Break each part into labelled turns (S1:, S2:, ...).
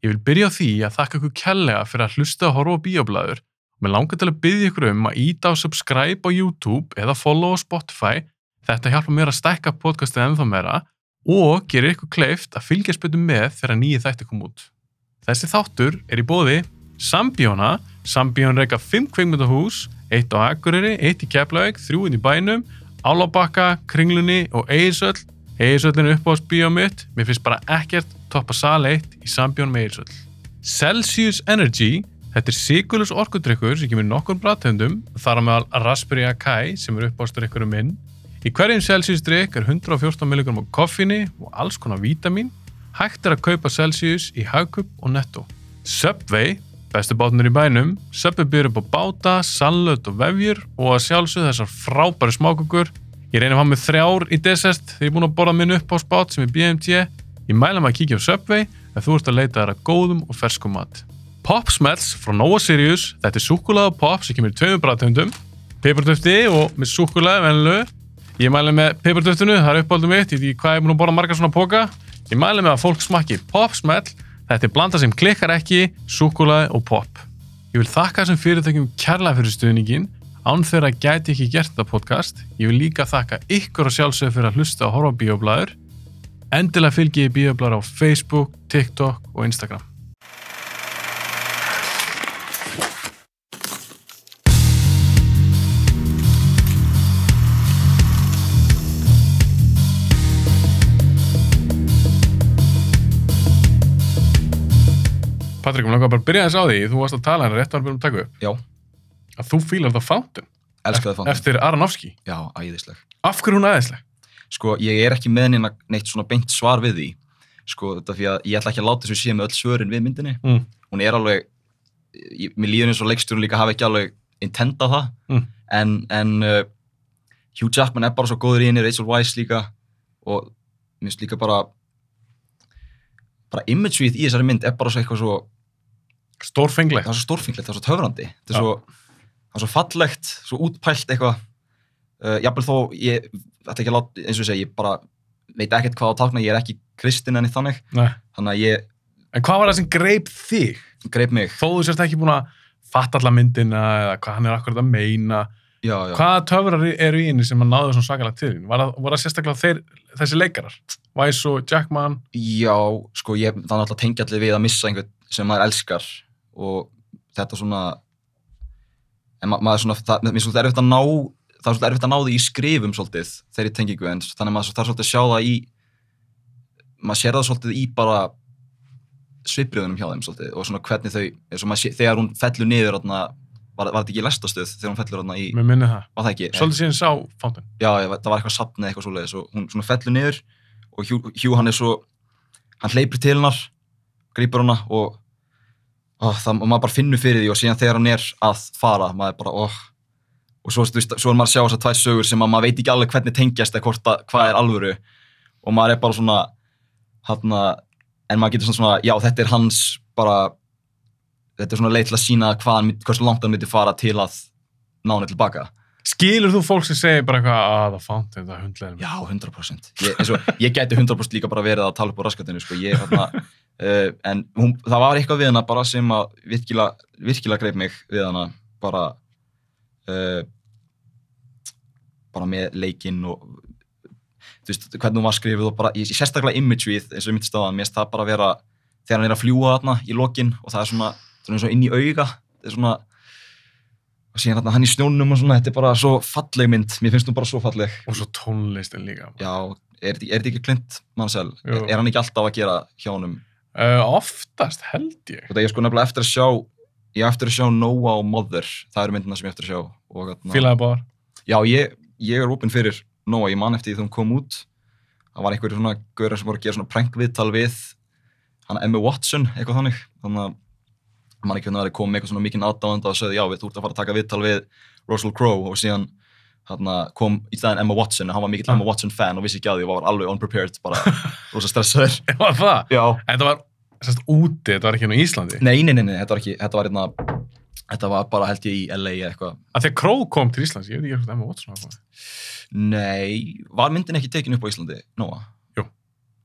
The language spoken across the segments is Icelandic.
S1: Ég vil byrja á því að þakka ykkur kærlega fyrir að hlusta að horfa á bíoblæður og mér langar til að byrja ykkur um að íta á subscribe á YouTube eða follow á Spotify. Þetta hjálpa mér að stækka podcastið ennþá meira og gerir ykkur kleift að fylgjast betur með þegar nýju þætti kom út. Þessi þáttur er í bóði Sambíóna, Sambíón reyka 5 kveikmyndahús, 1 á Akureyri, 1 í Keflavík, 3 inn í bænum, Álabakka, Kringlunni og Eirsöll Egilsöllin er uppáðs bíómiðt, mér finnst bara ekkert toppa sal 1 í sambjón með Egilsöll. Celsius Energy, þetta er sigurljus orkudrykkur sem kemur nokkur bræðtöndum, þar á meðal Raspberry Akai sem er uppáðsdrykkurum minn. Í hverjum Celsius drykk er 114 mg koffinni og alls konar vítamin. Hægt er að kaupa Celsius í Hagkup og Netto. Subway, bestu bátnur í bænum, Subway byrjur upp á báta, sallöt og vefjur og að sjálfsög þessar frábæri smákukur Ég reynir að hafa með þrjár í desert þegar ég er búin að borða minn upp á spát sem er BMT. Ég mæla maður að kíkja á Subway ef þú ert að leita þær að góðum og ferskum mat. Pop Smells frá Nova Sirius. Þetta er súkkulaða pop sem kemur í tveimur bræðtöndum. Peppartöfti og með súkkulaði venlu. Ég mæla með peppartöftinu, það er uppáldum mitt. Ég veit ekki hvað ég er búin að borða margar svona póka. Ég mæla með að fólk smakki Pop Smell. Þetta er blanda sem klikkar ekki, súkkulaði og pop. Ég vil þakka þessum fyrirtækjum kærlega fyrir stuðningin. Án þeirra gæti ég ekki gert þetta podcast. Ég vil líka þakka ykkur og sjálfsögur fyrir að hlusta og horfa á bíoblæður. Endilega fylgi ég bíoblæður á Facebook, TikTok og Instagram. Patrik, mér langar bara að byrja þess á því, þú varst að tala hérna rétt að við byrjum að taka upp,
S2: Já,
S1: að þú fílar það Fountain
S2: elskaði það.
S1: eftir Aronofsky.
S2: Já, æðisleg.
S1: Af hverju er hún aðeinsleg?
S2: Sko, ég er ekki með neina, neitt svona beint svar við því. Sko, þetta fyrir að ég ætla ekki að láta þessu síðan með öll svörin við myndinni.
S1: Mm.
S2: Hún er alveg, ég, mér líður eins og leikstjórun líka hafi ekki alveg intenda það.
S1: Mm.
S2: En, en uh, Hugh Jackman er bara svo góður í henni, Rachel Weisz líka. Og mér finnst líka bara, bara imageryð í þessari mynd er bara svo eitthvað svo,
S1: Stórfenglegt.
S2: það er svo stórfinglegt, það er svo töfrandi.
S1: Já.
S2: Það er svo, það er svo fallegt, svo útpælt eitthvað. Uh, jafnvel þó, ég ætla ekki að láta, eins og ég segi, ég bara veit ekkert hvað á tákna, ég er ekki kristinn enni þannig.
S1: Nei.
S2: Þannig að ég
S1: En hvað var það sem greip þig?
S2: greip mig.
S1: Þó þú sérst ekki búin að fatta alla myndina eða hvað hann er akkurat að meina.
S2: Já, já.
S1: Hvaða töfrar eru í henni sem að náðu svona svakalega til þín? Var það, var það sérstaklega þeir, þessi leikarar? Weiss og Jackman?
S2: Já, sko, ég, það er alltaf tengja allir við að missa einhvern sem maður elskar og þetta svona, en ma maður svona, það, mér er svolítið erfitt að ná, það er svolítið erfitt að ná því í skrifum svolítið þeirri tengingu en þannig að maður svo- þarf svolítið að sjá það í, maður sér það svolítið í bara svipriðunum hjá þeim svolítið og svona hvernig þau, eins og maður sé, þegar hún fellur niður, þarna, var, var þetta ekki í lestastöð þegar hún fellur þarna í,
S1: Mér minni það.
S2: var það ekki?
S1: Svolítið síðan sá Fountain.
S2: já, ég veit, það var eitthvað sapn eða eitthvað svoleiðis og hún svona fellur niður og Hugh, Hugh hann er svo hann hleypur til hennar, grýpur hana og, og, það, og maður bara finnur fyrir því og síðan þegar hann er að fara maður bara, óh og svo, þú veist, svo er maður að sjá þessar tvær sögur sem að maður veit ekki alveg hvernig tengjast eða hvort að, hvað er alvöru og maður er bara svona hann en maður getur svona, svona já, þetta er hans bara þetta er svona leið til að sína hvað hann, myndi- hversu langt hann myndi fara til að ná hann tilbaka
S1: Skilur þú fólk sem segir bara eitthvað að það Fountain, það er hundlega.
S2: Já, 100%. Ég, eins og, ég gæti 100% líka bara verið að tala upp á raskatinu, sko. Ég, þarna, uh, en hún, það var eitthvað við hana bara sem að virkilega, virkilega greip mig við hana bara, uh, bara með leikinn og þú veist, hvernig hún var skrifið og bara, ég, ég sérstaklega imageið eins og ég myndist á hann, mér finnst það bara að vera þegar hann er að fljúa þarna í lokinn og það er svona, svona eins og inn í auga, það er svona og síðan þarna hann í snjónum og svona, þetta er bara svo falleg mynd, mér finnst hún bara svo falleg
S1: Og svo tónlistin líka.
S2: já, er þetta- er þetta ekki Clint Mansell?
S1: Jú.
S2: Er, er hann ekki alltaf að gera hjá honum?
S1: Uh, oftast held ég.
S2: Og það ég er sko nefnilega eftir að sjá, ég er eftir að sjá Noah og Mother, það eru myndina sem ég er eftir að sjá. Og, hérna- þarna-
S1: Fílaði báðar.
S2: Já, ég, ég er opinn fyrir Noah, ég man eftir því þegar hún kom út. Það var einhverjir svona gaurar sem voru að gera svona prankviðtal við hann Emma Watson, eitthvað þannig. Þannig að mann ekki hvernig að það kom með eitthvað svona mikinn aðdáðanda og sagði já, við, þú ert að fara að taka viðtal við Russell Crowe og síðan þarna, kom í staðinn Emma Watson og hann var mikill
S1: Ah.
S2: Emma Watson fan og vissi ekki að því og var alveg unprepared, bara rosa stressaður.
S1: Var það?
S2: Já.
S1: En það var sérst úti, þetta var ekki hérna í Íslandi.
S2: Nei, nei, nei, nei, þetta var ekki, þetta var hérna, þetta var bara held ég í LA eða eitthvað.
S1: Að þegar Kró kom til Íslands, ég veit ekki hvort Emma Watson var það.
S2: Nei, var myndin ekki tekin upp á Íslandi, Nóa?
S1: Jú.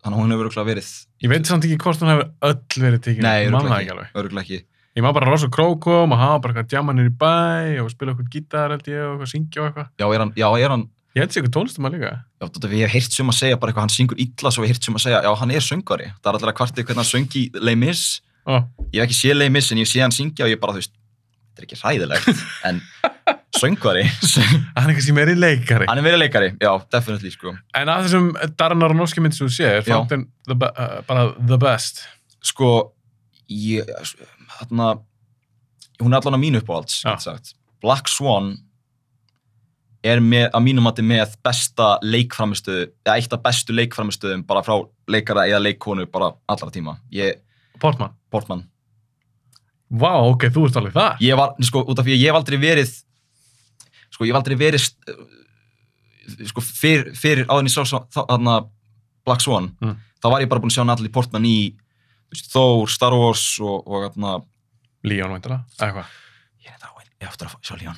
S2: þannig að hún hefur öruglega verið
S1: Ég veit samt ekki hvort hún hefur öll verið tekin
S2: Nei,
S1: upp, ég man það ekki
S2: öruglega ekki,
S1: alveg.
S2: öruglega ekki.
S1: Ég maður bara rosa krókum og hafa bara eitthvað djamanir í bæ og spila eitthvað gítar held ég og eitthvað syngja og eitthvað.
S2: Já, er hann, já, er hann
S1: Ég held sér eitthvað tónlistum líka.
S2: Já, þetta við hef heyrt sem að segja bara eitthvað, hann syngur illa svo við heyrt sem að segja, já, hann er söngari. Það er allir að kvartið hvernig hann söngi Les Mis.
S1: Ó,
S2: Ég hef ekki séð Les Mis en ég sé hann syngja og ég bara, þú veist, þetta er ekki hræðilegt, en söngari.
S1: hann er kannski meiri leikari.
S2: hann er verið leikari, já, definitely, sko.
S1: En að þessum Darren Aronofsky mynd sem þú séð er
S2: Já.
S1: fountain the be- uh, bara the best.
S2: Sko, ég, hann hún er allan að mínu uppáhalds,
S1: Já.
S2: getur sagt. Black Swan er með, að mínum mati með besta leikframistöðu, eða eitt af bestu leikframistöðum bara frá leikara eða leikkonu bara allra tíma. Ég,
S1: Portman.
S2: Portman,
S1: Vá, ok, þú ert alveg það.
S2: ég var, sko, út af því að ég hef aldrei verið sko, ég hef aldrei verið st- sko, fyrr, fyrir áðurinn ég sá sá- þá- þarna Black Swan,
S1: Mm.
S2: þá var ég bara búinn að sjá Natalie Portman í þú veist, Thor, Star Wars og, og þarna
S1: Leon veintilega, eitthvað.
S2: ég er þetta á, ég aftur að fá- sjá Leon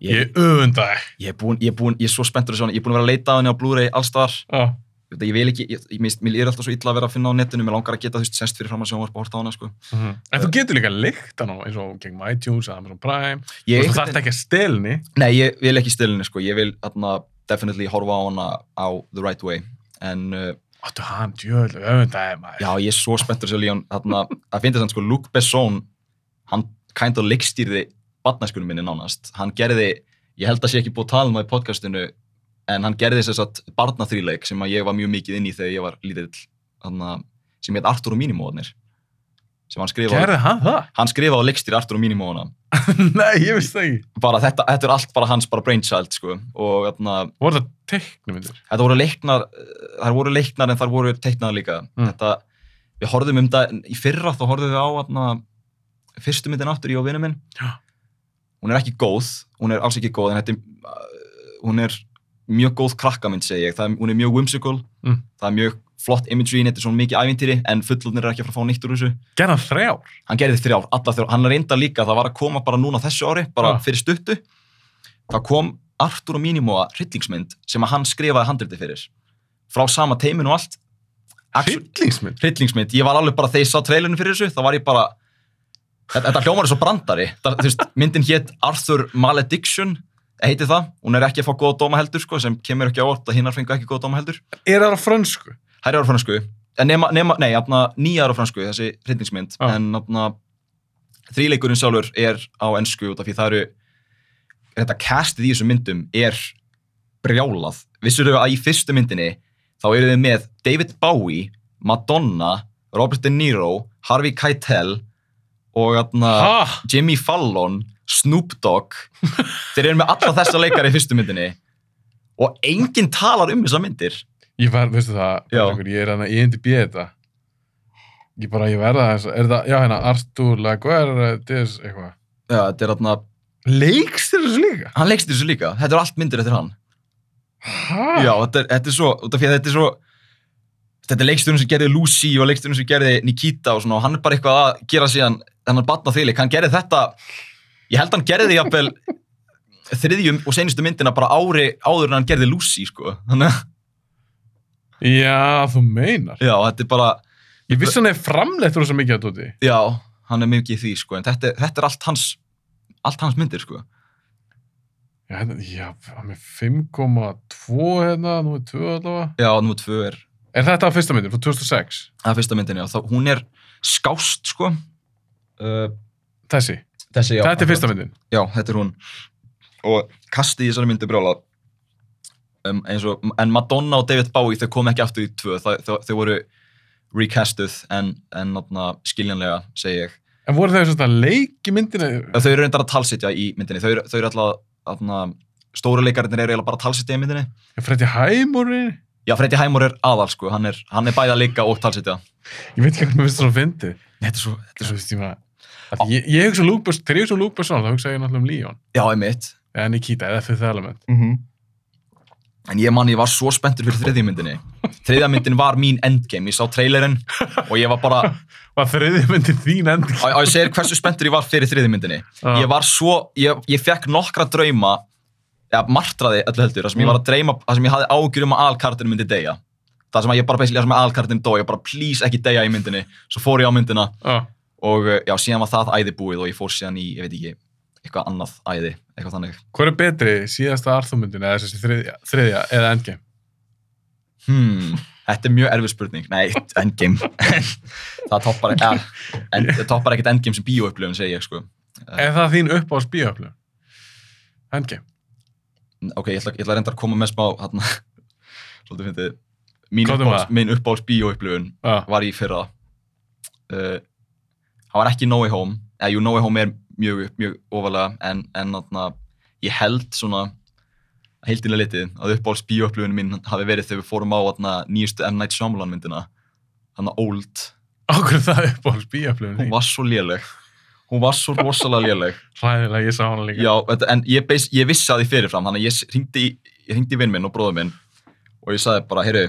S2: ég,
S1: Ég öfunda þig.
S2: ég, er búinn, ég, er búinn, ég er svo spenntur að sjá hann, ég er búinn að vera að leita að henni á Blu-ray allstar,
S1: Ó,
S2: ég vil ekki ég, ég, mér- mér er alltaf svo illa að vera að finna á netinu, mér langar að geta þú veist, sest fyrir fram að sjá og horta á hana sko.
S1: mhm. En þú getur líka lykt hann á eins og gegnum iTunes eða Amazon Prime. Þú
S2: ég,
S1: veist, þú þarft ekki að stelni.
S2: Nei, ég vil ekki stilinu sko, ég vil þarna definitely horfa á hana á the right way en uh,
S1: Óttu hann, djöðlu, öfundaði maður.
S2: já, ég er svo spenntur sér Leon þarna, að finna þess að sko Luke Besson hann kind of leikstýrði barnæskunum minni nánast, hann gerði ég held að sé ekki búið að tala um það í podcastinu en hann gerði þess að barnaþrýleik sem að ég var mjög mikið inn í þegar ég var lítill þarna, sem heit Artur og Mínimóðanir sem hann skrifaði,
S1: Gerði hann það?
S2: hann skrifaði og leikstýrði Artur og Mínimóðana
S1: Nei, ég veist það ekki.
S2: bara þetta, þetta er allt bara hans bara brainchild sko, og þarna
S1: Voru það teiknumyndir?
S2: þetta voru leiknar eh, þær voru leiknar en þær voru teiknar líka
S1: Mm.
S2: þetta, við horfðum um það í fyrra þá horfðum við á atna, fyrstu myndin aftur ég og vinnu minn
S1: Já.
S2: hún er ekki góð, hún er alls ekki góð en þetta er, eh, hún er mjög góð krakkamind segi ég, það, er- hún er mjög whimsical
S1: Mm.
S2: það er mjög flott imagery þetta er svona mikið ævintýri en fullunir er ekki að fara að fá nýtt úr þessu
S1: Gerði hann þrjár?
S2: hann gerði þrjár, alla þrjár, hann reynda líka það var að koma bara núna þessu ári, bara
S1: Já.
S2: fyrir stuttu það kom Artur og Mínimóa hryllingsmynd sem að hann skrifaði handriti fyrir frá sama teiminu og allt Axel-
S1: Hryllingsmynd?
S2: hryllingsmynd, ég var alveg bara þegar ég sá trailinu fyrir þessu, þá var ég bara þetta, þetta hljómar er svo brandari það, þú veist, myndin hétt Arthur Malediction heiti það, hún er ekki að fá góða dóma heldur sko, sem kemur ekki á orð að hinnar fengu ekki góða dóma heldur
S1: Er það á frönsku?
S2: Herri ára fransku, en Eh, nema, nema nei, afna, nýja ára fransku, þessi hryllingsmynd,
S1: Já.
S2: en afna, þrýleikurinn sjálfur er á ensku út af því það eru, þetta castið í þessum myndum er brjálað. Vissur þau að í fyrstu myndinni þá eru þau með David Bowie, Madonna, Robert De Niro, Harvey Keitel og afna,
S1: Ha?
S2: Jimmy Fallon, Snoop Dogg þeir eru með alla þessa leikari í fyrstu myndinni og enginn talar um þessa myndir.
S1: Ég verð, veistu það,
S2: Já.
S1: Patrekur, ég er hérna hann að IMDb þetta. Ég bara, ég verða þess að, er það, já hérna, Artur Laguerre, Diz, eitthvað.
S2: Já, þetta er hérna, þarna
S1: Leikst þér þessu líka?
S2: hann leikst þessu líka, þetta eru allt myndir eftir hann
S1: Ha?
S2: já, þetta er, þetta er svo, út af því að þetta er svo þetta er leiksturinn sem gerði Lucy og leiksturinn sem gerði Nikita og svona og hann er bara eitthvað að gera síðan þennan batna þvílik, hann gerði þetta ég held hann gerði jafnvel þriðjum og seinustu myndina bara ári áður en hann gerði Lucy, sko þannig að,
S1: Já, þú meinar.
S2: já, þetta er bara
S1: Ég vissi hann er framleitt úr þessu mikið að tóti.
S2: já, hann er mikið í því, sko en þetta, er- þetta er allt hans allt hans myndir, sko
S1: Já, hérna, já, hann er 5,2 hérna, nú er 2 allavega.
S2: já, nú tvö er
S1: Er þetta á fyrsta myndin, frá 2006?
S2: það er fyrsta myndin, já, þá, hún er skást, sko uh,
S1: Þessi,
S2: þessi,
S1: þetta er fyrsta myndin.
S2: Já, þetta er hún. Og kastið í þessari myndi brjálað. Um, eins og, en Madonna og David Bowie þau kom ekki aftur í tvö, þau, þau, þau voru recastuð en, en atna, skiljanlega, segi ég.
S1: En voru þau svona leik í myndinu?
S2: Þau eru reyndar að talsitja í myndinni, þau, eru- þau eru alltaf, atna, stóru leikarinnir eru eiginlega bara að talsitja í myndinni.
S1: Freddy Hæmúrin?
S2: Já, Freddy Hæmur er aðal, sko, hann er, hann er bæði að leika og talsitja.
S1: Ég veit ekki hvernig mér finnst það að fyndi.
S2: Þetta er svo, þetta er
S1: Þú
S2: svo.
S1: veist, ég maður... Af því Ég, ég hugsa um Luke Besson, þegar ég hugsa um Luke Besson, þá hugsa ég náttúrulega um Leon.
S2: Já, einmitt.
S1: Eða Nikita, eða Fifth Element.
S2: Mm -hmm. En ég mann, ég var svo spenntur fyrir þriðja myndinni. Þriðja myndin var mín endgame, ég sá trailerinn og ég var bara,
S1: Var þriðja myndin þín endur?
S2: og, og ég segir hversu spenntur ég var fyrir þriði myndinni ég var svo, ég, ég fekk nokkra drauma eða martraði öllu heldur, það sem ég var að dreyma það sem ég hafði ágjur um að Al Carter myndi deyja það sem að ég bara basically, það sem að aðalkartin dó, ég bara please ekki deyja í myndinni, svo fór ég á myndina
S1: Já,
S2: og uh, já, síðan var það æði búið og ég fór síðan í, ég veit ekki, eitthvað annað æði, eitthvað þannig.
S1: Hvor er betri síðasta Arthur-myndin eða þessi þriðja, þriðja eða Endgame?
S2: Hmm, þetta er mjög erfið spurning. Nei, endgame. það toppar, ja, en, það toppar ekkert endgame sem bíóupplifun, segi ég, sko.
S1: Er það þín uppáhalds bíóöflun? Endgame.
S2: Ok, ég ætla, ég ætla reynda að koma með smá, hérna, svolítið fyndið, mín
S1: Hvað er
S2: uppáhalds,
S1: það?
S2: mín uppáhalds bíóupplifun
S1: Já,
S2: var í fyrra. Uh, það var ekki No Way Home, eða jú, No Way Home er mjög, mjög ofalega, en, en þarna, ég held svona, heildilega litið, að uppáhalds bíóupplifun mín hafi verið þegar við fórum á þarna, nýjustu M. Night Shyamalan myndina, hann Old,
S1: okkur það er uppáhalds bíóöflun
S2: hún var svo léleg hún var svo rosalega léleg
S1: Hræðilega, ég sá hana líka.
S2: já, þetta- en ég, beis, ég vissi að því fyrirfram þannig að ég ringdi, ég ringdi vinn minn og bróður minn og ég sagði bara, heyrðu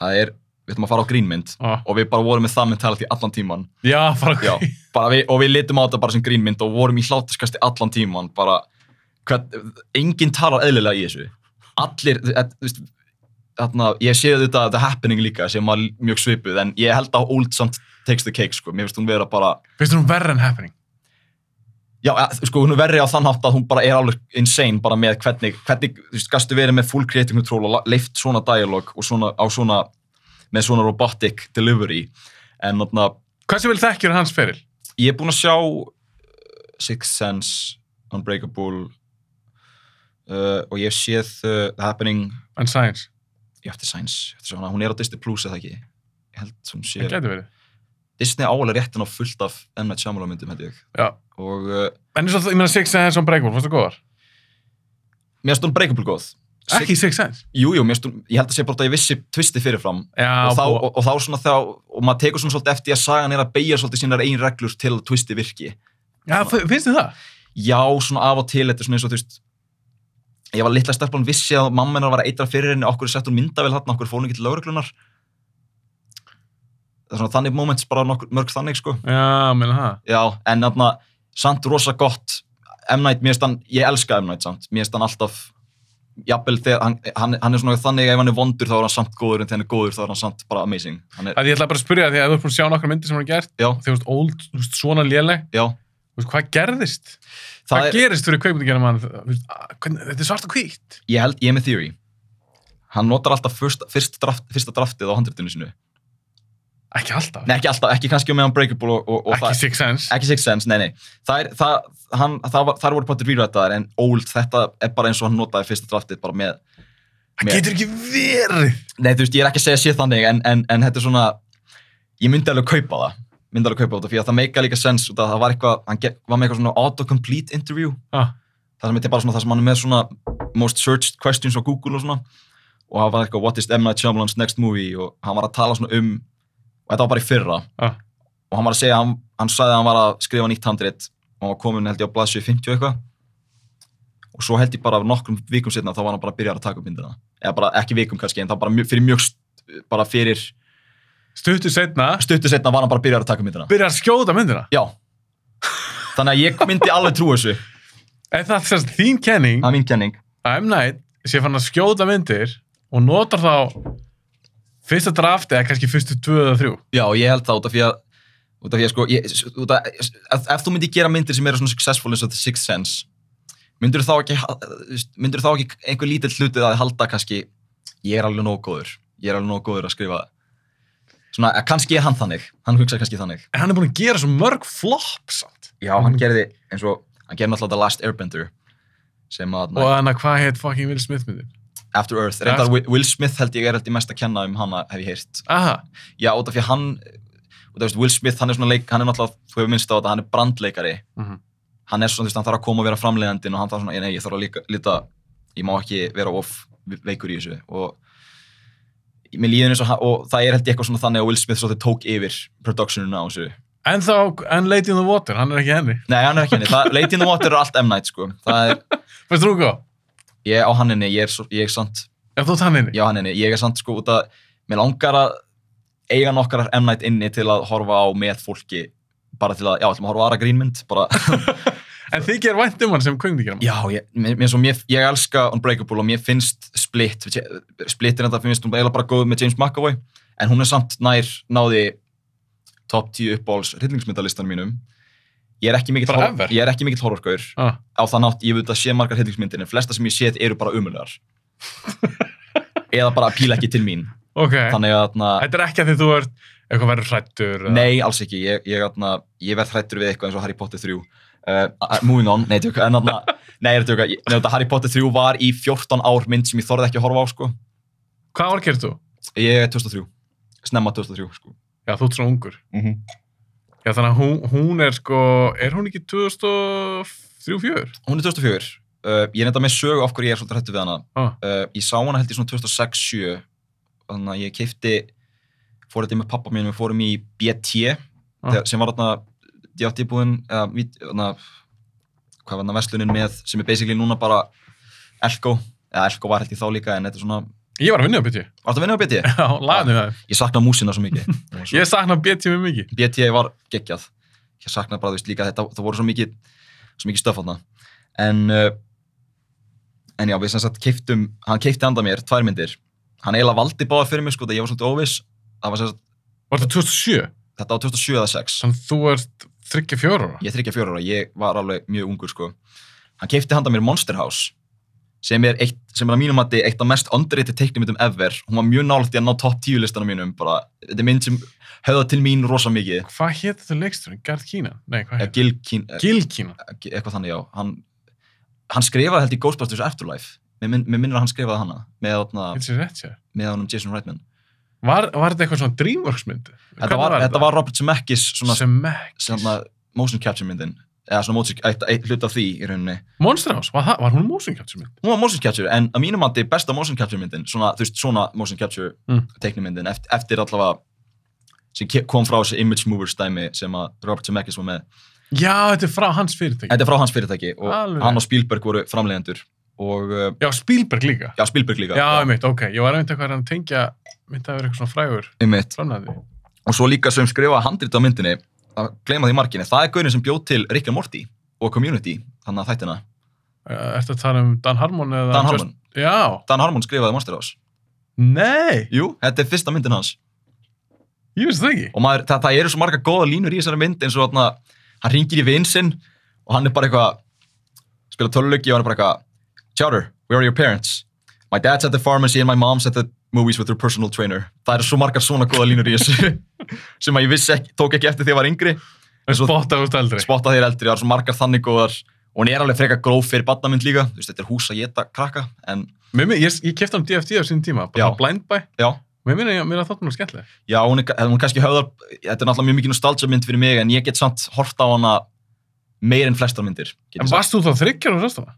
S2: það er, við ætlum að fara á grínmynd
S1: Já,
S2: og við bara vorum með það mentality allan tíman
S1: Ah. já bara
S2: já, bara við, og við litum á þetta bara sem grínmynd og vorum í hlátaskasti allan tíman bara, hvern, enginn talar eðlilega í þessu allir, þetta, þú veist Þarna, ég sé þetta The Happening líka sem var mjög svipuð en ég held að Old samt takes the cake sko, mér finnst hún vera bara
S1: Finnst þér hún verri en Happening?
S2: Já, eh, sko, hún er verri á þann hátt að hún bara er alveg insane bara með hvernig, hvernig, þú veist, gastu verið með full creative control og la- leift svona dialog og svona, á svona, með svona robotic delivery. En þarna,
S1: Hversu vil þekkjur hans feril?
S2: ég er búinn að sjá eh, Sixth Sense, Unbreakable uh, og ég hef séð uh, The Happening,
S1: En Science?
S2: ég ætti Science, ég ætti svona, hún er á Disney Plus eða ekki? Ég held hún sé,
S1: Það getur verið.
S2: Disney álega réttin á fullt af M. Night Shyamalan myndum, held ég.
S1: Já.
S2: Og uh,
S1: En eins og það, ég meina Six Sense og Breakable, fannst þú góðar?
S2: mér finnst Unbreakable góð. Six-
S1: Ekki Six Sense?
S2: Jú, jú, mér stund, ég held að segja bara að ég vissi tvisti fyrirfram
S1: Já,
S2: og þá,
S1: bú-
S2: og, og þá svona þá, og maður tekur svona svolítið eftir að sagan er að beigja svolítið sínar einn reglur til að tvisti virki.
S1: já f- finnst þið það?
S2: Já, svona af og til, þetta er svona eins og þú veist, ég var litla stelpan vissi að mamma hennar var að eitra fyrir henni, okkur er sett hún myndavel þarna, okkur fór hún ekki til lauruglunar. Það er svona þannig moments bara nokkur, mörg þannig sko.
S1: Já, meina það.
S2: Já, en þarna, samt rosa gott, M. Night, mér finnst hann, ég elska M. Night samt, mér finnst hann alltaf, jafnvel þegar, hann, hann, hann er svona þannig að ef hann er vondur þá er hann samt góður, en þegar hann er góður þá er hann samt bara amazing. Hann er,
S1: Það ég ætla bara að spyrja því að þú ert búin að sjá nokkra myndir sem hann er gert.
S2: já,
S1: Þú veist, old, þú veist, svona léleg.
S2: já,
S1: Þú veist, hvað gerðist?
S2: það
S1: hvað
S2: er,
S1: gerist fyrir kveikmyndagjana mann? Þetta er svart og hvítt.
S2: ég held, ég er með theory. Hann notar alltaf fyrst, fyrst draft, fyrsta draftið á handritinu sinu.
S1: Ekki alltaf.
S2: Nei, ekki alltaf, ekki kannski meðan Breakable og, og, og
S1: ekki Six Sense.
S2: ekki Sixth Sense, nei, nei. Það er, það, hann, það var, þar voru pottir výrættaðar, en Old, þetta er bara eins og hann notaði fyrsta draftið bara með
S1: Það
S2: mér.
S1: getur ekki verið.
S2: Nei, þú veist, ég er ekki að segja sér þannig, en, en, en þetta er svona, ég myndi alveg kaupa það, myndi alveg kaupa þetta, fyrir að það meika líka sens, út af að það var eitthvað, hann get, var með eitthvað svona autocomplete interview,
S1: Ah,
S2: það sem þetta er bara svona það sem hann er með svona most searched questions á Google og svona, og það var eitthvað what is M. Night Shyamalan's next movie, og hann var að tala svona um, og þetta var bara í fyrra,
S1: ah.
S2: og hann var að segja, hann, hann sagði að hann var að skrifa nýtt handrit og hann var komin held ég á blaðsjöf 50 og eitthvað og svo held ég bara nokkrum vikum setna þá var hann bara að byrja að taka upp myndina eða bara ekki vikum kannski, en þá bara mjög, fyrir mjög st- bara fyrir
S1: Stuttu setna,
S2: stuttu setna var hann bara að byrja að taka upp myndina
S1: byrjar að skjóta myndina.
S2: já þannig að ég myndi alveg trú þessu
S1: Er það sérst þín kenning
S2: það er mín kenning
S1: að M. Night sé fann að skjóta myndir og notar þá fyrsta drafti eða kannski fyrstu tvö eða þrjú?
S2: já, ég held það út af því að út af því að sko ég, út af, ef, ef þú myndi gera myndir sem eru svona successful eins og The Sixth Sense myndir þá ekki myndir þá ekki einhver lítill hlutið að halda kannski ég er alveg nóg góður ég er alveg nóg góður að skrifa svona að kannski er hann þannig hann hugsa kannski þannig Mhm.
S1: En hann er búin að gera svo mörg flop samt.
S2: já hann gerði eins og hann gerði náttúrulega The Last Airbender sem að
S1: Og hann að hvað heit fucking Will Smith myndin?
S2: After Earth reyndar Will Will Smith held ég er held ég mest að kenna um hana hef ég heyrt
S1: Aha,
S2: já út af því að hann út af því að Will Smith hann er svona leik hann er náttúrulega þú hefur minnst á þetta hann er brandleikari
S1: Mhm.
S2: hann er svona, þú veist, hann þarf að koma og vera framleiðandinn og hann þarf svona, "Ég- nei, ég þarf að líka, líta, ég má ekki vera of veikur í þessu og mér líður eins og, hann- og það er held ég eitthvað svona þannig að Will Smith svolítið tók yfir productionuna á þessu.
S1: en þá, en Lady in the Water, hann er ekki henni.
S2: Nei, hann er ekki henni, það, Lady in the Water er allt M. Night, sko. Það er,
S1: Fyrst þú góð?
S2: ég á hann henni, ég er, svo- ég er samt,
S1: Já, þú ert hann henni.
S2: ég á hann henni, ég er samt, sko, út að, mér langar að eiga nokkar M. Night inni til að horfa á með fólki, bara til að, já, ætlum að horfa á aðra grínmynd, bara,
S1: En þið ger vænt um hann sem kvöngdíkjum.
S2: Já, ég, mér, mér, svo, mér, ég elska Unbreakable og mér finnst Split, Splitin þetta finnst hún eiginlega bara góð með James McAvoy, en hún er samt nær náði top 10 uppbóls hryllingsmyndalistanum mínum. Ég er ekki mikill
S1: Bara
S2: horror-
S1: ever?
S2: ég er ekki mikill horrorgaur
S1: Ah,
S2: á þann átt, ég veit að sé margar hryllingsmyndir, en flesta sem ég séð eru bara umulegar. Eða bara píla ekki til mín.
S1: ok.
S2: Þannig að, na,
S1: Þetta er ekki að því þú ert eitthvað verður hrættur.
S2: nei, alls ekki, ég, ég, na, ég verð hrættur við eitthvað eins og Harry Potter 3. Uh, uh, moving on, nei, tjóka, en þarna, nei, ég er að tjóka, ég- nei, þetta Harry Potter 3 var í 14 ár mynd sem ég þorði ekki að horfa á, sko.
S1: Hvað ár gerir þú?
S2: Ég er 2003, snemma 2003, sko.
S1: Já, þú ert svona ungur.
S2: Mm -hmm.
S1: Já, þannig að hún, hún er sko, er hún ekki 2003-04?
S2: Hún er 2004, uh, ég er nefnda með sögu af hverju ég er svolítið hrættur við hana.
S1: Ah,
S2: uh, ég sá hana held ég svona 2006-7 þannig að ég keipti fór þetta með pappa mín, við fórum í BT þegar, sem var þarna djáttibúðin, eða vít- þarna hvað var þarna verslunin með sem er basically núna bara Elko eða Elko var held ég þá líka en þetta er svona var
S1: ég var að vinna á BT.
S2: þetta að vinna á BT?
S1: Já, lagði með það.
S2: Ég sakna músina svo mikið Hún var svo-
S1: Ég sakna BT mjög mikið.
S2: BT var geggjað ég sakna bara þú veist líka þetta það voru svo mikið svo mikið stöf hana en uh, en já við sem sagt keiftum hann keifti handa mér tvær myndir hann eiginlega valdi báða fyrir mig sko það ég var svolítið óviss það var sem sagt
S1: Var þetta 2007?
S2: þetta var 2007 eða 6
S1: Þannig að þú ert 34 ára.
S2: ég er 34 ára ég var alveg mjög ungur sko hann keifti handa mér Monster House sem er eitt sem er að mínum mati eitt af mest underrated teiknumyndum ever hún var mjög nálægt í að ná top 10 listanum mínum bara þetta er mynd sem höfða til mín rosa mikið
S1: Hvað hétt þetta leiksturinn? Gerd Kína? Nei, hvað
S2: Eh,
S1: hétt?
S2: Gil Kín eh,
S1: Gil Kína.
S2: eitthvað þannig, já, hann, hann skrifaði held í Ghostbusters Afterlife, mér, minn, mér minnir að hann skrifaði hana, með, þarna,
S1: Þetta sé rétt sér.
S2: með honum Jason Reitman.
S1: Var, var þetta eitthvað svona Dreamworks myndi?
S2: Þetta var, þetta var Robert Zemeckis svona,
S1: sem
S2: sem
S1: ekki.
S2: að motion capture myndin, eða svona motion, eitt, eitt hlut af því í rauninni.
S1: Monster House, var, það- var hún motion capture mynd?
S2: Hún var motion capture, en að mínum mati besta motion capture myndin, svona, þú veist, svona motion capture
S1: Mm.
S2: mm. teiknumyndin, eftir, eftir allavega sem ke- kom frá þessu image movers dæmi sem að Robert Zemeckis var með.
S1: Já, þetta er frá hans fyrirtæki.
S2: Þetta er frá hans fyrirtæki og
S1: Alveg.
S2: hann og Spielberg voru framleiðendur og, uh,
S1: Já, Spielberg líka.
S2: já, Spielberg líka.
S1: Já, einmitt, ok. Ég var einmitt eitthvað að tengja, myndi að vera eitthvað svona frægur
S2: einmitt.
S1: framlæði.
S2: og svo líka sem skrifaði handrit á myndinni að gleyma því marginni, það er gaurin sem bjóð til Rick and Morty og Community þannig að þættina,
S1: Uh, ertu að tala um Dan Harmon eða...
S2: Dan Harmon
S1: Just- Já.
S2: Dan Harmon skrifaði Monster House
S1: Nei,
S2: Jú, þetta er fyrsta myndin hans
S1: ég veist það ekki.
S2: og maður, það, það eru svo marga góða línur í þessari mynd eins og þarna, hann ringir í vinsinn og hann er bara eitthvað spila töluleiki og hann er bara eitthvað Chowder, where are your parents? My dad's at the pharmacy and my mom's at the movies with her personal trainer það eru svo margar svona góða línur í þessu sem að ég vissi ekki, tók ekki eftir því ég var yngri
S1: En
S2: svo-
S1: spotta út eldri.
S2: spotta þér eldri, það er svo margar þannig góðar og hún er alveg frekar gróf fyrir badnamynd líka, þú veist, þetta er hús að geta krakka en
S1: Mér, mér, ég, ég kefti hann DFT á sín tíma,
S2: Já.
S1: bara blind by.
S2: já,
S1: Mér minna ég mér að þáttum hann skemmtileg.
S2: já hún, er, hún er kannski höfðar þetta er náttúrulega mjög mikið nostalgia mynd fyrir mig en ég get samt hort á hana meir en flestar myndir get ég
S1: En
S2: sagt.
S1: varst þú þá þryggjar og röstana?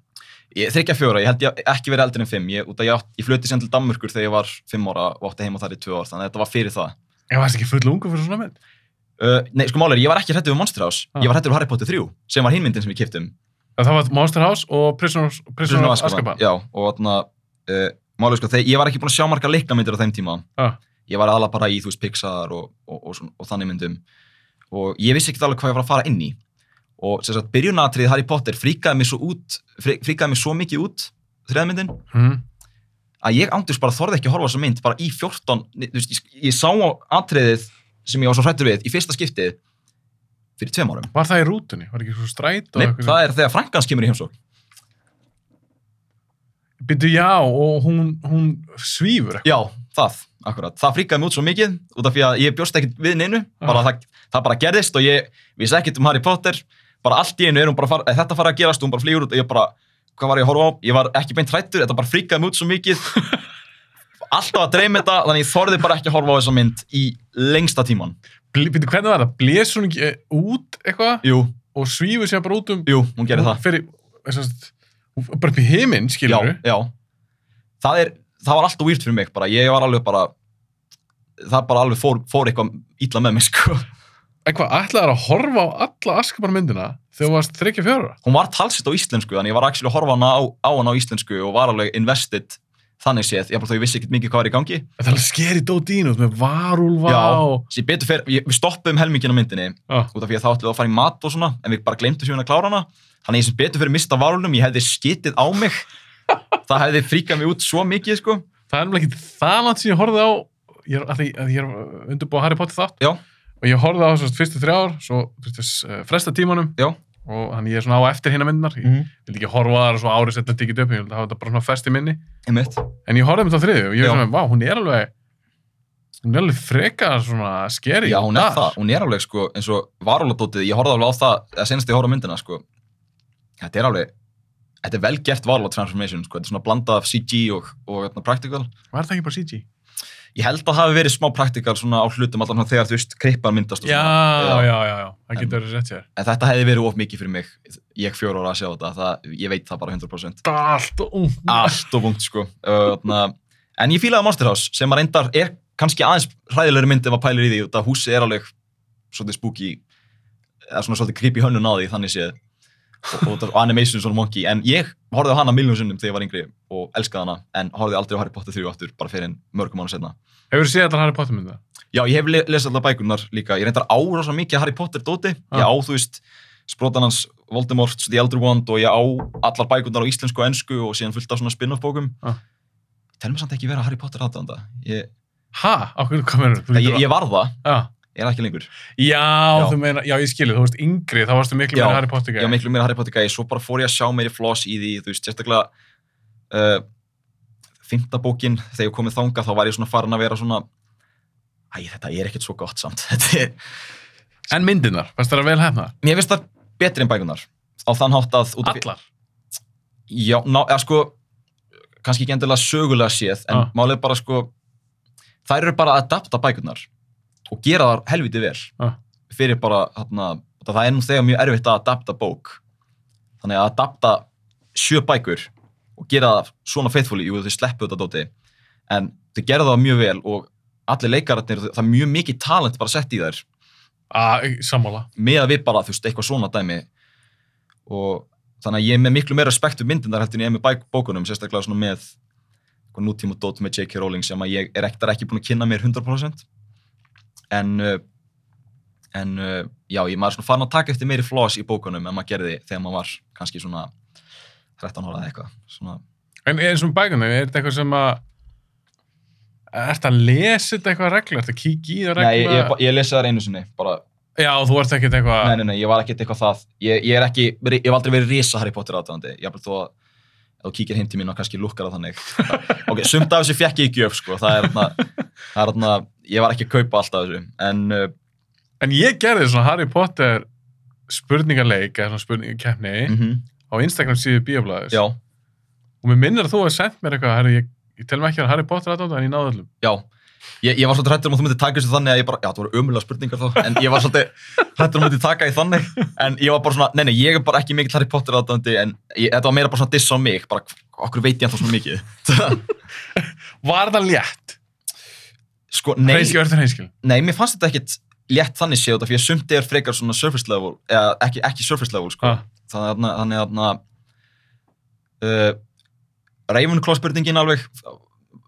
S2: ég, þriggja fjóra, ég held ég ekki verið eldri en fimm ég, út að ég, átt, ég flutti sem til Danmörkur þegar ég var fimm ára og átti heima þar í tvö ár þannig að þetta var fyrir það
S1: Ég varst ekki full ungu fyrir svona mynd.
S2: uh, nei, sko máli er, ég var ekki hrættur við Monster House
S1: Ah.
S2: ég var hrættur við Harry Potter 3 sem var hinmyndin sem ég um. kiptum
S1: Já, Það var Monster House og Prisoner of, Prisoner of Azkaban.
S2: Já, og þarna, uh, málega sko, þeir, ég var ekki búinn að sjá margar leiknamyndir á þeim tíma.
S1: Ah.
S2: Ég var aðla bara í, þú veist, Pixar og, og, og, og, og þannig myndum. Og ég vissi ekki alveg hvað ég var að fara inn í. Og sem sagt, byrjunatrið Harry Potter fríkaði mig svo út, frí, fríkaði mig svo mikið út, þriðamyndin,
S1: Hmm.
S2: að ég ándurs bara þorði ekki að horfa á þessa mynd, bara í 14, ni- þú veist, ég, ég sá á atriðið sem ég var svo hrættur við í fyrsta skiptið fyrir tveim árum.
S1: Var það í rútunni? Var ekki svo stræt og
S2: Nei, það er þegar Frankans kemur í heimsók.
S1: Býtu já og hún, hún svífur eitthvað.
S2: Já, það, akkurat. Það fríkaði mig út svo mikið út af því að ég bjóst ekkert við neinu, bara
S1: Ah.
S2: það, það bara gerðist og ég vissi ekkert um Harry Potter, bara allt í einu er hún bara, að fara, eh, þetta fara að gerast og hún bara flýgur út og ég bara, hvað var ég að horfa á? Ég var ekki beint hrættur, þetta bara fríkaði mig út svo mikið. Alltaf að dreyma þetta, þannig ég þorði bara ekki að horfa á þessa mynd í lengsta tíman.
S1: Býtu hvernig var það? Blés hún ekki eh, út eitthvað
S2: Jú,
S1: og svífur sér bara út um...
S2: jú, hún gerði það.
S1: Fyrir, þessast, hún- bara upp í heiminn,
S2: Já,
S1: skilur
S2: já. Það, er, það var alltaf weird fyrir mig, bara ég var alveg bara, það bara alveg fór, fór eitthvað illa með mig, sko.
S1: Eitthvað, ætlaðar að horfa á alla Azkaban myndina þegar þú varst 34 ára?
S2: hún var talsett á íslensku þannig ég var actually að horfa hana á, á hana á íslensku og var alveg invested þannig séð, ég bara þó ég vissi ekkert mikið hvað var í gangi
S1: Það er alveg skeri dót í henni, þú veist, með varúlfa
S2: Já.
S1: og...
S2: Sér betur fer, ég, við stoppum helmingin á myndinni
S1: Já.
S2: út af því að þá ætlum við að fara í mat og svona en við bara glemtum síðan að klára hana þannig að ég sem betur fyrir mista varunum, ég hefði skitið á mig það hefði fríkað mig út svo mikið sko.
S1: Það er nefnilega ekki það langt sem ég horfði á ég er, að því, að ég er undirbúið Harry Potter þátt
S2: Já.
S1: og ég horfði á þessast fyrstu þrjár svo fyrstu, eh, fresta tímanum
S2: Já.
S1: og þannig ég er svona á eftir hérna myndunar ég
S2: mm.
S1: vil ekki horfa á það og svo árið setna tíkit upp ég vil hafa þetta bara svona fest í minni
S2: einmitt,
S1: en ég horfði um þetta þriðju og ég
S2: Já.
S1: var svona, vá, hún er alveg hún er alveg frekar svona skeri
S2: já hún er það hún er alveg sko, eins og varúladótið ég horfði alveg á það, eða senast ég horfði á myndina sko. þetta er alveg þetta er vel gert varúla transformation sko. þetta er svona blandað af CG og, og hérna, practical
S1: Var það ekki bara CG?
S2: ég held að það hafi verið smá practical svona á hlutum allan svona þegar þú veist krippan myndast og
S1: Já,
S2: svona.
S1: já, já, já, það
S2: En-
S1: getur verið rétt sér
S2: en þetta hefði verið of mikið fyrir mig ég fjóra ára að sjá þetta, það, ég veit það bara 100%
S1: Allt og ung
S2: allt og vungt sko Uh, þarna- en ég fílaði Monster House sem að reyndar er kannski aðeins hræðilegri mynd ef að pælir í því út að húsið er alveg svolítið spooky eða svona svolítið creepy hönnun á því þannig séð og, og, og animation svona monkey en ég horfði á hana miljón sinnum þegar ég var yngri og elskaði hana en horfði aldrei á Harry Potter 3 aftur bara fyrir en mörgum mánu setna
S1: Hefur þú séð allar Harry Potter mynda?
S2: Já, ég hef le- lesið alltaf bækurnar líka. Ég reyndar á rosa mikið Harry Potter dóti. Ég
S1: Ah.
S2: á, þú veist, Sprotan hans Voldemort, The Elder Wand og ég á allar bækurnar á íslensku og ensku og síðan fullt af svona spin-off bókum.
S1: Ah.
S2: Ég tel mér samt ekki vera Harry Potter aðdanda. Ég,
S1: Ha? Á hverju, hvað meður þú?
S2: ég, ég, var það,
S1: Já.
S2: ég er ekki lengur.
S1: Já,
S2: Já.
S1: þú meina, já ég skilu, þú veist yngri, þá varstu miklu
S2: Já,
S1: meira Harry Potter
S2: Ég
S1: gæði.
S2: var miklu meira Harry Potter gæði, svo bara fór ég að sjá meiri floss í því, þú veist, sérstaklega uh, fymta bókin, þegar ég komið þanga þá var ég svona farin að vera svona Æ, þetta er ekkert svo gott samt. Þetta er,
S1: En myndirnar, fannst þér að vel hefna?
S2: mér finnst það betri en bækunar á þann hátt að út af-
S1: Allar.
S2: Já, ná, eða sko kannski ekki endilega sögulega séð en
S1: Ah.
S2: málið er bara sko þær eru bara að adapta bækurnar og gera þar helviti vel
S1: Ah.
S2: fyrir bara, þarna, það er nú þegar mjög erfitt að adapta bók þannig að adapta sjö bækur og gera það svona faithfully, jú þau sleppu þetta dóti en þau gera það mjög vel og allir leikararnir, það er mjög mikið talent bara sett í þær
S1: Að, sammála.
S2: með að við bara, þú veist, eitthvað svona dæmi og þannig að ég er með miklu meira respekt við myndindar heldur en ég er með bæk, bókunum sérstaklega svona með eitthvað nútíma dót með J.K. Rowling sem að ég er ektar ekki búin að kynna mér 100% en uh, en uh, já, ég maður er svona farin að taka eftir meiri flós í bókunum en maður gerði þegar maður var kannski svona 13 ára eða eitthvað svona,
S1: En eins og bækuna, er þetta eitthvað sem að, er þetta að lesa þetta eitthvað regla, er þetta að kíkja í það regla?
S2: nei, ég, ég, ég lesi þar einu sinni bara,
S1: Já, þú ert ekkert eitthvað,
S2: Nei, nei, nei, ég var ekkert eitthvað það. Ég, ég er ekki, ég hef aldrei verið risa Harry Potter aðdöðandi. Ég hafði þó að, ef þú kíkir heim til mín og kannski lukkar það þannig. ok, sumt af þessu fekk ég í gjöf, sko. Það er þarna, það er þarna, ég var ekki að kaupa allt af þessu. En, uh,
S1: en ég gerði svona Harry Potter spurningaleik, eða svona spurningakeppni,
S2: mhm,
S1: á Instagram síðu bíoblæðis.
S2: já,
S1: Og mér minnir að þú hefði sendt mér eitthvað, herri, ég, ég tel mig ekki að vera Harry Potter aðdóta, en ég náði öllum.
S2: já. Ég, ég var svolítið hrættur um að þú myndi taka þessu þannig að ég bara, já, það voru ömulega spurningar þá, en ég var svolítið hrættur um að þú myndi taka því þannig, en ég var bara svona, nei, nei, ég er bara ekki mikill Harry Potter aðdöndi, en ég, þetta var meira bara svona diss á mig, bara, okkur veit ég ennþá svona mikið.
S1: Var það létt?
S2: sko, nei,
S1: Hreinskil, örður hreinskil.
S2: Nei, mér fannst þetta ekkit létt þannig séð út af því að sumt er frekar svona surface level, eða ekki, ekki surface level, sko.
S1: Ah.
S2: Þannig að, þannig að, þannig að, Ravenclaw spurningin alveg,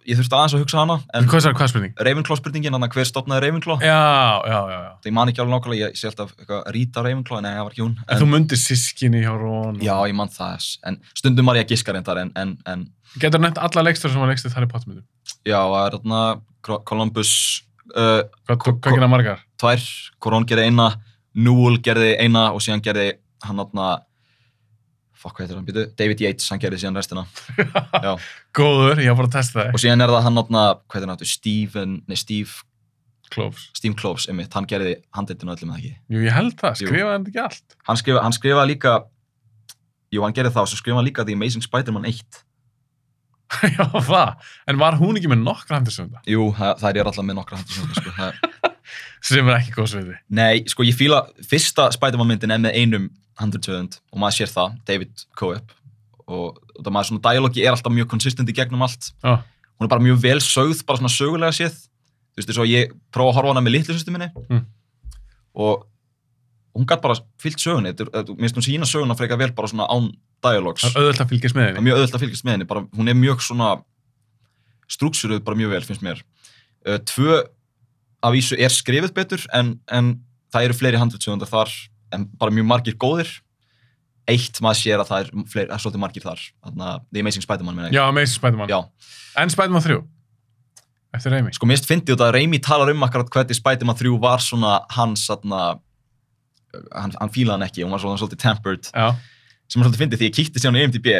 S2: ég þurfti aðeins að hugsa hana, en
S1: Hvað sagði, hvað spurning?
S2: Ravenclaw spurningin, þannig að hver stopnaði Ravenclaw?
S1: Já, já, já, já.
S2: Ég man ekki alveg nákvæmlega, ég sé alltaf eitthvað Rita Ravenclaw, nei, það var ekki hún.
S1: En þú myndir sískinni hjá Rón.
S2: Já, ég man það, en stundum var ég að giska reyndar, en, en, en
S1: Getur nefnt alla leikstur sem var leikstur Harry Potter myndum.
S2: já, það er þarna Cro- Columbus, uh,
S1: Hvað
S2: Ko-
S1: hvað gerða margar?
S2: tvær, Korón gerði eina, Newell gerði eina og síðan gerði hann aðna, fuck hvað heitir hann, býtu, David Yates, hann gerði síðan restina. Já.
S1: Góður, ég var bara að testa það.
S2: Og síðan er það hann aðna, hvað heitir hann aftur, Steven, nei Steve,
S1: Klófs.
S2: Steve Kloves, einmitt, hann gerði handleitinu öllum eða ekki.
S1: Jú, ég held það,
S2: Jú.
S1: skrifaði hann ekki allt.
S2: Hann skrifa, hann skrifa líka, jú hann gerði það og svo skrifa hann líka The Amazing Spider-Man 1.
S1: já, það. En var hún ekki með nokkra handur sem það?
S2: Jú, það, það er alltaf með nokkra hendur svona, sko. Það,
S1: Sem er ekki góð sviði.
S2: Nei, sko ég fíla fyrsta Spider-Man myndin er með einum 100% og maður sér það, David Coep og, og það maður svona dialogi er alltaf mjög konsistent í gegnum allt
S1: Já.
S2: hún er bara mjög vel sögð, bara svona sögulega séð þú veist, þess að ég prófa að horfa á hana með litlu sýstu minni
S1: Mm.
S2: og hún gætt bara fyllt sögunni Þetta er- þetta- mér finnst hún sína söguna frekar vel bara svona án dialogs
S1: Það er auðvitað að fylgjast með
S2: það
S1: henni.
S2: er mjög öðvöld að fylgjast með henni bara, hún er mjög svona strúksuruð bara mjög vel, finnst mér uh, tvö af vísu er skrifið betur en, en það eru fleiri handvitsöfundar þar en bara mjög margir góðir eitt maður sér að það er, fleir, að svolítið margir þar þannig að The Amazing Spider-Man minna
S1: Já, Amazing Spider-Man.
S2: Já.
S1: En Spider-Man 3. Eftir Raimi.
S2: sko mér finnst fyndið út að Raimi talar um akkurat hvernig Spider-Man 3 var svona hans þarna, eh, hann, hann fílaði hann ekki, hún var svona svolítið tempered
S1: Já.
S2: sem er svolítið fyndið því ég kíkti sér hann í IMDb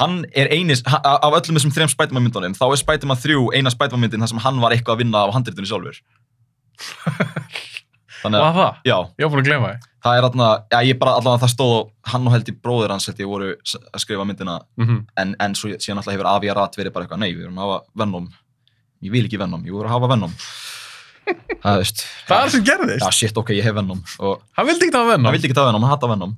S2: hann er einis, ha- a- af öllum þessum þrejum Spiderman myndunum, þá er Spiderman 3 eina Spiderman myndin þar sem hann var eitthvað að vinna á handritinu sjálfur þannig að,
S1: Var það?
S2: já,
S1: Ég var búin að glema þið.
S2: það er aðna já, ég bara allavega það stóð og hann og held í bróðir hans held ég voru s- að skrifa myndina
S1: Mm -hmm.
S2: en, en svo síðan alltaf hefur Avi Arat verið bara eitthvað, nei, við erum að hafa Venom ég vil ekki Venom, ég voru að hafa Venom það er veist
S1: Það er sem gerðist.
S2: já, shit, ok, ég hef Venom og
S1: Hann vildi ekki það að
S2: hann
S1: venna.
S2: vildi ekki það Venom, hann hatta Venom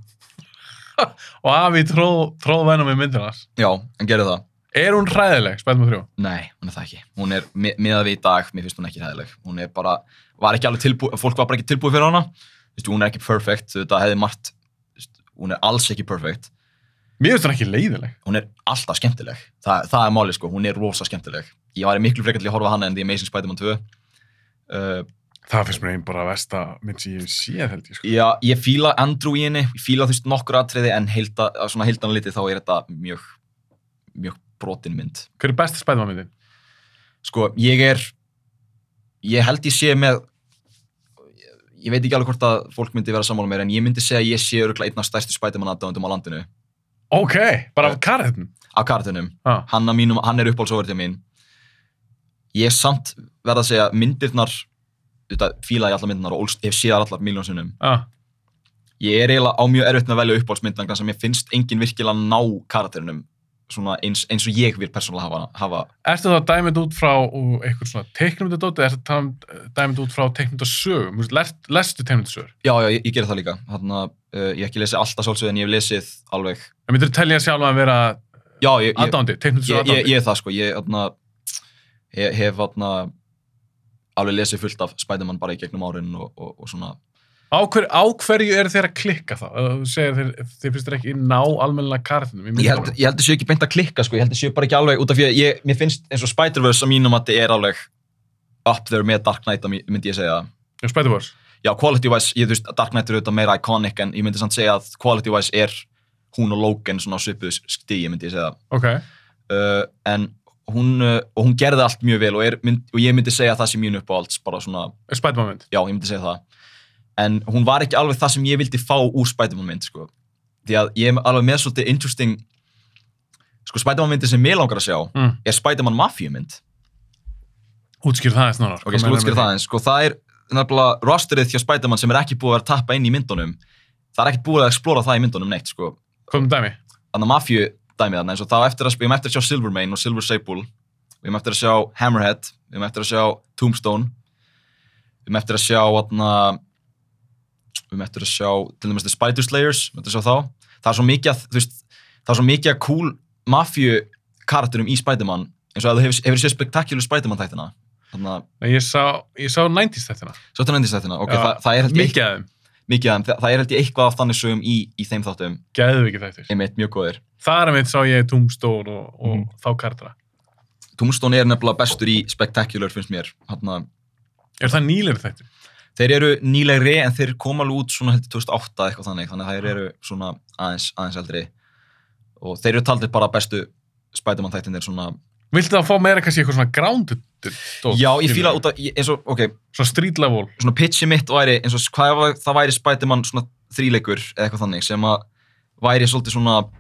S1: Og Avi tróð, tróð venna með myndinars.
S2: já, en gerði það
S1: Er hún hræðileg, Spider-Man 3?
S2: Nei, hún er það ekki. Hún er mi- miðað við í dag, mér finnst hún ekki hæðileg. Hún er bara, var ekki alveg tilbúið, fólk var bara ekki tilbúið fyrir hana. Þú veist, hún er ekki perfect, þetta hefði margt, þú veist, hún er alls ekki perfect.
S1: Mér finnst hann ekki leiðileg.
S2: Hún er alltaf skemmtileg. Þa, það er málið sko, hún er rosa skemmtileg. Ég var miklu frekar til að horfa á hana en The Amazing Spider-Man 2. Uh,
S1: Það finnst mér einn bara að versta mynd sem ég hef séð held ég sko.
S2: já, ég fíla Andrew í henni, ég fíla þú veist nokkur atriði en heilda, svona heildan litið þá er þetta mjög, mjög brotin mynd.
S1: Hver er besta Spider-Man myndin?
S2: sko, ég er ég held ég sé með ég veit ekki alveg hvort að fólk myndi vera sammála mér en ég myndi segja að ég sé öruglega einn af stærstu Spiderman aðdáðundum á landinu
S1: Ok, bara af karðin.
S2: af kartunum,
S1: Ah.
S2: hann, að mínum, hann er uppáhaldsóvertið mín ég er samt verð að segja myndirnar þetta fílaði allar myndirnar og ólst, hef séðar allar miljónsunum
S1: Ah.
S2: ég er eiginlega á mjög erfitt með að velja uppáhaldsmynd vegna þess að mér finnst enginn virkilega ná karaterinum svona eins, eins og ég vil persónulega hafa, hafa
S1: Ertu það dæmið út frá uh, einhvern svona teiknumyndadótt eða ertu það dæmið út frá teiknumyndasögum? Þú veist, lest- Lestu teiknumyndasögur?
S2: já, já, ég, ég ger það líka Þarna, uh, ég hef ekki lesið alltaf svolsög en ég hef lesið alveg
S1: Það myndir telja sjálf að vera
S2: Já, ég, ég,
S1: aðdándi,
S2: ég,
S1: teiknumyndasögur
S2: ég,
S1: aðdándi.
S2: ég er það sko, ég atna, he- hef atna, alveg lesið fullt af Spiderman bara í gegnum árin og, og, og svona
S1: Á, hver, á hverju eru þeir að klikka þá? Ef Þú segir þeir, þeir finnst þeir ekki ná almennilega karðinum.
S2: ég held, ég held að séu ekki beint að klikka sko, ég held að séu bara ekki alveg út af því að ég, mér finnst eins og Spider-Verse að mínum að þetta er alveg up there með Dark Knight að mí- myndi ég segja
S1: Já, Spider-Wars.
S2: já, quality wise, ég þú veist, Dark Knight er auðvitað meira iconic en ég myndi samt segja að quality wise er hún og Logan svona á svipuðu stíi myndi ég segja
S1: Ok.
S2: uh, en hún, uh, og hún gerði allt mjög vel og, er, mynd, og ég myndi segja að það sem mín uppáhalds bara svona
S1: Spider-Man mynd.
S2: já, ég myndi segja það en hún var ekki alveg það sem ég vildi fá úr Spiderman mynd sko. því að ég er alveg með svolítið interesting sko Spiderman myndi sem ég langar að sjá
S1: Mm.
S2: er Spiderman Mafíu mynd
S1: Útskýr það eins nánar.
S2: ok, ég skal útskýra það en sko það er nefnilega rosterið hjá Spiderman sem er ekki búið að vera að tappa inn í myndunum það er ekki búið að explora það í myndunum neitt sko
S1: Komum dæmi.
S2: þannig að Mafíu dæmið þarna eins og þá á eftir að, við erum eftir að sjá Silvermane og Silver Sable við erum eftir að sjá Hammerhead við erum eftir að sjá Tombstone við erum eftir að sjá atna, við erum eftir að sjá til dæmis The Spider Slayers við erum eftir að sjá þá það er svo mikið að, þú veist, það er svo mikið að cool Mafíu karakterum í Spider-Man eins og að þú hefur, hefur séð spektakular Spider-Man þættina þannig að
S1: Nei, Ég sá, ég sá 90s þættina.
S2: svo þetta nefndist þættina ok,
S1: Já,
S2: það, það er held ég
S1: Mikið af þeim.
S2: mikið að það, það er held ég eitthvað af þannig sögum í, í þeim þáttum
S1: Geðvikið þættir.
S2: einmitt mjög góðir
S1: Þar mitt sá ég Tombstone og, og
S2: Mhm.
S1: þá kardra.
S2: Tombstone er nefnilega bestur í Spectacular finnst mér Hanna,
S1: Er það nýlir þættir?
S2: þeir eru nýlegri en þeir koma alveg út svona heldur 2008 eitthvað þannig þannig að þeir eru svona aðeins, aðeins eldri og þeir eru taldir bara bestu Spiderman þættinir svona
S1: Viltu það fá meira kannski eitthvað svona grounded? dót,
S2: já ég fíla
S1: skilurðu?
S2: út að ég- eins og ok
S1: Svona street level.
S2: svona pitchi mitt væri eins og hvað var, það væri Spiderman svona þríleikur eða eitthvað þannig sem að væri svolítið svona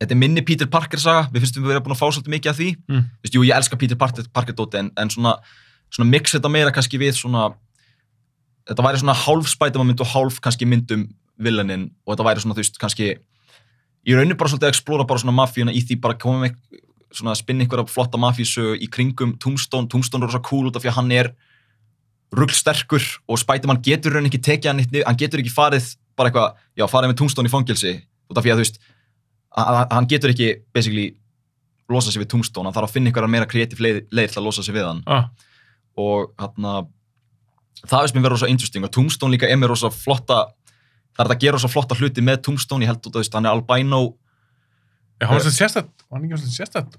S2: þetta er minni Peter Parker saga við finnst við vera búin að fá svolítið mikið af því
S1: Mm.
S2: Þú veist, jú ég elska Peter Parker, Parker dóti en, en svona, svona mix þetta meira kannski við svona þetta væri svona hálf Spiderman mynd og hálf kannski myndum villanin og þetta væri svona þú veist kannski ég raunir bara svolítið að explora bara svona mafíuna í því bara koma með svona að spinna einhverja flotta mafísögu í kringum Tombstone, Tombstone er rosa cool út af því að hann er rullsterkur og Spiderman getur hann ekki tekið hann nýtt, hann getur ekki farið bara eitthvað, já farið með tungstón í fangelsi út af því að þú veist að- að- hann getur ekki basically losa sig við tungstón, hann þarf að finna einhverjar meira kreatív leið, leið til að losa sig við hann
S1: Ah,
S2: og hann það veist mér verið rosa interesting og tungstón líka er mér rosa flotta það er hægt að gera rosa flotta hluti með tungstón ég held út af því að hann er albino
S1: já, hann var svona sérstætt, var hann ekki svona sérstætt?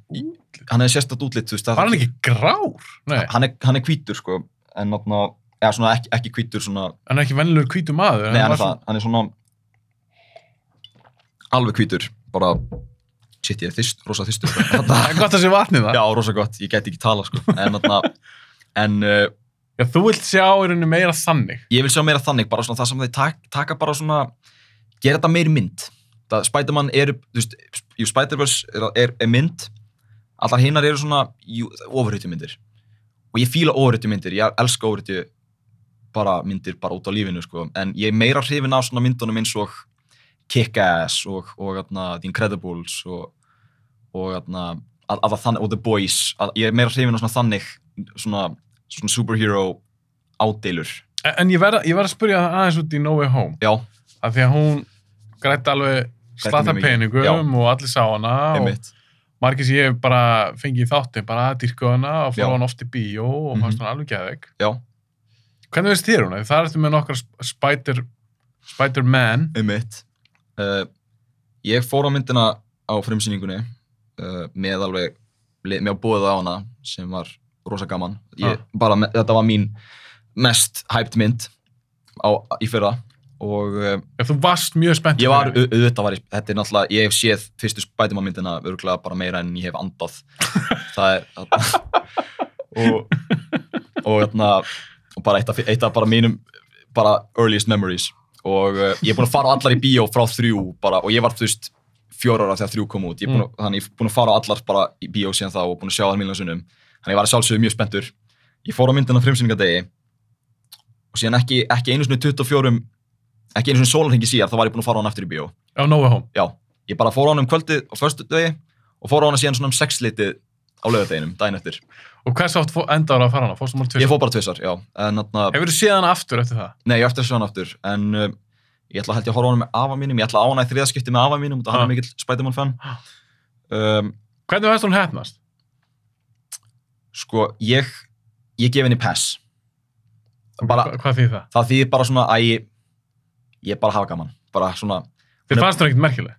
S2: hann er sérstætt útlit, þú veist það-
S1: Var hann ekki grár? Nei,
S2: hann er, hann er hvítur sko en hann, ja, svona ekki, ekki hvítur svona
S1: hann er ekki vennilegur hvítu maður.
S2: Nei, hann
S1: var
S2: er það, hann er svona alveg hvítur, bara shit, ég er þyst, rosa þystur Þarna-
S1: Það er gott að sé vatnið það.
S2: Já, rosa gott, ég gæti ekki tala sko en, þarna, en uh,
S1: Já, þú vilt sjá í rauninni meira þannig.
S2: ég vil sjá meira þannig bara svona það sem þeir tak, taka bara svona gera þetta meiri mynd það, Spiderman er, þú veist, jú, Spider-Verse er, er, er mynd allar hinnar eru svona ofurhautu myndir og ég fíla ofurhautu myndir, ég elska ofurhautu bara myndir bara út á lífinu sko en ég er meira hrifin af svona myndunum eins og Kick-Ass og, og atna, The Incredibles og, og atna, að, að þannig, og The Boys að, ég er meira hrifin af svona þannig svona, svona superhero ádeilur
S1: En- En ég verð að- ég verð að spyrja það aðeins út í No Way Home.
S2: Já,
S1: Af því að hún grætti alveg slata
S2: mjög mikið.
S1: peningum og allir sá hana og
S2: einmitt.
S1: margir sem ég hef bara fengið í þátti bara að dýrka hana og
S2: Já.
S1: fór hann oft í bíó og
S2: Mhm.
S1: fannst hann alveg geðveik.
S2: Já,
S1: Hvernig veist þér hún? Það ertu með nokkra sp- spider, Spider-Man.
S2: einmitt. Uh, ég fór á myndina á frumsýningunni uh, með alveg, le- með að búið á hana sem var rosa gaman. Ég,
S1: Ah.
S2: bara, me- þetta var mín mest hyped mynd á, í fyrra og uh,
S1: Ef þú varst mjög spennt.
S2: ég var,
S1: fyrir henni.
S2: au- auðvitað var, ég- þetta er náttúrulega, ég hef séð fyrstu Spiderman myndina örgulega bara meira en ég hef andað. Það er, og, og, þarna, og bara eitt af, eitt af bara mínum bara earliest memories og uh, ég er búinn að fara á allar í bíó frá þrjú bara, og ég var þú veist fjórar ára þegar þrjú kom út ég er
S1: Mm.
S2: búinn að, þannig ég er búinn að fara á allar bara í bíó síðan þá og búinn að sjá það mjög sunnum þannig ég var að sjálfsögðu mjög spenntur ég fór á myndina frumsýningadegi og síðan ekki, ekki einu svona 24 ekki einu svona sólarhengi síðar þá var ég búinn að fara á hann aftur í bíó
S1: Já, No Way Home.
S2: já, ég bara fór á hann um kvöldið og föstudegi og fór á hann síðan svona um sexleitið á lögadeginum, daginn eftir
S1: Og hversu oft fó- endaður að fara hana? Fórstu mál
S2: ég
S1: tvist?
S2: fór bara tvissar, já en, atna,
S1: Hefur þú séð hana aftur eftir það?
S2: Nei, ég á eftir að sjá hann aftur, en uh, ég ætla að held ég að horfa á hann með afa mínum, ég ætla að á hann í þriðaskipti með afa mínum, þetta hann
S1: Ha.
S2: er mikill Spiderman fan.
S1: Ha.
S2: Um,
S1: Hvernig veist hún hefnast?
S2: sko, ég, ég gef henni pass. Bara,
S1: Hva, hvað þýð það?
S2: það þýðir bara svona að ég, ég bara hafa gaman, bara svona,
S1: Þið
S2: Nei.
S1: fannst hún ekkert merkileg.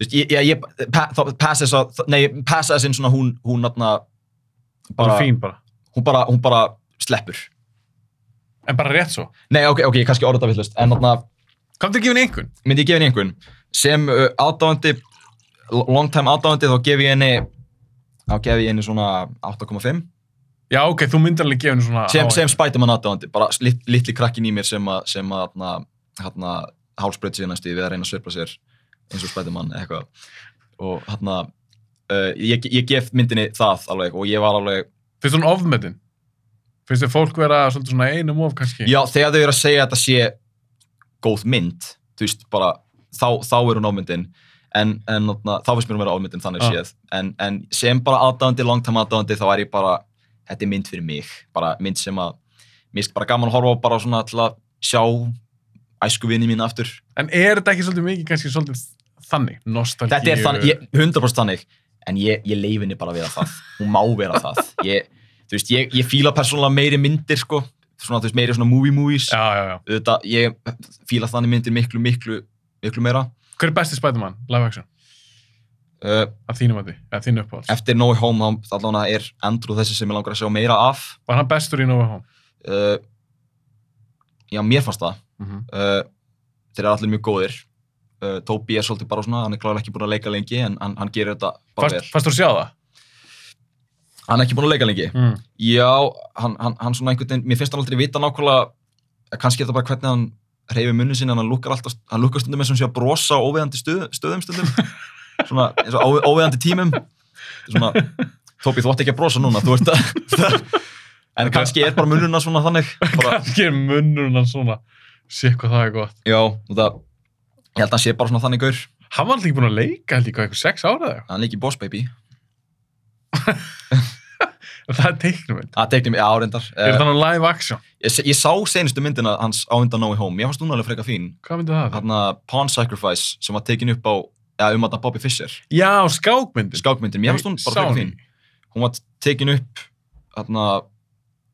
S2: þú veist, ég, ég, ég pa, þá- pass þess að, nei, pass þess inn svona hún, hún natna,
S1: Bara
S2: bara,
S1: fín bara.
S2: hún bara, hún bara sleppur.
S1: En bara rétt svo.
S2: Nei, ok, ok, ég kannski orða það villust, en natna,
S1: Kom til að gefa henni einhvern.
S2: myndi ég gefa henni einhvern sem uh, aðdáðandi long time aðdáðandi þá gef ég henni þá gef ég henni svona 8,5
S1: Já, ok, þú myndir alveg gefa henni svona...
S2: sem,
S1: á-
S2: sem Spiderman aðdáðandi, bara lit, litli krakkin í mér sem að, sem að hana, hana, hálsbreyt síðan næstu við að reyna að sveifla sér eins og Spiderman eða eitthvað og hann uh, ég, ég gef myndinni það alveg og ég var alveg,
S1: Finnst hún ofmetin? Finnst þið fólk vera svolítið svona einum of kannski?
S2: já þegar þau eru að segja að þetta sé góð mynd þú veist bara, þá, þá er hún ámyndin en, en na, þá finnst mér hún vera ámyndin þannig
S1: Ah.
S2: séð, en, en sem bara aðdáðandi, langtama aðdáðandi, þá er ég bara þetta er mynd fyrir mig, bara mynd sem að mér er bara gaman að horfa á bara svona til að sjá æskuvinni mín aftur,
S1: En er þetta ekki svolítið mikið kannski svolítið þannig? Nostalgíu?
S2: þetta er þannig, ég, 100% þannig en ég, ég leif henni bara að vera það hún má vera það, ég þú veist, ég, ég fíla persónulega meiri myndir sko, svona, þú veist, meiri svona movie movies
S1: Já, já, já.
S2: auðvitað, ég fíla þannig myndir miklu, miklu, miklu meira
S1: Hver er besti Spider-Man live action?
S2: uh,
S1: Af þínum að því, eða þínu uppáhalds.
S2: eftir No Way Home þá allavega er Andrew þessi sem ég langar að sjá meira af
S1: Var hann bestur í No Way Home?
S2: uh, já, mér fannst það
S1: Mm
S2: uh, þeir eru allir mjög góðir uh, Toby er svolítið bara svona, hann er klálega ekki búinn að leika lengi en hann, hann gerir þetta bara
S1: Fast, fast þú sjá það?
S2: vel hann er ekki búinn að leika lengi
S1: Mm.
S2: já, hann, hann, hann svona einhvern veginn, mér finnst hann aldrei vita nákvæmlega eh, kannski er þetta bara hvernig hann reyfi munni sinni, hann lukkar alltaf, hann lukkar stundum eins og hann sé að brosa á óviðandi stuð, stöðum stundum svona, eins og óvi- óviðandi tímum svona, Tobi, þú átt ekki að brosa núna þú ert að en kannski er bara mununa svona þannig bara,
S1: Kannski er munnurinn hann svona. Sér hvað það er gott.
S2: já, og það ég held að hann sé bara svona þannig gaur
S1: Hann var alltaf ekki búin að leika, held ég, hvað, eitthvað sex ára eða eitthvað.
S2: hann er ekki boss baby,
S1: En Það er teiknumynd.
S2: það Ah, teiknum ég áreindar
S1: Er
S2: uh,
S1: það nú live action?
S2: ég, ég sá senustu myndina hans á undan No Way Home, ég fannst hún alveg freka fín
S1: Hvað myndi það? vera?
S2: hann Pawn Sacrifice sem var tekin upp á eða um að Bobby Fischer,
S1: Já, skákmyndin.
S2: skákmyndin, mér fannst hún bara freka fín
S1: ekki.
S2: hún var tekin upp þarna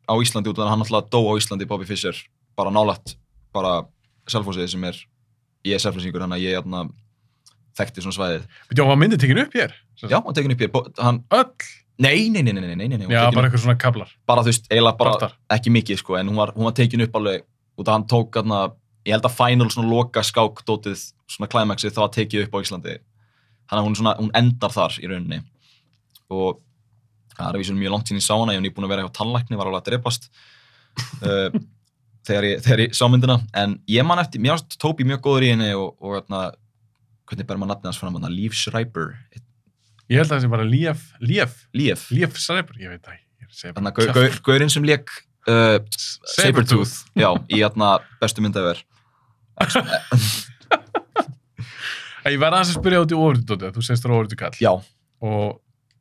S2: á Íslandi út af að hann alltaf dó á Íslandi Bobby Fischer bara nálægt bara selfhósið sem er E ég er selfhósingur hann að ég þarna þekkti svona svæðið
S1: Býttu, var myndin tekin upp hér? Sem
S2: já,
S1: sagt,
S2: hann tekin upp hér bo- hann,
S1: Öll?
S2: nei, nei, nei, nei, nei, nei, nei, nei hún
S1: Já,
S2: tekin
S1: bara
S2: upp,
S1: eitthvað svona kablar.
S2: bara þú veist, eiginlega bara
S1: Partar.
S2: ekki mikið sko, en hún var, hún var tekin upp alveg út af hann tók þarna ég held að final svona loka skákdótið svona climaxið það var tekið upp á Íslandi þannig að hún, svona, hún endar þar í rauninni og það er að vísum mjög langt sín í sána ég hef nýbúin að vera hjá tannlækni, var alveg að drepast uh, þegar, ég, þegar ég sá myndina en ég man eftir, mér ást Tóbi mjög góður í henni og, og hérna, hvernig ber maður nafnið hans fram hérna, Leif Schreiber
S1: Ég held að það sé bara Líf, Líf,
S2: Leif,
S1: Líf Sæbr, ég veit það ekki. Ég er að segja bara
S2: hérna, gau- gau- gaurinn sem lék uh,
S1: kjaft.
S2: Sabertooth, já, í hérna bestu myndaver
S1: Æ, Ég verða aðeins að spyrja út í ofriðdótið, þú senst þér ofriðdótið kall.
S2: já,
S1: Og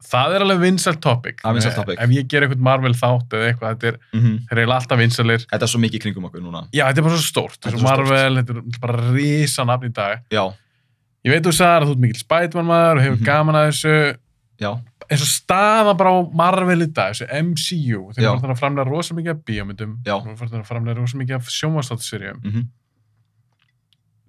S1: það er alveg vinsælt topic.
S2: Það er vinsælt
S1: Eh,
S2: topic.
S1: Ef ég ger eitthvað Marvel þátt eða eitthvað, þetta er,
S2: mhm.
S1: þeir eru alltaf vinsælir.
S2: þetta er svo mikið í kringum okkur núna
S1: Já, þetta er bara svo stórt.
S2: Þetta
S1: Þetta
S2: er
S1: er
S2: svo
S1: svo
S2: stórt.
S1: Marvel, þetta er bara risa nafn í dag.
S2: já,
S1: Ég veit þú sagðar að þú ert mikill Spiderman maður og hefur
S2: Mhm.
S1: gaman að þessu.
S2: já,
S1: eins og staða bara á Marvel í dag, þessu MCU, þeir
S2: Já.
S1: eru farin að framlega rosa mikið af bíómyndum,
S2: Já.
S1: þeir eru farin að framlega rosa mikið af sjónvastáttisserjum.
S2: mhm.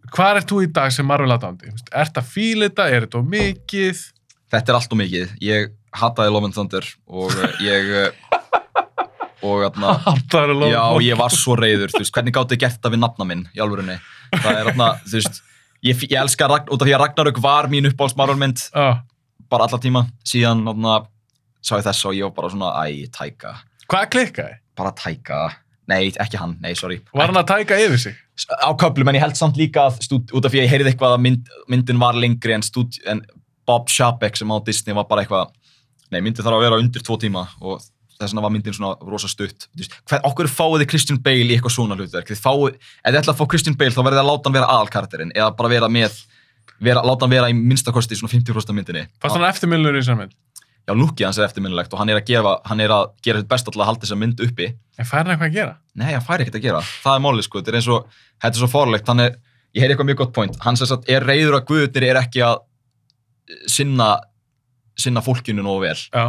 S1: Hvað ert þú í dag sem Marvel aðdándi? Er þetta fíl þetta? Er þetta of mikið?
S2: þetta er allt og mikið ég hataði Love and Thunder og eh, ég eh, og hérna
S1: Alltaf eru
S2: já,
S1: lofum.
S2: ég var svo reyður, þú veist, hvernig gáttu þið gert það við nafna minn í alvörunni það er hérna, þú veist ég, ég elska, Ragn- út af því að Ragnarök var mín uppáhaldsmarvörmynd
S1: Ah.
S2: bara alla tíma, síðan hérna sá ég þess og ég var bara svona, æ, tæka
S1: Hvað klikkaði?
S2: bara tæka, nei, ekki hann, nei, sorry
S1: Var hann að tæka yfir sig?
S2: á köflum, en ég held samt líka að stúd, út af því að ég heyrði eitthvað að mynd, myndin var lengri en, stúd, en Bob Chapek sem á Disney var bara eitthvað nei, myndin þarf að vera undir tvo tíma og þess vegna var myndin svona rosa stutt Þú veist, Hvað, okkur fáið þið Christian Bale í eitthvað svona hlutverk þið fáið, ef þið ætla að fá Christian Bale þá verðið þið að láta hann vera aðalkarakterinn eða bara vera með vera, láta hann vera í minnstakosti í svona 50% af myndinni
S1: Fast hann eftirmiðlunir í þessar mynd?
S2: já, lukkið hans er eftirminnilegt og hann er að gefa hann er að gera sitt best alltaf að halda þessa mynd uppi
S1: En fær hann eitthvað að gera?
S2: Nei, hann fær ekkert að gera. Það er málið, sko. Þetta er eins og, þetta er svo fórlegt. Hann er, ég heyri eitthvað mjög gott point. Hann sem sagt er reyður að guðutnir er ekki að eh, sinna, sinna fólkinu nógu vel.
S1: Já.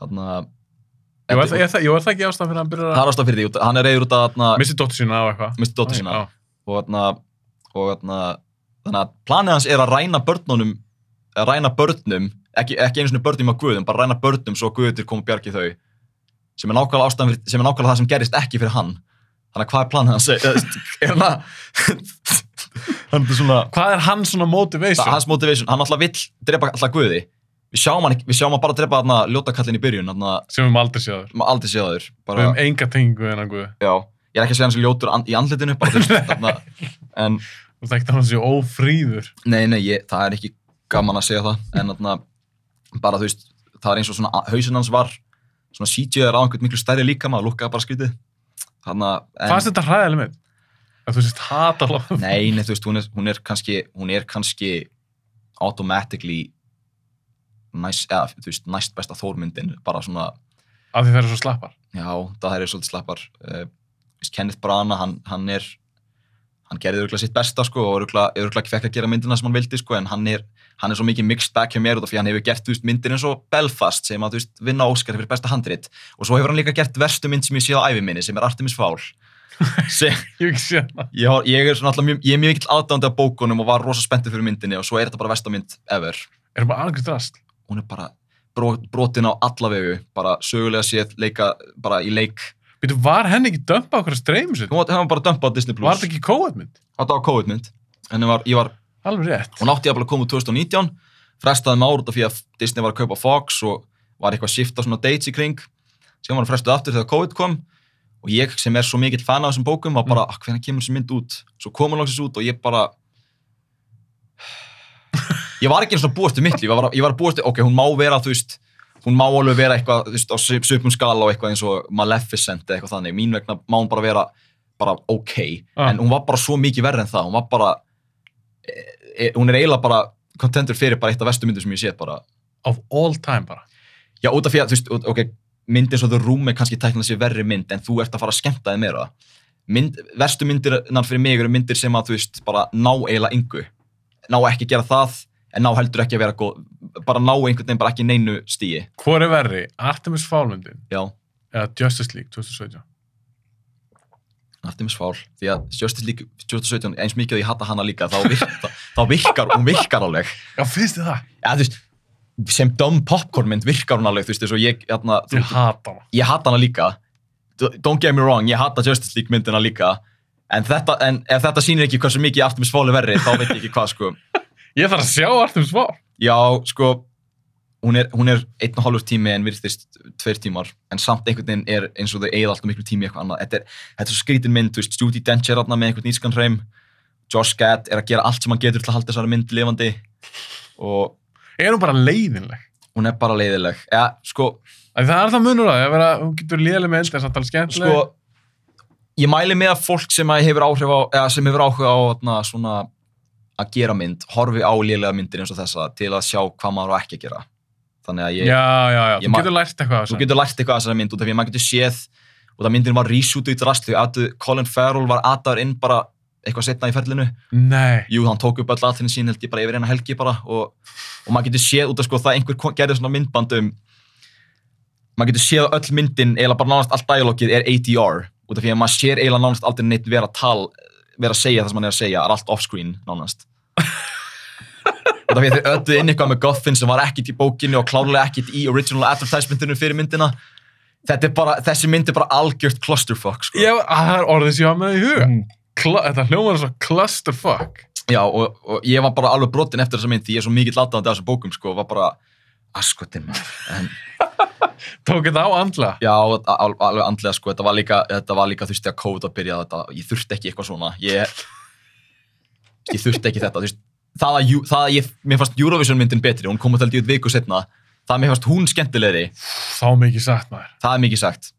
S2: Þannig að,
S1: Jú, er, það- er, það- jú, er það ekki ástæðan fyrir að hann byrjar
S2: það
S1: að
S2: er ástaf fyrir því. út- Hann er reyður út að, þarna,
S1: missi dóttur sína á eitthvað?
S2: misti dóttu sína.
S1: Já.
S2: Og þarna, og þarna, þannig að planið hans er að ræna börnunum, að ræna börnum, ekki, ekki einu svona börnum á guðum, bara ræna börnum svo guðutir koma og bjargi þau. Sem er nákvæmlega ástæðan fyrir, sem er nákvæmlega það sem gerist ekki fyrir hann. Þannig að hvað er planið hans? Eða, er hann að, hann er svona,
S1: Hvað er hann svona motivation?
S2: það, hans motivation, hann alltaf vill drepa alltaf guði við sjáum hann, ekki- við sjáum hann bara drepa þarna ljótakallin í byrjun, þarna
S1: sem við höfum aldrei séð séður.
S2: maður aldrei séð þaður
S1: Við
S2: bara,
S1: höfum enga tengingu við hennan guð.
S2: já, ég er ekki að segja hann sem ljótur an, í andlitinu, bara þú veist, þarna en,
S1: Þú þekkti hann sér ófríður.
S2: nei, nei, ég, það er ekki gaman að segja það, en þarna bara, þú veist, það er eins og svona hausinn hans var, svona CGI er á einhvern miklu stærri líka, maður lukkaði bara skrítið þarna, en,
S1: Fannst þetta hræðileg mynd? Að þú sést hata Love and
S2: nei, nei, þú veist, hún er, hún er kannski, hún er kannski automatically næst, eða, þú veist, næst besta þórmyndin, bara svona
S1: af því það eru svo slappar
S2: Já, það er svolítið slappar. Uh, Kenneth Branagh, hann, hann er hann gerði örgulega sitt besta sko og örgulega, örgulega ekki fekk að gera myndina sem hann vildi sko en hann er, hann er svo mikið mixed back hjá mér út af því að hann hefur gert þú veist, myndir eins og Belfast sem að þú veist, vinna Óskar fyrir besta handrit og svo hefur hann líka gert verstu mynd sem ég séð á æfiminni sem er Artemis Fowl sem,
S1: ég hef ekki séð það
S2: ég, har- ég er svona alltaf mjög, ég er mjög mikill aðdándi af bókunum og var rosa spenntið fyrir myndinni og svo er þetta bara versta mynd ever
S1: erum bara algjörð drast
S2: hún er bara bro, brotin á alla vegu bara sögulega séð leika, bara í leik
S1: Býtu, var henni ekki dömpa okkur að streymi sér?
S2: hún var, hann var bara dömpað á Disney Plus
S1: Var þetta ekki kóðmynd?
S2: þetta var COVID mynd en ég var, ég var,
S1: Alveg rétt
S2: hún átti jafnvel að koma út 2019 frestaði með ár út af því að Disney var að kaupa Fox og var eitthvað að shifta svona dates í kring sem var hún frestuð aftur þegar COVID kom og ég sem er svo mikill fan af þessum bókum var bara, mm. hvernig kemur þessi mynd út svo kom hún langsins út og ég bara ég var ekki eins og búast við mitt líf, ég var, ég var að búast við, ok, hún má vera, þú veist hún má alveg vera eitthvað, þú veist, á söpum skala og eitthvað eins og Maleficent eða eitthvað þannig, mín vegna má hún bara vera bara ok,
S1: Ah.
S2: en hún var bara svo mikið verri en það, hún var bara e, e, hún er eiginlega bara kontentur fyrir bara eitt af vestu myndir sem ég sé bara
S1: Of all time bara
S2: já, út af því að, þú veist, út- ok, myndin svo The Room er kannski tæknilega sér verri mynd, en þú ert að fara að skemmta þig meira mynd, verstu myndirnar fyrir mig eru myndir sem að, þú veist, bara ná eiginlega yngu ná ekki að gera það, en ná heldur ekki að vera góð, bara ná einhvern veginn bara ekki í neinu stíi,
S1: Hvor er verri? Artemis Fálmyndin
S2: já
S1: eða Justice League 2017
S2: Artemis Fowl, því að Justice League 2017, eins mikið að ég hata hana líka þá virkar, þá virkar, hún virkar alveg
S1: Já, finnst þið það?
S2: ja, þú veist, sem dumb popcornmynd virkar hún alveg, þú veist, eins og ég hérna, þú,
S1: Ég hata hana
S2: ég hata hana líka D- don't get me wrong, ég hata Justice League myndina líka En, þetta, en ef þetta sýnir ekki hversu mikið aftur með sváli verri, þá veit ég ekki hvað, sko.
S1: Ég þarf að sjá allt um svar.
S2: Já, sko, hún er, hún er einn og hálfur tími en virðist tveir tímar, en samt einhvern veginn er eins og þau eigið alltaf miklu tími í eitthvað annað. Þetta er, þetta er svo skrítin mynd, þú veist, Judy Dench er þarna með einhvern ískan hreim, Josh Gad er að gera allt sem hann getur til að halda þessari mynd lifandi og
S1: Er hún bara leiðinleg?
S2: hún er bara leiðileg. Ja, sko,
S1: Af því Það er það munur að því að vera, hún getur leiðileg með enda en samtala skemmtileg.
S2: sko, ég mæli með að fólk sem að hefur áhrif á, eða sem hefur áhuga á na, svona að gera mynd, horfi á lélega myndir eins og þessa til að sjá hvað maður á ekki að gera. Þannig að ég,
S1: já, já, já,
S2: ég
S1: þú
S2: ma-
S1: getur lært eitthvað af
S2: þú
S1: þessu.
S2: getur lært eitthvað af þessari mynd út af því að maður getur séð og það myndin var rísútu í drastlu atu, Colin Farrell var aðdar inn bara eitthvað setna í ferlinu
S1: Nei,
S2: jú, hann tók upp öll aðtinn sín held ég bara yfir eina helgi bara og, og maður getur séð út af sko það einhver gerði svona myndband um maður getur séð að öll myndin eiginlega bara nánast allt dialogið er ADR út af því að maður sér eiginlega nánast aldrei neitt vera tal vera að segja það sem hann er að segja er allt offscreen nánast út af því að þau öllu inn eitthvað með Goffin sem var ekkit í bókinni og klárlega ekkit í original advertisementinu fyrir myndina þetta er bara, þessi mynd er bara algjört clusterfuck sko.
S1: ég, að, það er orðið sem ég var með í huga.
S2: Mm.
S1: Kla, þetta hljómar svo clusterfuck.
S2: Já, og, og ég var bara alveg brotin eftir þessa mynd því ég er svo mikið latandi af þessum bókum, sko, og var bara askotin maður. En,
S1: Tók þetta á andla.
S2: já, al- al- alveg andlega, sko, þetta var líka, þetta var líka þú veist, þegar COVID var byrjað þetta, ég þurfti ekki eitthvað svona, ég, ég þurfti ekki þetta, þú veist, það að, Ju- það að ég, mér fannst Eurovision myndin betri, hún kom að tala í út viku setna, það að mér fannst hún skemmtilegri,
S1: Þá mikið sagt maður.
S2: það er mikið sagt.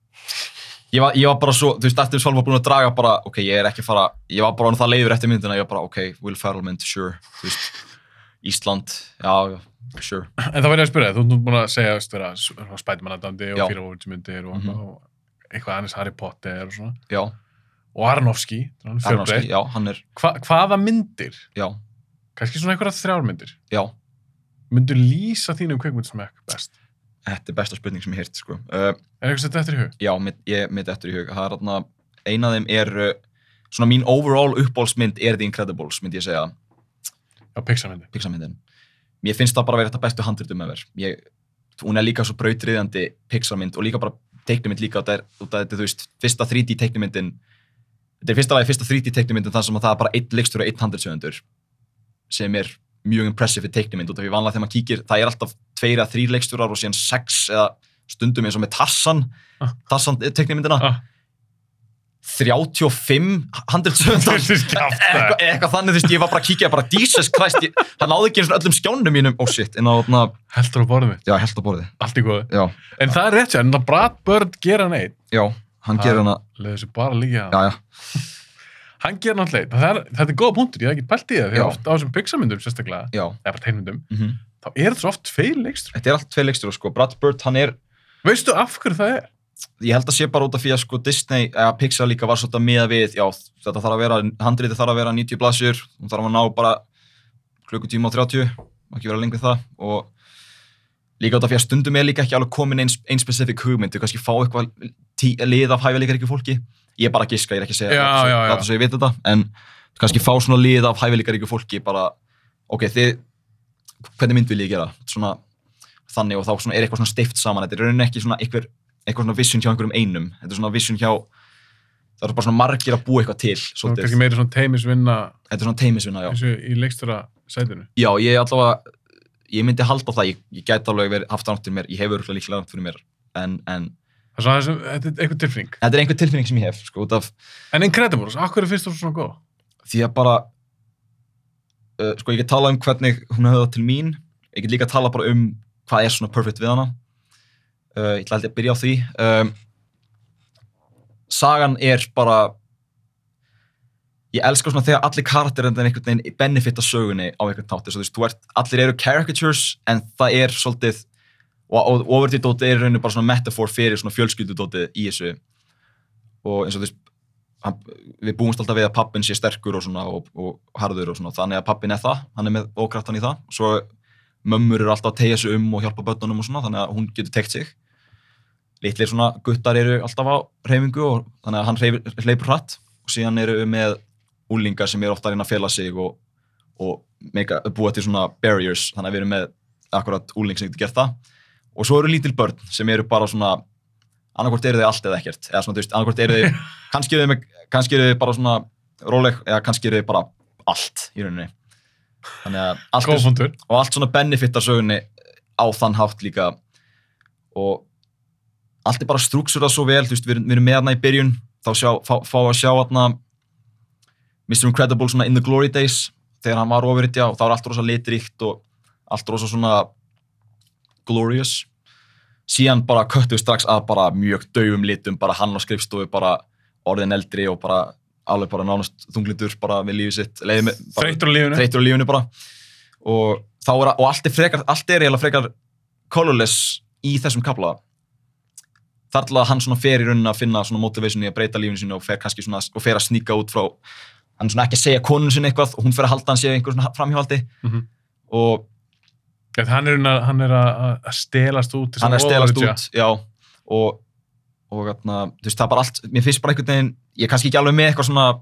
S2: Ég var, ég var bara svo, þú veist, eftir Svalbard búin að draga bara, ok, ég er ekki að fara, ég var bara orðinn það leiður eftir myndina, ég var bara, ok, Will Ferrell mynd, sure, þú veist, Ísland, já, já, sure.
S1: En það var ég að spyrja, þig, þú ert nú búin að segja veist, vera svona spætmannadandi og
S2: Já.
S1: fyrir óvitsmyndir og,
S2: Mhm.
S1: og eitthvað annars Harry Potter og svona.
S2: Já,
S1: Og Aronofsky, hann er
S2: Aronofsky,
S1: fjölbreytt.
S2: já, hann er,
S1: Hva, hvaða myndir,
S2: já,
S1: kannski svona einhverja þrjármyndir,
S2: já,
S1: myndur lýsa þínum kveikmyndsmekk best?
S2: þetta er besta spurning sem ég heirt, sko. Uh,
S1: Er eitthvað sem þetta eftir í hug?
S2: já, mitt, ég mitt eftir í hug, það er þarna, eina af þeim er, uh, svona mín overall uppbólsmynd er The Incredibles, myndi ég segja,
S1: Já, Pixar myndi.
S2: Pixar-myndin. Mér finnst það bara að vera þetta bestu handritum ever. Ég, hún er líka svo brautriðandi Pixar-mynd og líka bara teiknumynd líka, þetta er, út af þetta, þú veist, fyrsta 3D teiknumyndin, þetta er fyrsta lagi fyrsta 3D teiknumyndin þar sem að það er bara einn leikstur og einn handritsöfundur sem er mjög impressive í teiknumynd út af því vanlega þegar maður kíkir, það er alltaf tveir eða þrýr leiksturar og síðan sex eða stundum eins og með eh, Tarsan,
S1: Ah.
S2: Tarsan teiknumyndina,
S1: Ah.
S2: 35 handritsöfundar
S1: Þessi skjátt
S2: eitthvað, eitthvað þannig, þú veist, ég var bara að kíkja bara Jesus Christ, ég, það náði ekki einu sinni öllum skjánum mínum, oh shit, en það var
S1: Heldur á borðum mitt,
S2: já, held á borði,
S1: allt í góðu.
S2: já,
S1: En það er rétt sér, en það Brad Bird gera hann einn.
S2: já, hann
S1: Ha.
S2: gerir hana,
S1: Leðu þessu bara líka hann.
S2: já, já,
S1: Hann gera hann alltaf einn. Þetta er góða punktur, ég hef ekki pælt í það.
S2: Já.
S1: Þegar oft á þessum Pixarmyndum sérstaklega,
S2: já,
S1: eða bara tegnmyndum,
S2: mhm,
S1: þá er þetta svo oft feil leikstur.
S2: þetta er allt tveir leikstur sko, Brad Bird, hann er,
S1: Veistu af hverju það er?
S2: ég held að sé bara út af því að sko Disney, eða Pixar líka var svolítið miða við, já, þetta þarf að vera, handriti þarf að vera 90 blaðsjur, hún þarf að ná bara klukkutíma og 30, má ekki vera lengur en það, og Líka út af því að stundum er líka ekki alveg komin einn ein specific hugmynd, þú kannski fá eitthvað tí- lið af hæfileikar fólki. Ég er bara að giska, ég er ekki að segja
S1: Já,
S2: þetta,
S1: já, já.
S2: þetta svo ég veit þetta, en kannski fá svona lið af hæfileikar fólki bara, ok, þið, hvernig mynd vil ég gera? Svona, þannig og þá svona er eitthvað svona stift saman, þetta er rauninni ekki svona eitthvað, eitthvað svona vision hjá einhverjum einum, þetta er svona vision hjá, það eru bara svona margir að búa eitthvað til,
S1: Það er
S2: svolítið.
S1: kannski meira svona teimisvinna
S2: Þetta er svona teimisvinna, já.
S1: eins og í leikstura sætinu.
S2: Já, ég er allavega, ég myndi halda það, ég, ég gæti alveg verið, haft það nátt fyrir mér, ég hefur líklega nátt fyrir mér, en, en
S1: Það er svona þessum, þetta er eitthvað tilfinning.
S2: þetta er einhver tilfinning sem ég hef, sko, út af
S1: En Incredibles, af hverju finnst þú svona góð?
S2: því að bara, uh, sko, ég get talað um hvernig hún hefði það til mín, ég get líka talað bara um hvað er svona perfect við hana, uh, ég ætla held ég að byrja á því. Um, sagan er bara, ég elska svona þegar allir karakterinn einhvern veginn benefita sögunni á einhvern tátu, svo þú veist, þú ert, allir eru caricatures, en það er svolítið, og, og overtýrdótið er í rauninu bara svona metafor fyrir svona fjölskyldudótið í þessu, og eins og þú veist, hann, við búumst alltaf við að pappin sé sterkur og svona og, og harður og svona þannig að pappin er það, hann er með ókraftan í það og svo mömmur eru alltaf að tegja sig um og hjálpa börnunum og svona þannig að hún getur tekt sig litlir svona guttar eru alltaf á reyfingu og þannig að hann hreyfir- hleypur hratt og síðan eru við með úlingar sem eru ofta að reyna að fela sig og, og meika, búa til svona barriers þannig að við erum með akkurat úling sem getur gert það og svo eru lítil börn sem eru bara svona annarkvort eru þau allt eða ekkert eða svona þú veist, annarkvort eru þau kannski eru þau með- kannski eru þau bara svona róleg, eða kannski eru þið bara allt í rauninni þannig að allt er,
S1: Góðfundur.
S2: og allt svona benefitar sögunni á þann hátt líka og allt er bara struktúrað svo vel, þú veist, við erum, við erum með hérna í byrjun þá sjá, fá, fá að sjá hérna Mr. Incredible svona in the glory days þegar hann var ofuritja og þá er allt rosa litríkt og allt rosa svona glorious síðan bara köttum við strax að bara mjög daufum litum, bara hann á skrifstofu bara orðin eldri og bara alveg bara nánast þunglindur bara við lífið sitt leiði með, bara,
S1: Þreytur á lífinu.
S2: þreytur á lífinu bara og, þá er, og allt er frekar allt er eiginlega frekar colorless í þessum kapla þar til að hann svona fer í rauninni að finna svona motivation í að breyta lífinu sínu og fer kannski svona og fer að sníka út frá hann er svona ekki að segja konun sinni eitthvað og hún fer að halda hann sé einhver svona framhjóhaldi
S1: Mhm.
S2: og
S1: Ja, Hann er, að- hann er að að stelast út. til
S2: hann er
S1: þess
S2: að
S1: að
S2: stelast
S1: overreacha.
S2: út já, og, og atna, þú veist það er bara allt, mér finnst bara einhvern veginn ég er kannski ekki alveg með eitthvað svona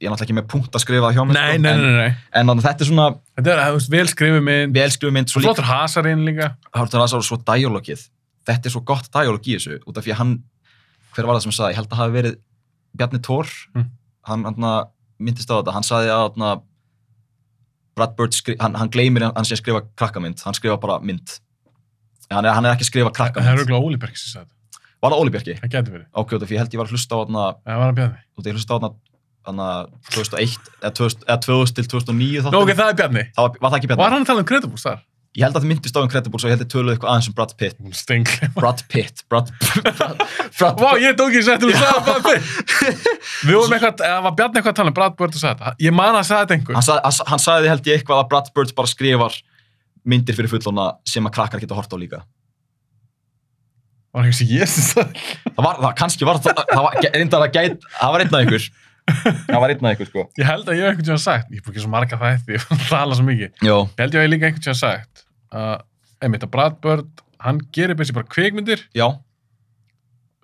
S2: ég er náttúrulega ekki með punkt að skrifa hjá mér
S1: Nei,
S2: sko,
S1: nei,
S2: en,
S1: nei, nei.
S2: en þarna þetta er svona
S1: Þetta er, þú veist, vel skrifið mynd.
S2: velskrifu mynd svo líka-
S1: Flottur hasarinn líka.
S2: Hártur Hazard og svo dialogið þetta er svo gott dialog í þessu út af því að hann, hver var það sem sagði ég held að hafi verið Bjarni Thor
S1: Mm.
S2: hann, hann myndist á þetta hann sagði að hann, Brad Bird skri, hann, hann gleymir að hann sé að skrifa krakkamynd hann skrifa bara mynd En hann er, hann er ekki að skrifa
S1: Það er
S2: krakkamynd
S1: auðvitað Óli Berg sem sagði þetta.
S2: var það Óli Bjarki?
S1: Það getur verið.
S2: ok, út af því ég held ég var að hlusta á hann
S1: Það var að bjarni.
S2: út af ég hlusta á hann 2001 eða 2000 eða 2000 til 2009
S1: Nó,
S2: þáttum.
S1: ok, það er bjarni.
S2: það var, var það ekki Bjarni?
S1: Var hann að tala um Credibles þar?
S2: ég held að það myndist á um Credibles og ég held ég töluð eitthvað aðeins um Brad Pitt
S1: Stengli.
S2: Brad Pitt Brad, Brad, Brad,
S1: Vá, ég tók ekki sættum að sagða Brad Pitt. Við vorum eitthvað, eða var Bjarni eitthvað að tala um Brad Bird og sagði þetta. Ég man að sagði þetta einhver.
S2: hann, sag, hann sagði held ég eitthvað að Brad Bird bara skrifar myndir fyrir fullona sem að krakkar geta hort á líka
S1: Var ekki sem ég sem sagði þetta.
S2: það var, það kannski var það, það var reyndar að gæt, það var einn af ykkur það var einn af ykkur sko
S1: Ég held að ég hef einhvern tíðan sagt, ég er búin ekki svo marga þætti, ég tala svo mikið.
S2: Jó.
S1: Ég held ég að ég líka einhvern tíðan sagt að, einmitt að Brad Bird, hann gerir byrsi bara kvikmyndir
S2: já,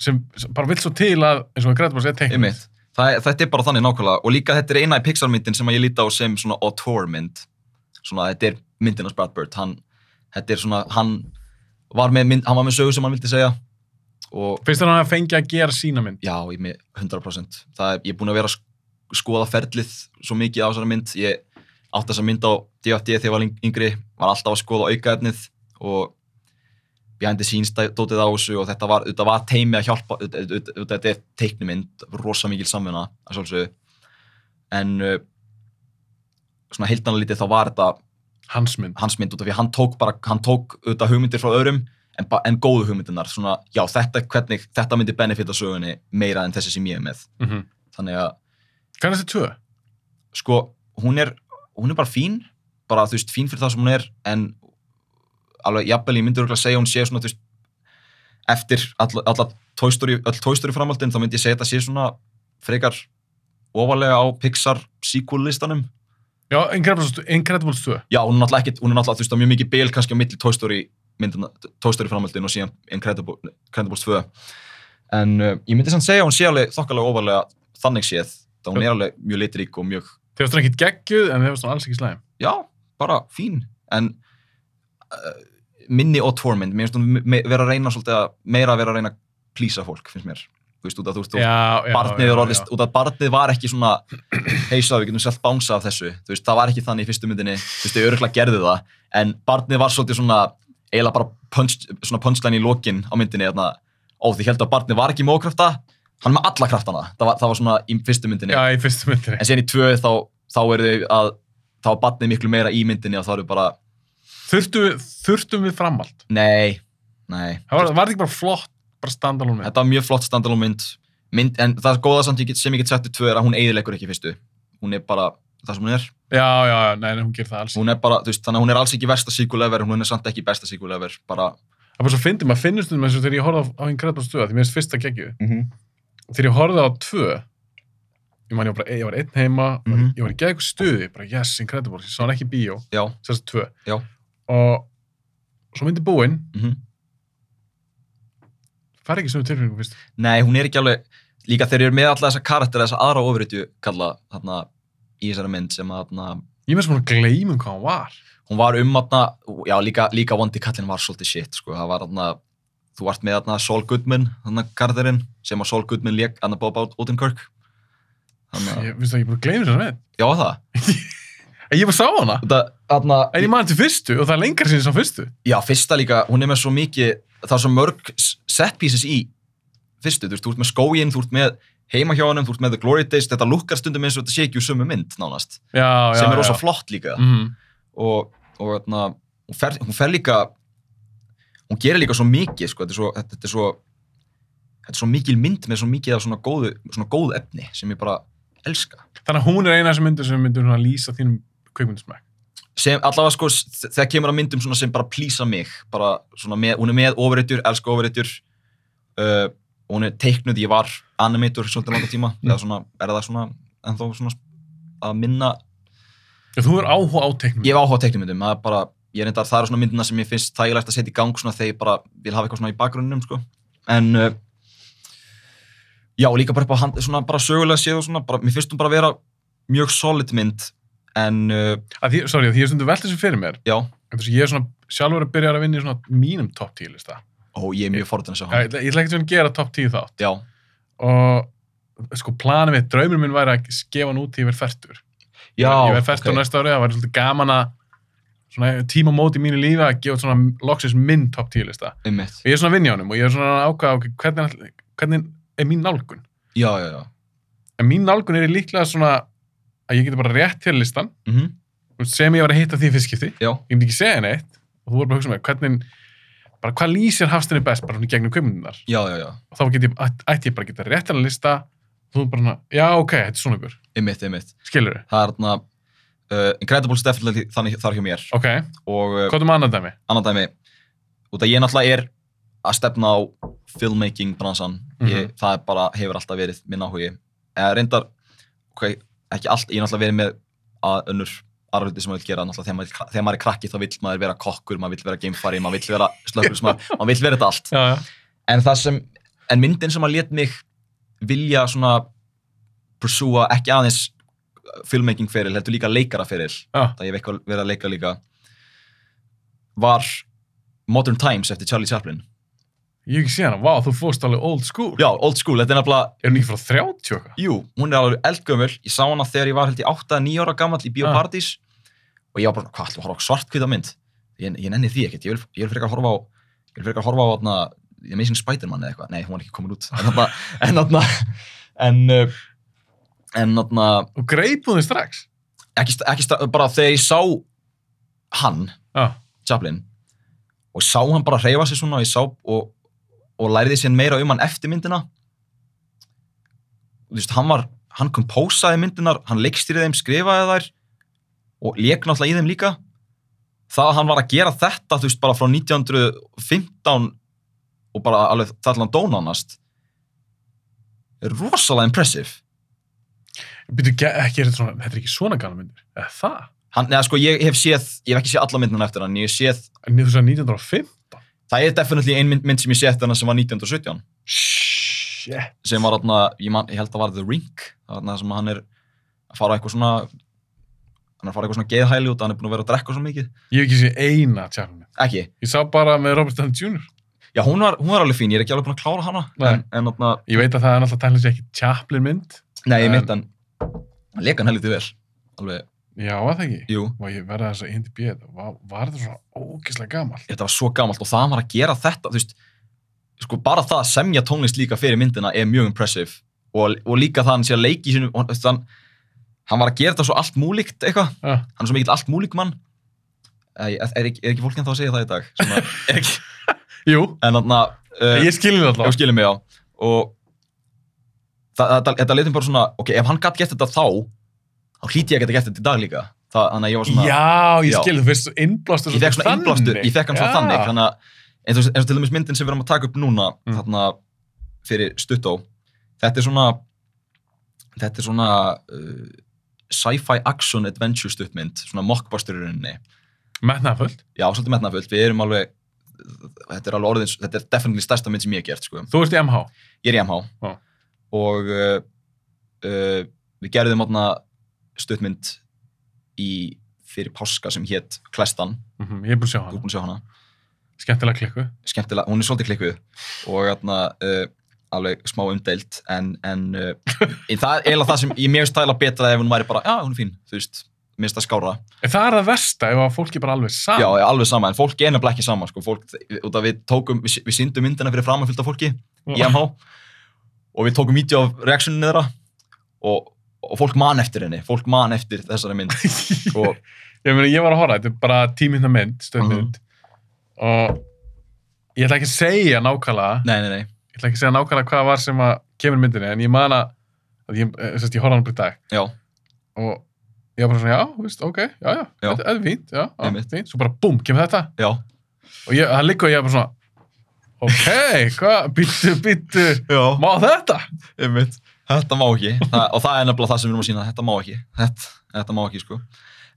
S1: sem, sem bara vill svo til að, eins og Credibles er teikn.
S2: ymmið þetta er bara þannig nákvæmlega og líka þetta er eina í Pixar myndin sem að ég líti á sem svona auteur mynd svona þetta er myndin hans Brad Bird hann, þetta er svona, hann var með, mynd, hann var með sögu sem hann vildi segja og
S1: Finnst þér hann að fengja að gera sína mynd?
S2: Já, ég með 100%. Það er, ég er búinn að vera að sk- skoða ferlið svo mikið á þessari mynd. Ég átti þessa mynd á DFD þegar ég var yng- yngri, var alltaf að skoða aukaefnið og behind the scenes dæ- dótið á þessu og þetta var, þetta var teimi að hjálpa, þetta- þetta þetta- þetta er teiknumynd, rosa mikil samvuna að sjálfsögðu. En uh, svona heildanlítið þá var þetta
S1: Hans mynd.
S2: hans mynd út af því að hann tók bara, hann tók auðvitað hugmyndir frá öðrum en, ba- en góðu hugmyndirnar, svona, já, þetta, hvernig, þetta myndi benefita sögunni meira en þessi sem ég er með.
S1: Mm -hmm.
S2: Þannig að,
S1: Hvað er þessi tvö?
S2: sko, hún er, hún er bara fín, bara, þú veist, fín fyrir það sem hún er, en alveg, jafnvel, ég myndi örgulega segja, að hún sé svona, þú veist, eftir alla, alla tóistóri, öll tóistóri framhaldin, þá myndi ég segja að þetta sé svona frekar ofalega á Pixar sequel listanum.
S1: Já, Incredibles, Incredibles 2.
S2: Já, hún er náttúrulega ekkit, hún er náttúrulega, þú veist, það er mjög mikið bil kannski á milli Toy Story myndina, Toy Story framhaldin og síðan Incredible, Incredibles 2. En uh, ég myndi samt segja að hún sé alveg þokkalega ofalega þannig séð, þá hún er alveg mjög litrík og mjög,
S1: Þeir varst ekki geggjuð, en þeir varst alls ekki slæm.
S2: já, bara fín. En uh, minni og tormynd, mér finnst hún me- me- vera að reyna svolítið að, meira að vera að reyna að plýsa fólk, finnst mér. Þú veist, út að þú veist, þú
S1: Já, já,
S2: barnið
S1: já,
S2: er
S1: já.
S2: orðist, út að barnið var ekki svona heisa, við getum selt bánsa af þessu þú veist, það var ekki þannig í fyrstu myndinni þú veist, þau örgulega gerðu það, en barnið var svolítið svona, eiginlega bara punch, svona punchline í lokin á myndinni þarna, ó, því held að barnið var ekki í mókrafta hann er með alla kraftana, það var, það var svona í fyrstu myndinni,
S1: Já, í fyrstu myndinni.
S2: en síðan í tvö þá, þá eru þau að, þá er barnið miklu meira í myndinni og þá eru bara,
S1: Þurftum, við- þurftum við framhald?
S2: nei nei,
S1: Það var, var þetta ekki bara flott, bara standalone mynd?
S2: þetta var mjög flott standalone mynd, mynd en það er góða samt ég get, sem ég get sagt í tvö er að hún eiðilegur ekki fyrstu, hún er bara það sem hún er
S1: Já, já, já, nei, nei, hún gerir það alls. ekki.
S2: hún er bara, þú veist, þannig að hún er alls ekki versta sequel ever, hún er samt ekki besta sequel ever, bara
S1: Það er bara svo fyndið, maður finnur stundum eins og þegar ég horfði á, á Incredibles 2, því mér finnst fyrsta geggjuð.
S2: mm -hmm.
S1: Þegar ég horfði á 2, ég man ég var bara, ég var einn heima,
S2: Mhm.
S1: ég var í gegn stuði, bara yes, Incredibles, ég sá hann ekki í bíó,
S2: já,
S1: þess að 2.
S2: Já.
S1: Og svo myndi búinn,
S2: mm
S1: fær ekki sömu tilfinningu fyrst.
S2: nei, hún er ekki alveg líka þegar ég er með alla þessa karakter þessa aðra ofriðju kalla þarna í þessari mynd sem að þarna,
S1: Ég með sem hún gleymum um hvað hann var.
S2: hún var um þarna, já, líka, líka vondi kallin var svolítið shit, sko, það var þarna þú vart með þarna Saul Goodman, þarna karakterinn sem að Saul Goodman lék, þarna Bob Odenkirk Þannig að,
S1: Ég finnst það ekki bara að gleyma þess að veit.
S2: já það.
S1: Ég bara sá hana.
S2: Þetta, þarna,
S1: En ég maður til fyrstu og það er lengra sinni sá fyrstu.
S2: já, fyrsta líka, hún er með svo mikið, það er svo mörg s- set pieces í fyrstu, þú veist, þú ert með skóginn, þú ert með heimahjónum, þú ert með The Glory Days, þetta lukkar stundum eins og þetta sé ekki úr sömu mynd nánast,
S1: Já, já,
S2: sem er
S1: já.
S2: rosa flott líka.
S1: Mhm.
S2: og, og þarna, hún, fer, hún fer líka hún gerir líka svo mikið sko, þetta, er svo, þetta, þetta er svo þetta er svo mikil mynd með svo mikið af svona, góðu, svona góð efni sem ég bara elska
S1: Þannig að hún er eina af þessum myndir sem myndir svona lýsa þínum kveikmyndismæk.
S2: sem allavega sko s- þegar kemur að myndum svona sem bara plýsa mig bara svona með, hún er með overreitur, elska overreitur uh, og hún er teiknud ég var animator svolítið langa tíma
S1: Mm.
S2: eða svona, er það svona ennþá svona að minna
S1: Já, þú er áhuga á teiknum.
S2: ég hef áhuga á teiknumyndum, það er bara ég reyndar, það eru svona myndina sem ég finnst þægilegt að setja í gang svona þegar ég bara vil hafa eitthvað svona í bakgrunnum sko. en uh, já, og líka bara upp á hand, svona bara sögulega séð og svona, bara, mér finnst hún bara vera mjög solid mynd en uh,
S1: Að því, sorry, að því ég stundu velt þessu fyrir mér.
S2: já,
S1: Þess að ég er svona sjálfur að byrja að vinna í svona mínum topp 10 lista.
S2: og ég er mjög forðan að sjá
S1: Já, Ég
S2: hann
S1: ætla ég ætla ekkert að gera topp 10 þátt.
S2: já,
S1: Og sko, planið mitt, draumur minn væri að gefa hann út því ég verð færtur.
S2: já,
S1: Ég verð færtur næsta árið, það væri svolítið gaman að svona tíma móti mínu lífi að gefa út svona loksins minn topp 10 lista.
S2: einmitt
S1: Og ég er svona að vinja honum og ég er svona að ákvaða, ok, hvernig, ætla- hvernig er mín nálgun?
S2: já, já, já,
S1: En mín nálgun er líklega svona að ég geti bara rétt til listan
S2: mm
S1: Þú veist, sem ég var að hitta því fyrstskipti
S2: já,
S1: ég myndi ekki segja neitt og þú voru bara að hugsa með hvernig bara hvað lýsir hafstinni best bara hún í gegnum kvimmundunar
S2: já, já, já
S1: og þá get ég, ætt- ætti ég bara að geta rétt að lista þú er bara svona, já ok, þetta er svona ykkur
S2: einmitt, einmitt,
S1: skilur þið,
S2: það er þarna uh, Incredible Steffel þannig þar hjá mér
S1: ok,
S2: og uh,
S1: hvað er maður annað dæmi?
S2: annan dæmi út að ég náttúrulega er að stefna á filmmaking bransan ég,
S1: Mhm.
S2: það er bara, hefur alltaf verið minn áhugi eða reyndar okay, ekki allt, ég er náttúrulega verið með að önnur aðra hluti sem maður vil gera náttúrulega þegar maður, er kra- þegar maður er krakki þá vill maður vera kokkur maður vill vera geimfari, maður vill vera slökkulismar maður vill vera þetta allt
S1: Já, já,
S2: en það sem, en myndin sem að let mig vilja svona pursúa ekki aðeins uh, filmmaking feril, heldur líka leikara feril
S1: já,
S2: það ég hef eitthvað verið að leika líka var Modern Times eftir Charlie Chaplin
S1: ég hef ekki séð hana, vá, þú fórst alveg old school
S2: já, old school, þetta er nefnilega
S1: er hún ekki frá 30 okkar?
S2: jú, hún er alveg eldgömmul, ég sá hana þegar ég var held ég 8-9 ára gamall í
S1: Ah.
S2: Bíópardís og ég var bara, hvað, ætlum að horfa á svartkvita mynd ég, ég nenni því ekkert, ég vil, ég vil frekar horfa á ég vil frekar horfa á þarna Amazing Spider-Man eða eitthvað, nei, hún er ekki komin út en þarna, en þarna en, uh, en þarna
S1: og greipuð þið strax
S2: ekki, sta- ekki, sta- bara þegar ég sá hann
S1: já,
S2: Chaplin og sá hann bara hreyfa sig svona og, ég sá, og, og læriði sér meira um hann eftir myndina og þú veist, hann var hann kompósaði myndinar, hann leikstýrið þeim skrifaði þær og leik náttúrulega í þeim líka það að hann var að gera þetta, þú veist, bara frá 1915 og bara alveg þar til hann dónanast er rosalega impressive
S1: byrju ekki, er þetta svona þetta er ekki svona gana myndir, eða það
S2: hann, neða sko, ég hef séð, ég hef ekki séð alla myndina eftir hann, ég hef séð,
S1: en niður þess að 1915
S2: það er definitely ein mynd, mynd sem ég séð eftir hann sem var 1917
S1: shit,
S2: sem var þarna, ég, man, ég held að var The Ring þarna sem hann er að fara á eitthvað svona hann er að fara á eitthvað svona geðhæli út hann er búin að vera að drekka svo mikið
S1: ég hef ekki séð eina tjálunni,
S2: ekki,
S1: ég sá bara með Robert Downey Jr.
S2: já hún var, hún var alveg fín ég er ekki alveg búin að klára hana
S1: Nei.
S2: en, en þarna,
S1: Ég veit að það er náttúrulega tæknilega ekki Chaplin mynd.
S2: nei, ég
S1: En-
S2: mitt en hann leika hann helviti vel alveg,
S1: Já, að það ekki.
S2: jú,
S1: Vá, ég verða þess að indi bjöð. Var, var það svona ógeðslega gamalt?
S2: þetta var svo gamalt og það að hann var að gera þetta, þú veist sko bara það að semja tónlist líka fyrir myndina er mjög impressive og, og líka það að hann sé að leiki sinu, hann, þú veist, hann, hann var að gera þetta svo allt múlíkt eitthvað
S1: Já,
S2: hann er svo mikill allt múlík mann Æ, er, er, ekki- er ekki fólk en þá að segja það í dag svona, er ekki,
S1: jú,
S2: en þarna uh,
S1: ég skilin það
S2: ég
S1: alltaf.
S2: skilur mig á og það- þetta- þetta leitum bara svona ok, ef hann gætt gert þetta þá þá hlíti ég að geta gert þetta í dag líka það, þannig að ég var svona
S1: Já, ég
S2: Já.
S1: skilin þú fyrst svo innblástur
S2: ég fekk svona innblástur, ég fekk hann svona
S1: Já.
S2: þannig þannig að, eins og, eins og til dæmis myndin sem við erum að taka upp núna
S1: Mm.
S2: þarna fyrir stuttó þetta er svona þetta er svona uh, sci-fi action adventure stuttmynd svona mockbuster í rauninni
S1: Metnaðfullt.
S2: já, svolítið metnafullt, við erum alveg þetta er alveg orðins, þetta er definitely stærsta mynd sem ég hef gert, sko,
S1: Þú ert í MH.
S2: ég er í MH
S1: Já.
S2: og uh, uh, við gerðum átna stuttmynd í fyrir páska sem hétt Klestan,
S1: Mm ég er búin að sjá
S2: þú er
S1: hann.
S2: búin að sjá hana
S1: Skemmtilega klikku.
S2: skemmtilega, hún er svolítið klikkuð og atna, uh, alveg smá umdeilt en, en uh, í það er eiginlega það sem ég mér finnst tæla betra ef hún væri bara, já, hún er fín, þú veist, minnst það skára.
S1: En það er það versta ef að fólki bara alveg saman.
S2: Já, já, alveg sama, en fólk er nefnilega ekki sama, sko, fólk, út af við tókum, við, við syndum myndina fyrir framanfylgta fólki, í MH, og við tókum vídeo af reaksjóninu þeirra og, og fólk man eftir henni, fólk man eftir þessari mynd og
S1: Ég meina, ég var að horfa, þetta er bara tíminn að mynd,
S2: Mhm.
S1: stöðmynd. Og ég ætla ekki að segja nákvæmlega,
S2: nei, nei, nei,
S1: ég ætla ekki að segja nákvæmlega hvað var sem að kemur í myndinni, en ég man að, að ég, eh, sem sagt, ég horfa hann bara í dag
S2: já,
S1: og ég var bara svona, já, þú veist, ok, já, já,
S2: Já.
S1: þetta þetta er fínt, já, já,
S2: Einmitt.
S1: fínt. Svo bara, búm, kemur þetta.
S2: já,
S1: Og ég, það liggur og ég var bara svona, ok, hvað, býttu, býttu,
S2: já,
S1: má þetta?
S2: einmitt þetta má ekki, það, og það er nefnilega það sem við erum að sína þetta má ekki, þetta, þetta má ekki, sko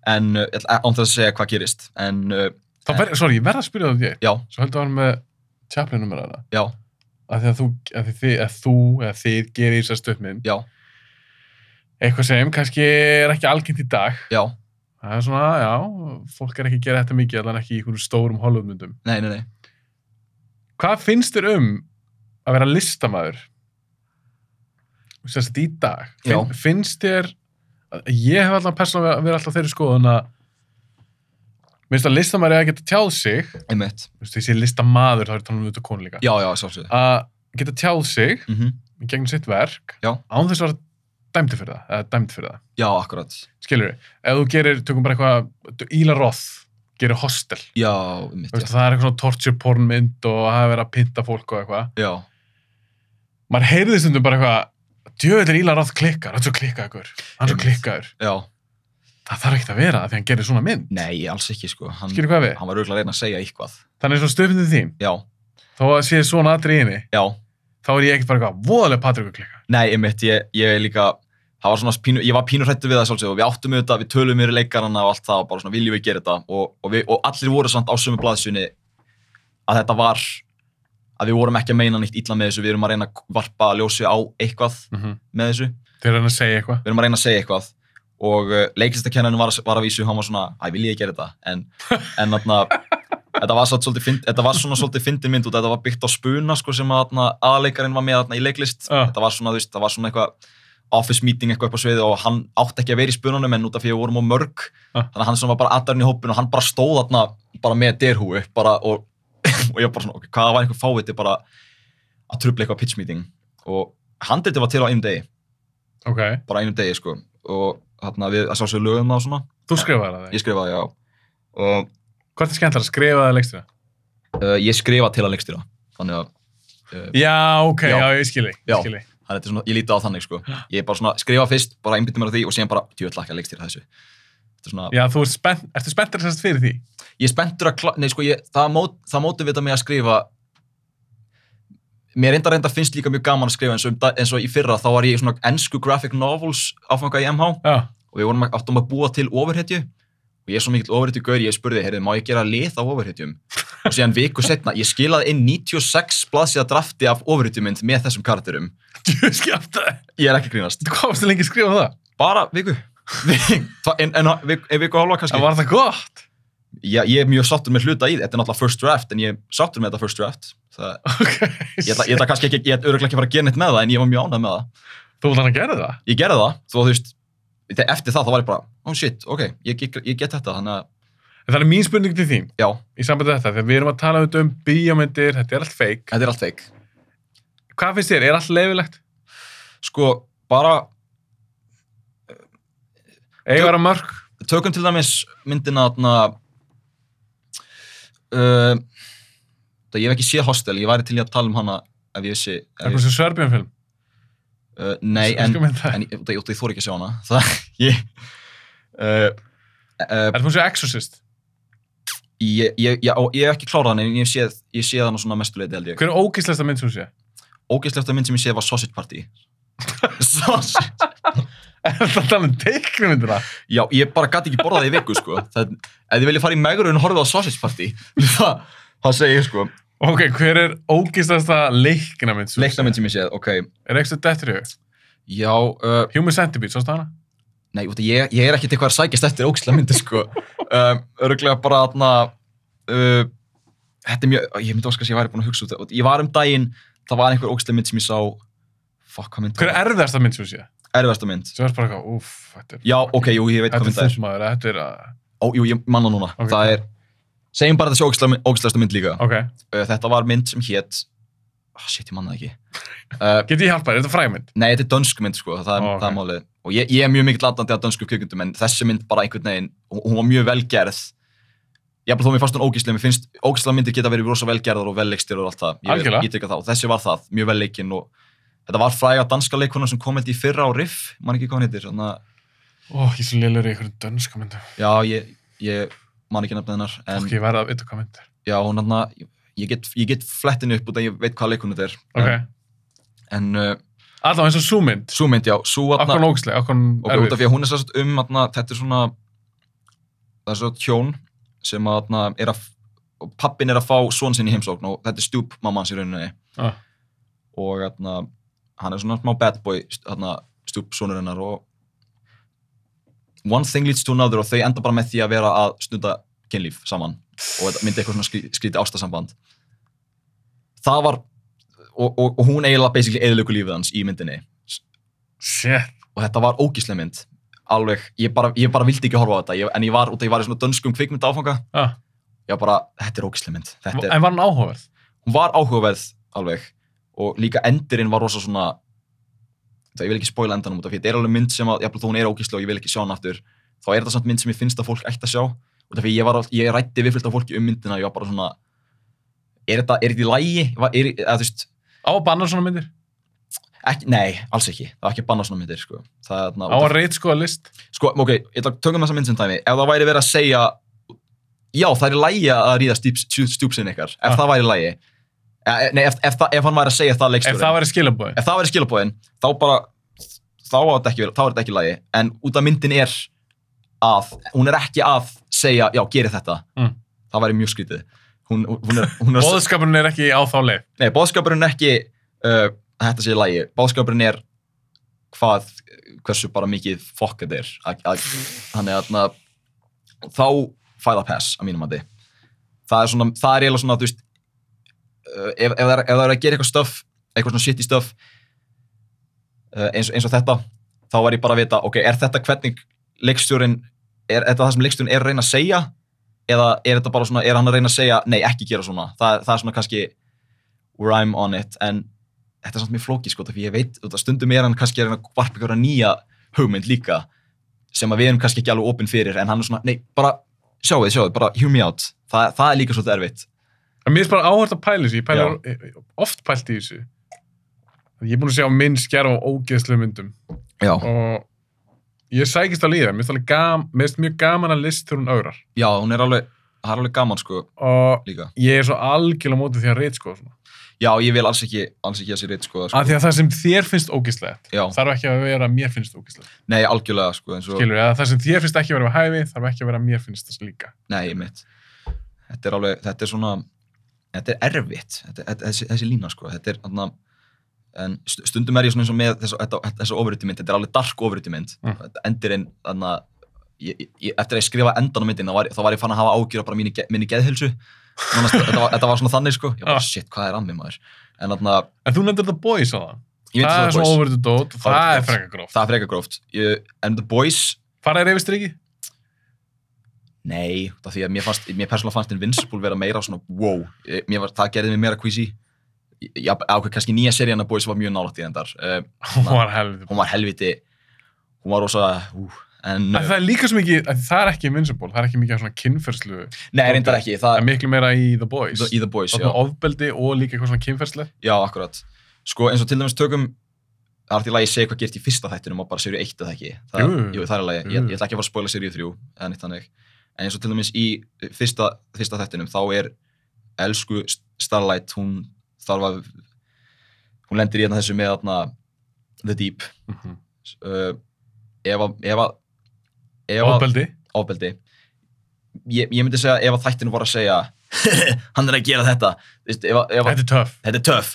S2: en, uh, ég ætla- án þess að segja hvað gerist en, uh,
S1: Þá verð, sorry, ég verð að spyrja það um því,
S2: já,
S1: svo heldur hann með Chaplin-nummer hana.
S2: já,
S1: að því að þú, að því þið, að þú eða þið gerir þessar stöðmynd
S2: já,
S1: eitthvað sem kannski er ekki algengt í dag
S2: já
S1: það er svona, já, fólk er ekki að gera þetta mikið allan ekki í einhvern stórum holvudmyndum
S2: nei, nei, nei,
S1: hvað finnst þér um að vera listamaður sérst í dag Finn,
S2: Já.
S1: finnst þér ég hef allan persónulega verið alltaf á þeirri skoðun að minnst að listamaður er að geta tjáð sig
S2: einmitt
S1: þú veist, þessi listamaður þá er tónum út og um konu líka
S2: já, já, sjálfsögðu
S1: að geta tjáð sig
S2: mm
S1: í gegnum sitt verk
S2: Já.
S1: án þess að vera dæmdi fyrir það, eða dæmd fyrir það
S2: já, akkurat,
S1: skilur við, ef þú gerir, tökum bara eitthvað Íla Roth, gerir hostel
S2: já,
S1: Þú
S2: einmitt
S1: veist,
S2: já,
S1: það er eitthvað svona torture porn mynd og það er verið að pynta fólk og eitthvað
S2: já,
S1: maður heyrði stundum bara eitthvað djöðlir Íla Roth klikkar, hann er svo klikkaður hann er svo
S2: Einmitt.
S1: klikkaður,
S2: já.
S1: það þarf ekkert að vera því hann gerir svona mynd,
S2: nei, alls ekki, sko hann,
S1: skilur hvað við
S2: hann var auðvitað að reyna að segja eitthvað
S1: þannig er svona stöfnið þín,
S2: já,
S1: þó að sé svona atriðinni,
S2: já,
S1: þá er ég ekkert bara eitthvað voðalega Patrikur klikka,
S2: Nei, einmitt, ég, ég er líka það var svona pínu, ég var pínu hrættu við það sjálfsög og við áttum auðvitað, við tölum yfir leikarana og allt það og bara svona viljum við gera þetta og, og, við, og allir voru samt á sömu blaðsjunni að þetta var að við vorum ekki að meina nýtt illa með þessu við erum að reyna að varpa ljósi á eitthvað
S1: mm -hmm.
S2: með þessu,
S1: þegar hann að segja eitthvað
S2: við erum að reyna að segja eitthvað og uh, leiklistakennan var, var að vísu hann var svona, æ, vil ég gera þetta en, en þarna Þetta var, satt svolítið, fynd- þetta var svona svolítið fyndin mynd út að þetta var byggt á spuna sko, sem að aðleikarinn var með þarna, í leiklist
S1: Já.
S2: þetta var svona, þú veist, það var svona eitthvað office meeting eitthvað upp á sviði og hann átti ekki að vera í spununum en út af því að við vorum á mörg
S1: Já.
S2: þannig að hann sem var bara aðdarinn í hópinu og hann bara stóð þarna bara með derhúi bara, og, og ég var bara svona, ok, hvað var einhver fáviti bara að trubla eitthvað pitch meeting og handriti var til á einum degi
S1: ok,
S2: bara á einum degi sko og þarna við að sjálfsögðu lögum það og svona
S1: þú skrifaði það,
S2: ég skrifaði, já og
S1: hvort er skemmtilega að skrifa það leikstýra?
S2: uh, ég skrifa til að leikstýra þannig að
S1: Já, ok, já,
S2: Já.
S1: ég skilji,
S2: Já.
S1: ég skilji.
S2: það er þetta svona, ég líti á þannig sko ég er bara svona, skrifa fyrst, bara einbytti mér að því og síðan bara, djöðla ekki að leikstýra þessu þetta er svona,
S1: Já, þú ert spennt, ertu spenntur sérst fyrir því?
S2: ég er spenntur að kla- nei sko, ég, það, mót, það mótum við þetta með að skrifa mér reyndar reyndar finnst líka mjög gaman að skrifa eins og, um, da- eins og í fyrra, þá var ég í svona ennsku graphic novels áfanga í MH
S1: Já,
S2: og við vorum að, áttum að búa til ofurhetju og ég er svo mikill ofurhetju gaur, ég spurði, heyrðu, má ég gera lið á ofurhetjum? Og síðan viku setna, ég skilaði inn 96 blaðsíða drafti af ofurhetjumynd með þessum karakterum.
S1: ég skemmt það.
S2: Ég er ekki að grínast.
S1: Þú komst lengi að skrifa um það.
S2: Bara viku. Tva- en, en, viku- en viku og hálfa kannski.
S1: Það var það gott.
S2: Já, ég er mjög sáttur með hluta í því. Þetta er náttúrulega first draft, en ég er sáttur með þetta first draft. Það,
S1: Ok,
S2: ég ætla, ég ætla kannski ekki, ég ætla örugglega ekki að fara að gera neitt með það, en ég var mjög ánægð með það.
S1: þú vilt hann að gera það?
S2: Ég gerði það, þó að þú veist, þe- eftir það þá var ég bara, oh shit, ok, ég, ég, ég get þetta, þannig að,
S1: En það er mín spurning til þín,
S2: já,
S1: í sambandi við þetta, þegar við erum að tala auðvitað um bíómyndir, þetta er allt feik.
S2: þetta er allt feik.
S1: Hvað finnst þér, er allt leifilegt?
S2: sko, bara
S1: Eigar að mörg?
S2: tökum til dæmis myndina þarna uh, það ég hef ekki séð hostel, ég væri til í að tala um hana ef ég vissi ef
S1: Eitthvað
S2: ég,
S1: sem Sörbjörnfilm?
S2: uh, nei, en,
S1: Sko mynd það.
S2: en ég, ég, ég þóri ekki að sjá hana það, ég uh, uh,
S1: Er það sem Exorcist?
S2: ég, ég, ég, á- ég hef ekki klárað hana en ég hef séð, ég séð hana svona mestuleiti held ég
S1: Hver er ógíslegsta mynd sem þú sé?
S2: ógeðslegasta mynd sem ég séð var Sausage Party Sausage
S1: Er það að tala um teiknumyndina?
S2: Já, ég bara gæti ekki borðað í viku, sko. Það, ef þið viljið fara í megrun og horfa á Sausage Party, það, það segi ég, sko.
S1: Ok, hver er ógíslegsta leiknamynd? sem þú sér?
S2: Leiknamynd sem ég séð, ok.
S1: Er eitthvað dettur í hug?
S2: Já, uh,
S1: Human Centipede, sástu hana?
S2: nei, út, af- ég, ég er ekkert eitthvað að sækjast eftir ógislega myndi, sko. Um, öruglega bara, þarna, uh, þetta er mjög, ég myndi óskast að ég væri búin að hugsa út það. Ég var um daginn, það var einhver ógstlega mynd sem ég sá fuck, hvað mynd
S1: Hver er erfiðasta mynd sem þú sé?
S2: erfasta mynd
S1: Svo er bara eitthvað, úff, þetta er...
S2: já, ok, jú, ég veit hvað
S1: Þetta er
S2: mynd það er
S1: þess maður, þetta er að...
S2: Ó, jú, ég manna núna,
S1: Ok.
S2: það er segjum bara þessi ógstlega, ógstlegasta mynd líka
S1: Ok,
S2: okay. þetta var mynd sem hétt oh, shit, ég manna það ekki uh,
S1: get ég hjálpað, er þetta frægmynd?
S2: nei, þetta er dönsk mynd sko, það er,
S1: Ó, ok.
S2: það er málið og ég, ég er mjög mikill latandi að dönsku kvikundum en þessi mynd bara einhvern veginn, hún hún var mjög velgerð ég bara þó mér fannst hún ógíslega mér finnst ógíslega myndir geta verið rosa velgerðar og velleikstir og allt það, ég
S1: Algjörlega.
S2: vil ítrykka það og þessi var það, mjög velleikinn og þetta var fræga danska leikona sem kom held í fyrra á Riff, man ekki hvað hann heitir þannig að,
S1: Ó, ég er svo lélur í einhverjum dönska myndum.
S2: já, ég, ég man ekki nefna hennar en
S1: Ok, ég verða að vita hvað mynd er.
S2: já, hún hann að, ég get, ég get flettinu upp út að ég veit hvað leikona þetta er
S1: Ok,
S2: en, en uh,
S1: allavega eins og sú mynd.
S2: Sú mynd, já, sú
S1: Akkur
S2: atna,
S1: nógsleg, akkur
S2: og út af
S1: erfið.
S2: því að hún er sérst um atna, þetta er svona það er svo hjón sem að atna, er að pappin er að fá svon sinni í heimsókn og þetta er stjúp mamma hans í rauninni
S1: Ah.
S2: og atna, hann er svona smá bad boy atna, stjúp sonur hennar og one thing leads to another og þau enda bara með því að vera að snunda kynlíf saman og þetta myndi eitthvað svona skrý, skrítið ástasamband það var og, og, og hún eiginlega basically eðilöku lífið hans í myndinni
S1: Shit.
S2: og þetta var ógíslega mynd alveg, ég bara, ég bara vildi ekki horfa á þetta ég, en ég var, út af ég var í svona dönskum kvikmynda áfanga
S1: Ah.
S2: ég var bara, þetta er ógíslega mynd þetta er,
S1: En var hann áhugaverð?
S2: hún var áhugaverð alveg og líka endurinn var rosa svona það, ég vil ekki spoila endanum út af því þetta er alveg mynd sem að, jafnvel þó hún er ógíslega og ég vil ekki sjá hann aftur þá er þetta samt mynd sem ég finnst að fólk ætti að sjá út af því ég, var, all- ég rætti viðfylgt af fólki um myndina ég var bara svona er þetta, er þetta í lægi? Var, er, eða, þú veist,
S1: Á að banna svona myndir?
S2: ekki, nei, alls ekki það var ekki að banna svona myndir sko. það, er þarna-
S1: Á
S2: út af-
S1: að reit sko að list?
S2: Sko, ok, ég ætla að tökum þessa mynd sem dæmi. Ef það væri verið að segja, já, það er í lagi að ríða stjúpsinn ykkar, ef
S1: Ah.
S2: það væri í lagi. Eh, Nei, ef, ef, það, ef hann væri að segja það
S1: Ef
S2: leikstjórinn.
S1: það væri skilabóði?
S2: Ef það væri skilabóðin, þá bara, þá er þetta ekki, verið- þá er þetta ekki í lagi. En út af myndin er að, hún er ekki að segja, já, geri þetta.
S1: Mm.
S2: Það væri mjög skrítið. Hún, hún er, hún er að-
S1: Bóðskapurinn er ekki á þá leið.
S2: Nei, bóðskapurinn er ekki uh, að þetta sé í lagi. Bóðskapurinn er hvað, hversu bara mikið fokk þetta er. Að- að- Þannig að na, þá fæða pass að mínum að þið. Það er svona, það er eiginlega svona, þú veist, uh, ef, ef, það er, ef það er að gera eitthvað stöf, eitthvað svona shitty stöf, uh, eins, eins og þetta, þá var ég bara að vita, ok, er þetta hvernig leikstjórin, er þetta það sem leikstjórin er að reyna að segja? Eða er þetta bara svona, er hann að reyna að segja, nei, ekki gera svona? Það, það er svona kannski, where I'm on it en þetta er samt mjög flókið sko því ég veit, þetta stundum er hann kannski að reyna að varpa ykkur nýja hugmynd líka sem að við erum kannski ekki alveg opinn fyrir en hann er svona, nei, bara sjáu þið, sjáu þið, bara hear me out, Þa, það er líka svolítið erfitt
S1: En mér er bara áhört að pæla í þessu. Ég pæla ég- oft pælt í þessu. Ég er búin að sjá minn skjara á ógeðslu myndum.
S2: já,
S1: og ég sækist alveg í það, mér finnst alveg gam, mér finnst mjög gaman að list þegar hún ögrar
S2: já, hún er alveg það er alveg gaman sko
S1: og
S2: líka
S1: ég er svo algjörlega á móti því að reyt sko, svona.
S2: já, ég vil alls ekki, alls ekki að sér eitt sko,
S1: að
S2: sko.
S1: því að það sem þér finnst ógislegt
S2: já,
S1: þarf ekki að vera að mér finnst ógislegt
S2: nei, algjörlega sko eins og,
S1: skilur, eða það sem þér finnst ekki að vera við hæfi þarf ekki að vera að mér finnst þess líka
S2: nei, mitt þetta er alveg, þetta er svona þetta er erfitt, þetta, þetta, þessi, þessi lína sko, þetta er þarna en st- stundum er ég svona eins og með þessa, þetta- þessa ofurýttimynd, þetta er alveg dark ofurýttimynd
S1: Mm.
S2: þetta endir inn, þannig að ég, ég, eftir að ég skrifa endan á myndin þá var, þá var ég fann að hafa ágjur á bara minni, ge- minni geðhilsu Nánast, þetta, var, þetta var svona þannig sko ég
S1: Ah.
S2: bara shit, hvað er að mig maður en þannig að,
S1: en þú nefndir þetta boys á það
S2: ég veit
S1: það er
S2: það
S1: svo
S2: boys,
S1: ofurðu dót og
S2: Það
S1: það er
S2: er gróft.
S1: frekar gróft
S2: það er frekar gróft ég, en the boys,
S1: faraði reyfist ekki?
S2: nei það því að mér fannst, mér persónulega fannst Invincible vera meira svona, wow, Ég- mér var, það gerði mér meira kvísi, já, ákveð kannski nýja serían að boys var mjög nálægt í endar uh,
S1: hún var helvið
S2: hún var helviti hún var rosa ú, en,
S1: Það er líka svo mikið, að það er ekki invincible, það er ekki mikið af svona kynferðslu,
S2: nei, reyndar ekki
S1: það er
S2: það,
S1: miklu meira í The Boys.
S2: í The Boys,
S1: Það
S2: já,
S1: er ofbeldi og líka eitthvað svona kynferðslu.
S2: já, akkurat sko, eins og til dæmis tökum það er alltaf í lagi að segja hvað gerst í fyrsta þættinum og bara serið eitt eða ekki, það,
S1: Jú. mm.
S2: jú, það er í lagi ég,
S1: Jú.
S2: ég ætla ekki að fara að spoila serið þrjú eða neitt þannig en eins og til dæmis í fyrsta, fyrsta þættinum þá er elsku Starlight hún þarf að hún lendir í hérna þessu með hérna, The Deep uh, ef að ef að ef að-
S1: Ofbeldi.
S2: ofbeldi ég, ég myndi segja ef að þættinu voru að segja hann er að gera þetta Vist, ef, að- ef, að-
S1: Þetta er töff.
S2: þetta er töff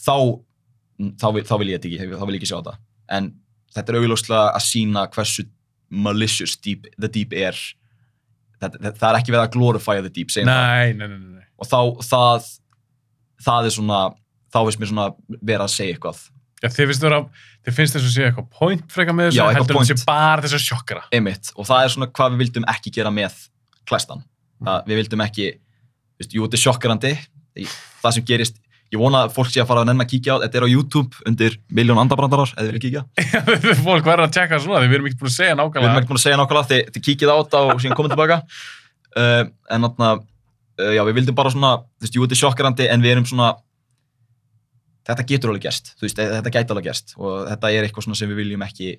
S2: þá, þá, vil- þá vil ég þetta ekki þá vil ég ekki sjá þetta en þetta er augljóslega að sína hversu malicious deep, the deep er það, það, það er ekki verið að glorify the deep segjum það.
S1: Nei, nei, nei, nei, nei.
S2: og þá það það er svona þá veist mér svona vera að segja eitthvað
S1: Já, þið finnst vera, þið finnst þess að sé eitthvað point frekar með þessu,
S2: Já, eitthvað
S1: heldur en
S2: point.
S1: sé bara þess að sjokkra.
S2: einmitt, og það er svona hvað við vildum ekki gera með klæstan það, við vildum ekki, þú veist, jú, þetta er sjokkarandi Í- það sem gerist ég vona að fólk sé að fara að nenn að kíkja á þetta er á YouTube undir miljón andabrandarar eða vil kíkja,
S1: Fólk verður að tjekka svona, því við erum ekki búin að segja
S2: við erum
S1: nákvæmlega.
S2: ekki búin að segja nákvæmlega þið, þið kíkið á þetta og síðan komum tilbaka uh, en þarna uh, já, við vildum bara svona, þú veist, jú, þetta er sjokkarandi en við erum svona þetta getur alveg gerst, þú veist, þetta gæti alveg gerst og þetta er eitthvað svona sem við viljum ekki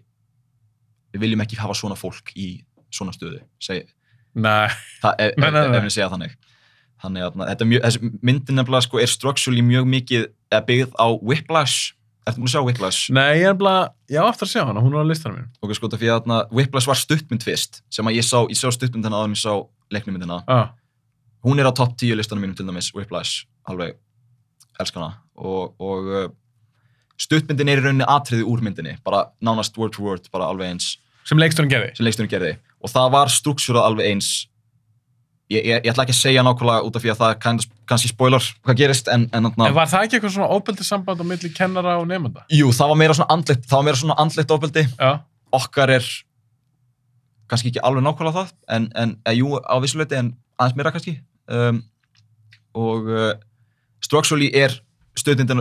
S2: við viljum ekki hafa svona fólk í svona stöðu, seg,
S1: Nei,
S2: Það- ef
S1: Nei,
S2: ef-
S1: nei, nei.
S2: ef við segja þannig þannig að þetta er mjög, þessi myndin nefnilega sko er structurally mjög mikið eða byggð á Whiplash Ertu búin að sjá Whiplash?
S1: nei, ég er bara, ég á aftur að sjá hana, hún er á listanum mínum.
S2: Ok, sko, það fyrir að þarna, Whiplash var stuttmynd fyrst sem að ég sá, ég sá stuttmyndina áður en ég sá leiknumyndina.
S1: Ah,
S2: Hún er á topp 10 listanum mínum til dæmis, Whiplash, alveg elska hana og, og uh, stuttmyndin er í rauninni atriði úr myndinni, bara nánast word to word, bara alveg eins
S1: sem leiksturinn gerði.
S2: sem leikstunum gerði og það var struktúrað alveg eins ég, ég, ég ætla ekki að segja nákvæmlega út af því að það er kind of- kannski spoiler hvað gerist en, en,
S1: En
S2: en
S1: var það ekki eitthvað svona óbeldi samband á milli kennara og nefnda?
S2: jú, það var meira svona andlit það var meira svona andlit ofbeldi
S1: Já,
S2: okkar er kannski ekki alveg nákvæmlega það en, en e, jú, á vissuleiti en aðeins meira kannski um, og uh, structurally er stöðmyndin,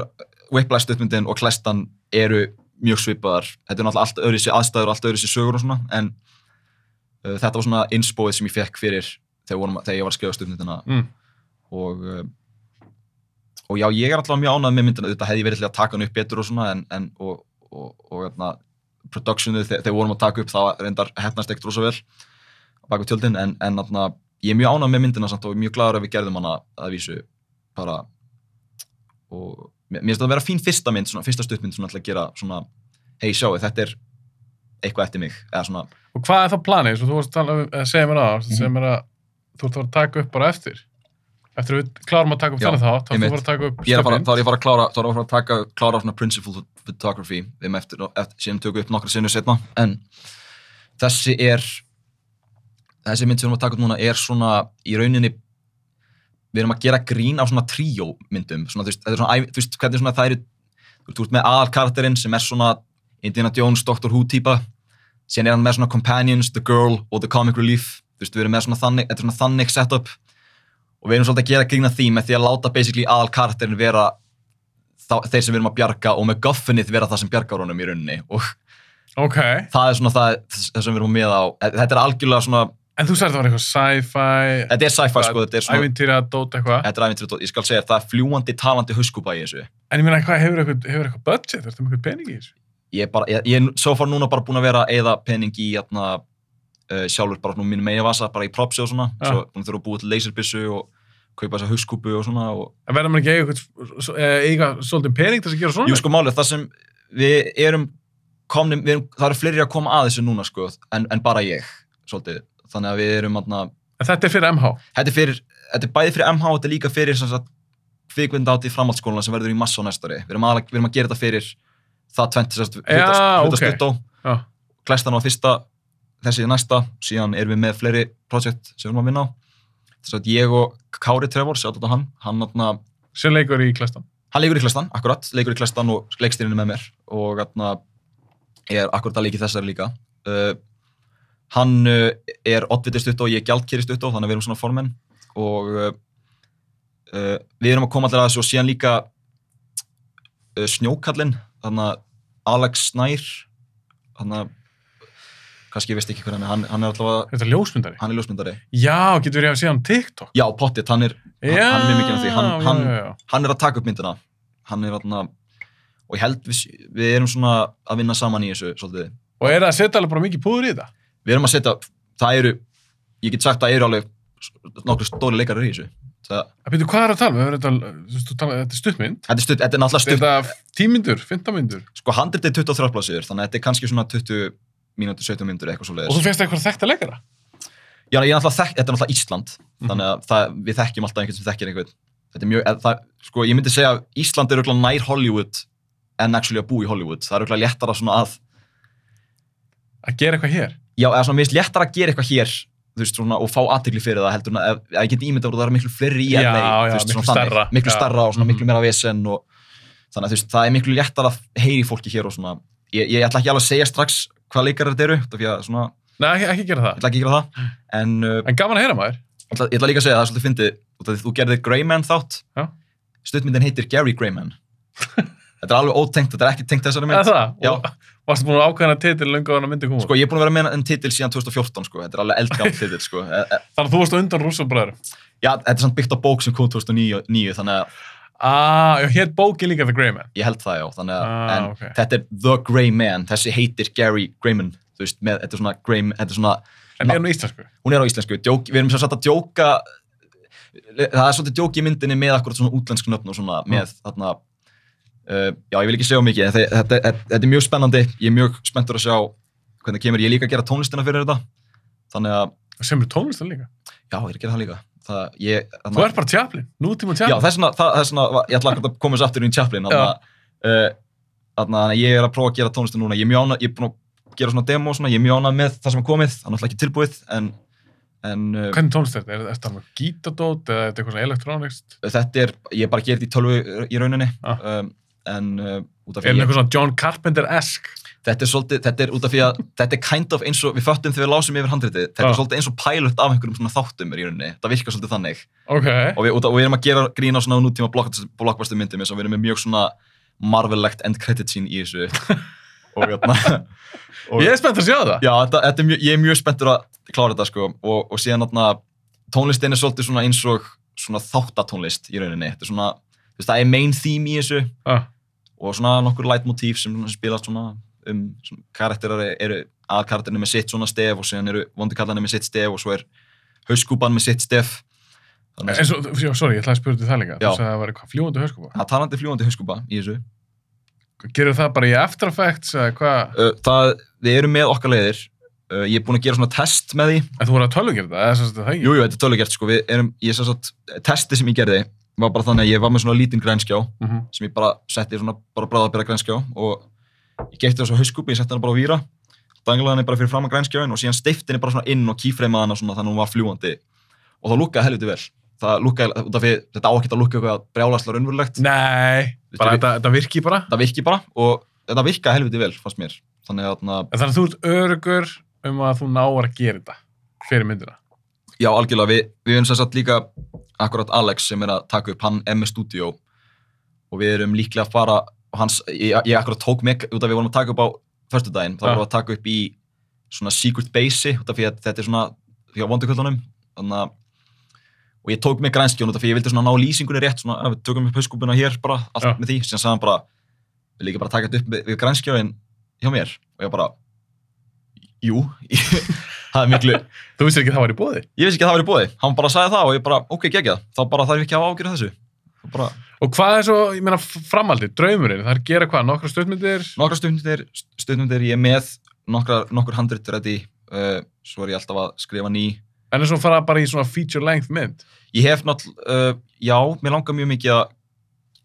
S2: Whiplash stöðmyndin og Klestan eru mjög svipaðar þetta er náttúrulega allt öðru sér aðstæður og allt öðru sér sögur og svona en uh, þetta var svona innspóið sem ég fekk fyrir þegar, vorum, þegar ég var að skrifa stöðmyndina
S1: Mm.
S2: og uh, og já, ég er alltaf mjög ánægð með myndina þetta hefði ég verið til að taka hann upp betur og svona en, en og, og, og, hérna, og productionið þegar, þegar við vorum að taka upp það reyndar hefnast ekkert rosa vel bak við tjöldin en, en atna, ég er mjög ánægð með myndina samt og mjög gladur að við gerðum hana að vísu bara og mér mér finnst það að vera fín fyrsta mynd svona, fyrsta stuttmynd svona alltaf að gera svona hei sjáu þetta er eitthvað eftir mig eða svona
S1: og hvað er það planið? Svo þú varst að tala um, eh, segja mér
S2: Mhm.
S1: að, segja mér að þú ert að fara að taka upp bara eftir. Eftir að við klárum að taka upp
S2: Já,
S1: þannig þá, þá ert þú
S2: einmitt.
S1: að fara að taka upp
S2: ég er að fara,
S1: stöfnin.
S2: þá er ég að fara að klára þá er ég að fara að taka klára svona principal photography um eftir, eftir sem tökum við upp nokkra sinu setna en þessi er þessi mynd sem við erum að taka upp núna er svona í rauninni við erum að gera grín á svona tríó myndum svona, þú, veist, þetta er svona, ævi- þú veist hvernig svona það eru þú veist, þú ert með aðalkarakterinn sem er svona Indiana Jones, Doctor Who típa síðan er hann með svona companions, the girl og the comic relief þú veist við erum með svona þannig, þetta er svona þannig setup og við erum svolítið að gera grína því með því að láta basically aðal karakterin vera þá, þeir sem við erum að bjarga og með goffinnið vera það sem bjargar honum í rauninni og
S1: Ok,
S2: það er svona það, það sem við erum með á þetta er algjörlega svona,
S1: en þú sagði það var eitthvað sci-fi,
S2: þetta er sci-fi sko þetta er svona,
S1: ævintýra, dót eitthvað.
S2: þetta er æfintrið ég skal segja, þér, það er fljúandi talandi huskupa í þessu
S1: En ég meina, hvað hefur eitthvað, hefur eitthvað budget? Ertu með eitthvað pening í þessu?
S2: ég er bara, ég, ég er svo far núna bara búin að vera að eða pening í jatna, uh, sjálfur bara nú mínu meginvasa, bara í propsi og svona
S1: Já.
S2: svo búin að þurfa að búa til laserbissu og kaupa þessa huskupu og svona og
S1: En verður maður ekki eiga, eitthvað, s- eh, eiga svolítið pening til þess að gera svona?
S2: Jú sko málið, það sem við erum komnum, við erum, það eru fleiri að koma að þessu núna sko, en, en bara ég svolítið, þannig að við erum atna,
S1: En þetta er fyrir MH.
S2: þetta er fyrir, þetta er bæði fyrir MH og þetta er líka fyrir sem sagt kvikvind átt í framhaldsskóluna sem verður í massa á næstari, við erum, aðalega, við erum að gera þetta fyrir það tvent, sem sagt,
S1: Já, ok.
S2: stuttó
S1: Já.
S2: klæstan á fyrsta, þessi er næsta síðan erum við með fleiri projekt sem við erum að vinna á, þess að ég og Kári Trevor, sjá þetta hann, hann atna,
S1: Sem leikur í klæstan.
S2: hann leikur í klestan, akkurat, leikur í klestan og leikstýrinu með mér og atna, ég er akkurat að leiki þessari líka uh, hann uh, er oddvitið stutt og ég er gjaldkýri stutt og þannig að við erum svona formenn og uh, uh, við erum að koma allir að þessu og síðan líka uh, snjókallinn þannig að Alex Snær þannig að kannski ég veist ekki hvernig hann, er, hann er alltaf
S1: Þetta er ljósmyndari.
S2: hann er ljósmyndari
S1: Já, getur verið að sé hann TikTok.
S2: já, pottit, hann er Hann-
S1: já,
S2: hann er mjög mikið af því. Hann-
S1: já,
S2: hann-
S1: já, já.
S2: hann er að taka upp myndina hann er þarna og ég held við, við erum svona að vinna saman í þessu svolítið.
S1: Og er það að setja alveg bara mikið púður í þetta?
S2: við erum að setja, það eru ég get sagt að það eru alveg nokkur stóri leikarar í þessu það,
S1: Það byrju, hvað er að tala? um? Við höfum þetta, þú veist, þú tala, þetta er stuttmynd.
S2: þetta, er stutt, þetta er náttúrulega
S1: Stutt.
S2: stutt
S1: Þetta tímyndur, fintamyndur.
S2: sko handrit er 23 plásiður þannig að þetta er kannski svona 20 mínútur, 17 mínútur
S1: Og
S2: eitthvað
S1: þú
S2: svoleiðis
S1: fegst eitthvað þekkt að leikara.
S2: Já, ég er náttúrulega þekk, þetta er náttúrulega Ísland
S1: Mhm.
S2: þannig að það, við þekkjum alltaf einhvern sem þekkir einhvern þetta er mjög, eða það, sko ég myndi segja að Ísland er auðvitað nær Hollywood en actually að búa í Hollywood það er auðvitað léttara svona að
S1: Að gera eitthvað hér.
S2: já, eða svona, mér finnst léttar að gera eitthvað hér þú veist, svona, og fá aðtegli fyrir það heldur en að, að ég get ímyndað að það eru miklu fleiri í
S1: Já,
S2: LA,
S1: já,
S2: þú veist,
S1: miklu
S2: svona þannig,
S1: stærra,
S2: miklu
S1: já. Mhm.
S2: starra og svona miklu meira vesen og, þannig að þú veist, það er miklu léttar að heyri fólki hér og svona ég, ég ætla ekki alveg að segja strax hvað leikar þetta eru út af því að svona,
S1: Nei, ekki, ekki gera
S2: ég
S1: það.
S2: ætla ekki að gera það en uh,
S1: En gaman að heyra maður.
S2: ég, ætla, ég ætla líka að segja að það er svolítið fyndið út af því þú gerðið Greyman þátt
S1: Já.
S2: stuttmyndin heitir Gary Greyman þetta er alveg ótengt, þetta er ekki tengt þessari
S1: Eða
S2: mynd
S1: það?
S2: Já.
S1: Og varstu búin að ákveðna titil lunga á hana myndi koma.
S2: sko ég er búin að vera með enn titil síðan 2014 sko, þetta er alveg eldgátt titil sko E- e-
S1: Þannig að þú varst á undan rússabræður.
S2: já, þetta er samt byggt á bók sem kom 2009 níu, þannig að
S1: Ah, já, hér bókin líka The Grey Man.
S2: ég held það já þannig að,
S1: Ah,
S2: en
S1: ok.
S2: þetta er The Grey Man, þessi heitir Gary Greyman þú veist, með, þetta er svona Grey, þetta er svona
S1: En er hún íslensku?
S2: hún er á íslensku, djók, við erum sem sagt að djóka það er svolítið djók í myndinni með akkurat svona útlensk nöfn og
S1: Ah.
S2: svona með þarna uh, já, ég vil ekki segja of mikið, en þe- þetta, þetta, þetta er mjög spennandi ég er mjög spenntur að sjá hvernig það kemur, ég er líka að gera tónlistina fyrir þetta þannig að,
S1: Sem er tónlistar líka.
S2: já, ég er að gera það líka það, ég,
S1: Þú ert bara Chaplin. Nútíma
S2: já,
S1: Chaplin.
S2: það er svona, það, það er svona ég ætla akkurat að koma þessu aftur inn í Chaplin þannig að, uh, þannig að ég er að prófa að gera tónlistina núna, ég er mjög ánað, ég er búin að gera svona demo, og svona, ég er mjög ánað með það sem er komið, það er náttúrulega ekki tilbúið en, en uh,
S1: Hvernig tónlist er þetta? Er þetta alveg gítadót eða er þetta eitthvað svona elektrónist?
S2: þetta er, ég er bara að gera þetta í tölvu í rauninni
S1: Ah.
S2: um, en uh, út af
S1: Er þetta
S2: því ég,
S1: eitthvað svona John Carpenter-esk?
S2: þetta er svolítið, þetta er út af því að þetta er kind of eins og, við föttum þegar við lásum yfir handritið þetta
S1: Ah.
S2: er svolítið eins og pilot af einhverjum svona þáttum í rauninni, það virkar svolítið þannig
S1: Ok.
S2: og við, út af, og við erum að gera grína svona nútíma blockbuster blockbuster myndum eins og við erum með mjög svona marvelegt end credit scene í þessu og hérna og-
S1: Ég er spennt að sjá það.
S2: Já, þetta, þetta er mjög, ég er mjög spenntur að klára þetta sko og, og síðan þarna tónlistin er svolítið svona eins og svona þáttatónlist í rauninni. Þetta er svona, þú veist, það er main theme í þessu
S1: Ah,
S2: og svona nokkur leitmotíf sem svona spilast svona um svona karakterar e- eru aðalkarakterinu með sitt svona stef og síðan eru vondikallarnir með sitt stef og svo er hauskúpan með sitt stef. Þannig
S1: En
S2: að
S1: svo, já, sorry, ég ætlaði að spyrja til það líka.
S2: Já.
S1: Þú sagði að það var eitthvað fljóandi hörskúpa.
S2: það er talandi fljúandi hauskúpa í þessu.
S1: Gerur það bara í After Effects eða hvað?
S2: Uh, það, við erum með okkar leiðir. Uh, ég er búinn að gera svona test með því
S1: En þú voru að tölvugjörða það, eða sem sagt það ekki?
S2: Jú, jú, þetta er tölugert sko, við erum, ég sem sagt, testið sem ég gerði var bara þannig að ég var með svona lítinn grænskjá
S1: Mhm.
S2: sem ég bara setti svona, bara bráða að byrja grænskjá og ég geti þessu hauskúpi, ég setti hana bara á víra danglaði henni bara fyrir fram að grænskjáin og síðan steifti henni bara svona inn og kýfreimaði hana svona þannig að hún var fljúandi og það lúkkaði helviti vel það lúkkaði, út af því þetta á ekkert að lúkka eitthvað brjálaslega raunverulegt
S1: Nei, bara
S2: við-
S1: þetta, þetta virki bara.
S2: það virki bara og þetta virkaði helviti vel fannst mér, þannig að þarna-
S1: En þannig að þú ert örugur um að þú náar að gera þetta fyrir myndina.
S2: Já, algjörlega, við, við erum sem sagt líka akkurat Alex sem er að taka upp hann er með Studio og við erum líklega að fara og hans, ég, ég akkurat tók mig út af við vorum að taka upp á förstudaginn, þá
S1: Ja.
S2: vorum við að taka upp í svona Secret Base út af því að þetta er svona því að vonduköldunum þannig að og ég tók mig grænskjón út af því að ég vildi svona ná lýsingunni rétt svona, að við tökum upp hauskúpuna hér bara, allt
S1: Ja.
S2: með því, sem sagðan bara við líka bara að taka þetta upp við, við grænskjóin hjá mér og ég bara jú, það er miklu
S1: Þú vissir ekki að það var í bóði.
S2: ég vissi ekki að það var í bóði, hann bara sagði það og ég bara, ok, geggja, þá bara þarf ég ekki að hafa ágjörð þessu Þá bara,
S1: Og hvað er svo, ég meina, framaldið, draumurinn, það er að gera hvað, nokkra stöðmyndir?
S2: nokkra stundundir, stundundir ég er með nokkra, nokkur handrit ready uh, svo er ég alltaf að skrifa ný
S1: En þess að fara bara í svona feature length mynd.
S2: ég hef náttúrulega, uh, já, mér langar mjög mikið að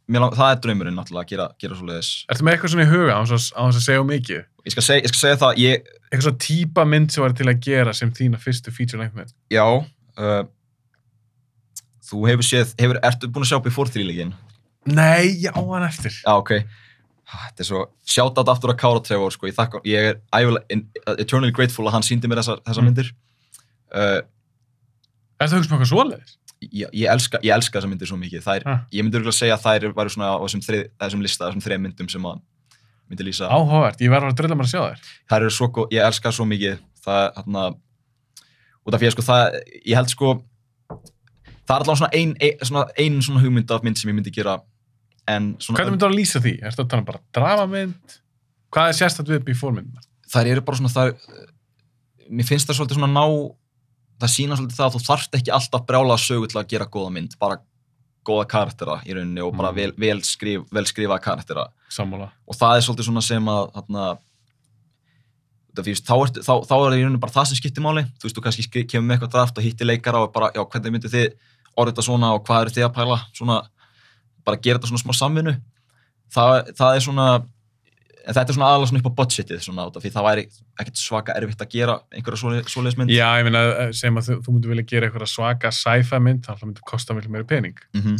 S2: mér lang, það er draumurinn náttúrulega að gera, gera svo leiðis
S1: Ertu með eitthvað svona í huga á þess að, án þess að segja um mikið?
S2: ég skal, seg, ég skal segja það, ég,
S1: Eitthvað svona típa mynd sem var til að gera sem þína fyrstu feature length mynd?
S2: já uh, þú hefur séð, hefur, ertu búin að sjá before 3 leikinn?
S1: Nei, já, hann eftir.
S2: Já, ok. Ah, Þetta er svo, sjátt átt aftur að Kára Trevor, sko, ég þakka, ég er ævilega, in- eternally grateful að hann síndi mér þessar, þessar
S1: Mm.
S2: myndir. Uh,
S1: Er það hugsa með eitthvað svoleiðis?
S2: ég, ég, elska, ég elska þessar myndir svo mikið. Þær,
S1: Ah.
S2: Ég myndi örgulega segja að þær væri svona á þessum, þrið, þessum lista, þessum þreja myndum sem að myndi lýsa.
S1: Áhugavert, ég verður að drilla mér að sjá þær.
S2: Þær eru svo, gó- ég elska þær svo mikið, það, hérna, út af því að sko það, ég held sko, það er allavega svona ein, ein, svona, ein svona hugmynd af mynd sem ég myndi gera, en svona...
S1: Hvernig myndir þú að lýsa því? Er þetta bara dramamynd? Hvað er sérstætt við before myndina?
S2: þær eru bara svona þær, mér finnst það svolítið svona ná það sína svolítið það að þú þarft ekki alltaf brjála sögu til að gera góða mynd bara góða karaktera í rauninni og bara
S1: Mm.
S2: vel, vel, skrif, vel skrifa karaktera
S1: Sammála.
S2: og það er svolítið svona sem að þarna, það fyrst, þá, ertu, þá, þá er það í rauninni bara það sem skiptir máli þú veist, þú kannski skri- kemur með eitthvað draft og hittir leikara og bara, já, hvernig myndir þið orða þetta svona og hvað eru þið að pæla svona, bara gera þetta svona smá samvinnu það, það er svona en þetta er svona aðalega svona upp á budgetið svona, út af því það væri ekkert svaka erfitt að gera einhverja svoleið- svoleiðismynd
S1: Já, ég meina, eh, segjum að þú, þú myndir vilja gera eitthvað svaka sci-fi mynd, þannig að það myndir kosta mjög meira pening.
S2: Mhm.